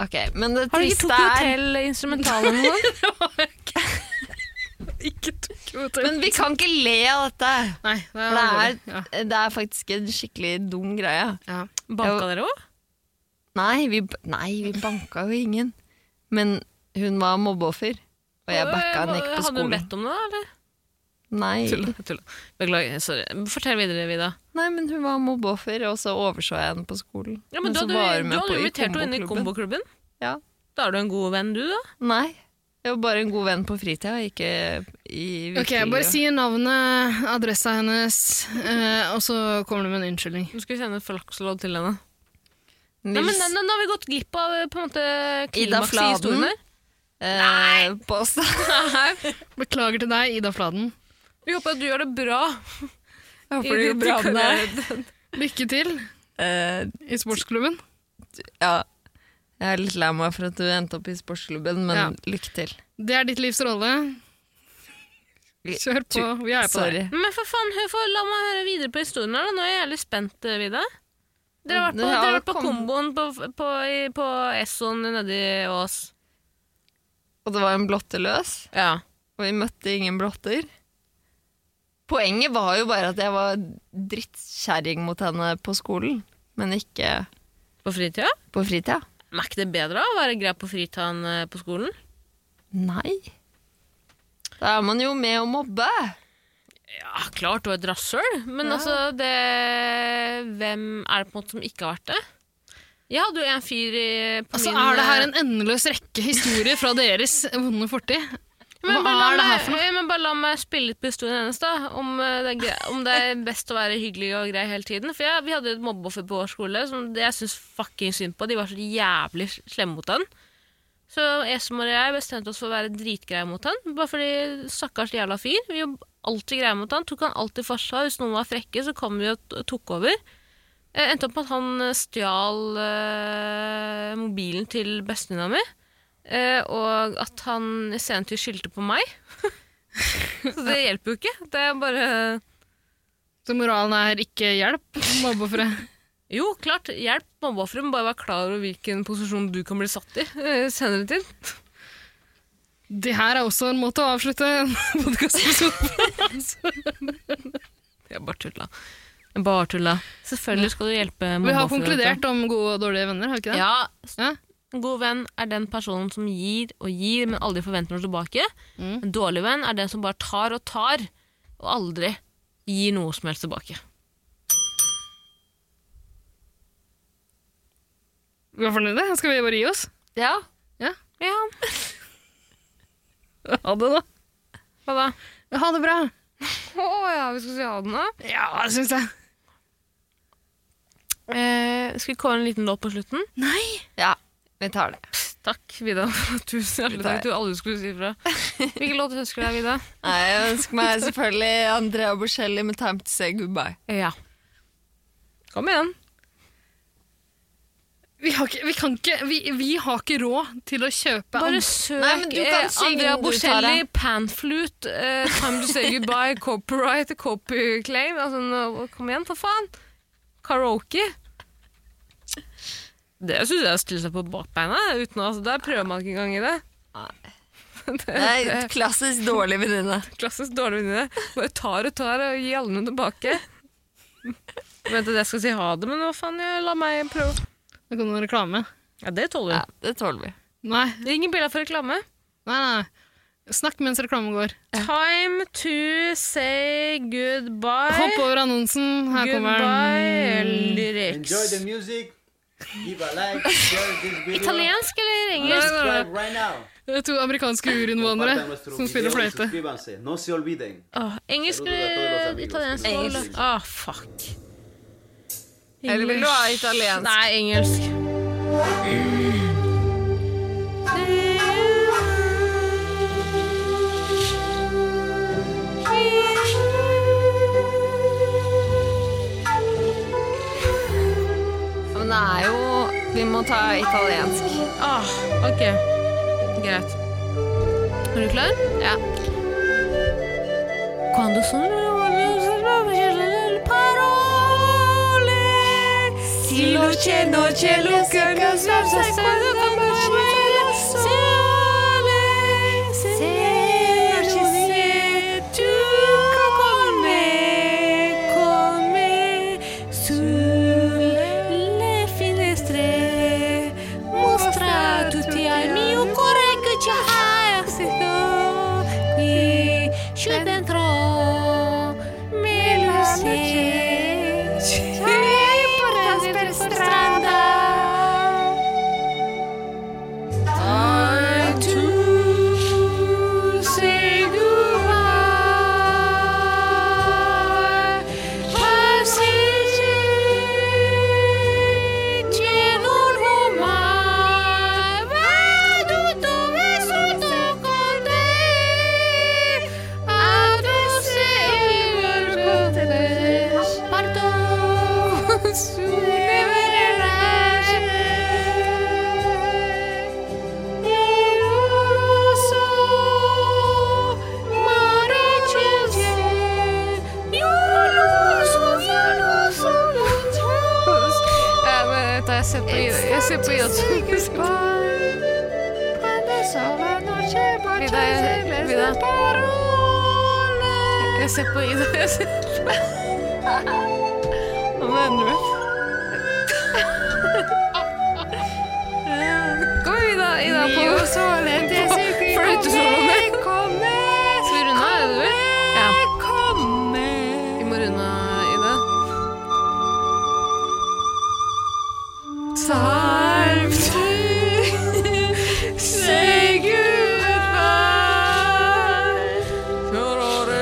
[SPEAKER 2] Ok, men det
[SPEAKER 1] Har du ikke
[SPEAKER 2] triste
[SPEAKER 1] Tokyo
[SPEAKER 2] er
[SPEAKER 1] Hotel-instrumental eller noe?
[SPEAKER 3] Ikke Tokyo Hotel.
[SPEAKER 2] Men vi kan ikke le av dette.
[SPEAKER 3] Nei, det
[SPEAKER 2] For
[SPEAKER 3] er, alvorlig.
[SPEAKER 2] det
[SPEAKER 3] ja.
[SPEAKER 2] er, det er faktisk en skikkelig dum greie.
[SPEAKER 3] Ja.
[SPEAKER 1] Banka dere òg?
[SPEAKER 2] Nei vi, nei, vi banka jo ingen. Men Hun var mobbeoffer, og jeg backa henne ikke på
[SPEAKER 1] Hadde hun
[SPEAKER 2] skolen.
[SPEAKER 1] bedt om det, da, eller?
[SPEAKER 2] Nei.
[SPEAKER 1] Tulla, tulla. Beklager. Sorry. Fortell videre, Vida.
[SPEAKER 2] Nei, men hun var mobbeoffer, og så overså jeg henne på skolen.
[SPEAKER 1] Ja, men du
[SPEAKER 2] så
[SPEAKER 1] hadde,
[SPEAKER 2] var hun
[SPEAKER 1] du
[SPEAKER 2] med
[SPEAKER 1] hadde
[SPEAKER 2] på- i
[SPEAKER 1] invitert henne inn i
[SPEAKER 2] komboklubben.
[SPEAKER 1] komboklubben.
[SPEAKER 2] Ja.
[SPEAKER 1] Da er du en god venn, du, da.
[SPEAKER 2] Nei. Jeg var bare en god venn på fritida, ikke i virkelig
[SPEAKER 3] Ok, Bare si navnet, adressa hennes, eh, og så kommer du med en unnskyldning.
[SPEAKER 1] Nå skal vi sende flakslodd til henne. Nei, men
[SPEAKER 2] Nils
[SPEAKER 1] Nå nå har vi gått glipp av eh, på en måte,
[SPEAKER 2] Ida
[SPEAKER 1] klimaks i
[SPEAKER 2] Fladen.
[SPEAKER 1] historien her.
[SPEAKER 2] eh, Påstad.
[SPEAKER 1] Nei.
[SPEAKER 3] Beklager til deg, Ida Fladen.
[SPEAKER 1] Vi håper at du gjør det bra.
[SPEAKER 2] Ja,
[SPEAKER 1] I
[SPEAKER 2] for det er jo
[SPEAKER 1] ditt
[SPEAKER 2] bra med deg.
[SPEAKER 3] Lykke til
[SPEAKER 2] Eh,
[SPEAKER 3] i sportsklubben.
[SPEAKER 2] ja. Jeg er litt lei meg for at du endte opp i sportsklubben, men
[SPEAKER 3] Ja.
[SPEAKER 2] lykke til.
[SPEAKER 3] Det er ditt livs rolle. Kjør på. Vi er på deg.
[SPEAKER 2] Sorry.
[SPEAKER 1] Men for faen, hør, for, la meg høre videre på historien her. da. Nå er jeg jævlig spent, eh, Vida. Dere har vært på,
[SPEAKER 2] Ja,
[SPEAKER 1] dere har vært på
[SPEAKER 2] kom-
[SPEAKER 1] komboen på, på, i- på Essoen nedi Ås.
[SPEAKER 2] Og det var en blotteløs,
[SPEAKER 1] Ja.
[SPEAKER 2] og vi møtte ingen blotter. Poenget var jo bare at jeg var drittkjerring mot henne på skolen, men ikke
[SPEAKER 1] På fritida?
[SPEAKER 2] på fritida.
[SPEAKER 1] Men er ikke det bedre å være grei på fritida enn eh, på skolen?
[SPEAKER 2] Nei. Da er man jo med å mobbe.
[SPEAKER 1] Ja, klart du er et rasshøl, men
[SPEAKER 2] Ja.
[SPEAKER 1] altså det Hvem er det på en måte som ikke har vært det? Jeg hadde jo en fyr i på
[SPEAKER 3] Altså,
[SPEAKER 1] min, eh,
[SPEAKER 3] er det her en endeløs rekke historier fra deres vonde fortid?
[SPEAKER 1] men
[SPEAKER 3] Hva
[SPEAKER 1] bare la
[SPEAKER 3] er det
[SPEAKER 1] meg-
[SPEAKER 3] her for noe?
[SPEAKER 1] eh, Men bare la meg spille litt på historien hennes, da. Om, eh, det, er gre- om det er best å være hyggelig og grei hele tiden. For jeg, vi hadde jo et mobbeoffer på vår skole som det jeg syns fucking synd på. De var så jævlig slemme mot han. Så Esmar og jeg bestemte oss for å være dritgreie mot han. Bare fordi stakkars jævla fyr. Vi var alltid greie mot han. Tok han alltid forsvar. Hvis noen var frekke, så kom vi og t- tok over. Eh, endte opp med at han eh, stjal eh, mobilen til bestevenninna mi. Eh, og at han i sen tid skyldte på meg. så det hjelper jo ikke. Det er bare
[SPEAKER 3] Så moralen er ikke hjelp mobbeofre.
[SPEAKER 1] Jo, klart, hjelp mobbeofre, men bare vær klar over hvilken posisjon du kan bli satt i eh, senere tid.
[SPEAKER 3] Det her er også en måte å avslutte en podkastepisode på.
[SPEAKER 1] Jeg bare tulla. Jeg Bare tulla. Selvfølgelig skal du hjelpe
[SPEAKER 3] Vi har
[SPEAKER 1] mobbeofre, vet
[SPEAKER 3] konkludert om gode og dårlige venner, har vi
[SPEAKER 1] du.
[SPEAKER 3] ikke det?
[SPEAKER 1] Ja,
[SPEAKER 3] Ja.
[SPEAKER 1] en god venn er den personen som gir og gir, men aldri forventer noe tilbake.
[SPEAKER 3] Mm.
[SPEAKER 1] En dårlig venn er den som bare tar og tar, og aldri gir noe som helst tilbake.
[SPEAKER 3] Vi er fornøyde? Skal vi bare gi oss?
[SPEAKER 2] Ja.
[SPEAKER 1] Ja,
[SPEAKER 3] Ha det, da.
[SPEAKER 1] hva da?
[SPEAKER 3] Ha det bra.
[SPEAKER 1] Å ja, vi skal si ha det nå.
[SPEAKER 3] Ja, syns jeg.
[SPEAKER 1] Eh, skal vi kåre en liten låt på slutten?
[SPEAKER 2] Ja, vi tar det.
[SPEAKER 1] Takk, Vida. Tusen hjertelig takk. Du aldri skulle si fra. Hvilken låt ønsker du deg, Vida?
[SPEAKER 2] Nei, jeg ønsker meg selvfølgelig Andrea Bocelli med 'Time to say goodbye'.
[SPEAKER 1] Ja. Kom igjen.
[SPEAKER 3] Vi har ikke, vi kan ikke, vi, vi har ikke råd til å kjøpe
[SPEAKER 1] Bare
[SPEAKER 3] andre-
[SPEAKER 1] søk
[SPEAKER 2] Nei, men du kan
[SPEAKER 1] eh,
[SPEAKER 2] synge
[SPEAKER 1] Andrea
[SPEAKER 2] den du,
[SPEAKER 1] Bocelli,
[SPEAKER 2] Tara.
[SPEAKER 1] Panflute, eh, Time to Say Goodbye, Copyright, Copyclaim. Altså, nå- kom igjen, for faen. Karaoke. Det syns jeg er å stille seg på bakbeina. Uten, altså, der prøver man ikke engang i det.
[SPEAKER 2] Det er et klassisk dårlig venninne.
[SPEAKER 1] klassisk dårlig venninne. Bare tar og tar og gir alle noe tilbake. Vent at jeg skal si ha det, men hva faen, jeg, la meg prøve.
[SPEAKER 3] Det kom noen reklame.
[SPEAKER 1] Ja, det tåler
[SPEAKER 2] Ja, det tåler vi.
[SPEAKER 3] Nei,
[SPEAKER 1] Det er ingen bilder for reklame.
[SPEAKER 3] nei, nei. Snakk mens reklamen går.
[SPEAKER 1] Time to say goodbye.
[SPEAKER 3] Hopp over annonsen. Her kommer
[SPEAKER 1] Goodbye
[SPEAKER 3] den.
[SPEAKER 4] Enjoy
[SPEAKER 1] lyrics.
[SPEAKER 4] the music. Give a like, share this video.
[SPEAKER 1] Italiensk eller engelsk?
[SPEAKER 4] Subscribe right now.
[SPEAKER 3] Det er to amerikanske
[SPEAKER 4] Compartan
[SPEAKER 3] urinnvånere
[SPEAKER 4] nuestro
[SPEAKER 3] som
[SPEAKER 4] video
[SPEAKER 3] spiller
[SPEAKER 4] y
[SPEAKER 3] fløyte.
[SPEAKER 4] suscríbanse. No se olviden.
[SPEAKER 1] Åh, engelsk eller italiensk? Engelsk. Ah, fuck.
[SPEAKER 2] Eller vil du ha italiensk?
[SPEAKER 1] Nei, engelsk.
[SPEAKER 2] Men det er jo Vi må ta italiensk.
[SPEAKER 1] Ah, ok. Greit. Er du klar? Ja. Quando sono le parole Si lo cielo, cielo che non sai quando come cielo sole Se ci sei tu con me Come sulle finestre Mostra a tutti al mio cuore che c'è É, tá, på Ida. Jeg ser på Ida. Jeg ser på Nå ender det. Kom igjen, Ida. Ida på på fløytesoloene. Skal vi runde av, er det du vil? Ja. Vi må runde av, eh, Ida. Time to say goodbye. Kjørere.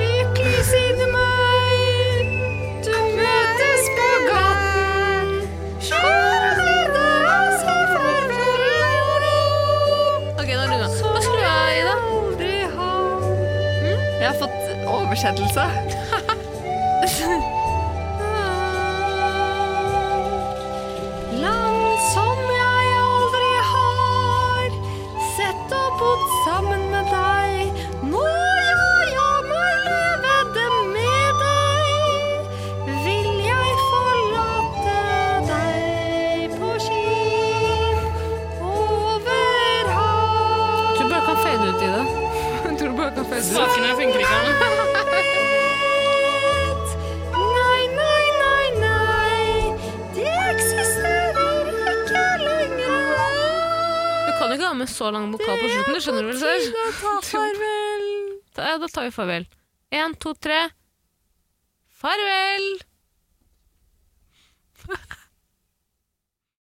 [SPEAKER 1] Lykkelig siden meg, du møtes på gaten. Kjørere og se farvel. Ok, nå runder vi av. Hva skulle du ha, Ida?
[SPEAKER 3] Jeg har fått oversettelse. Land som jeg aldri har sett og bodd sammen med deg. Nå gjør jeg meg levende med deg. Vil jeg forlate deg på skip over hav?
[SPEAKER 1] Tror du bare kan fade ut, Ida? Tror du bare kan fade ut?
[SPEAKER 5] Sakene funker ikke. Anne.
[SPEAKER 3] Nei, nei, nei, nei. Det eksisterer ikke lenger.
[SPEAKER 1] Du kan jo ikke ha med så lang vokal på slutten, det skjønner du vel selv?
[SPEAKER 3] Ta farvel.
[SPEAKER 1] Da, ja, da tar vi farvel. Én, to, tre. Farvel!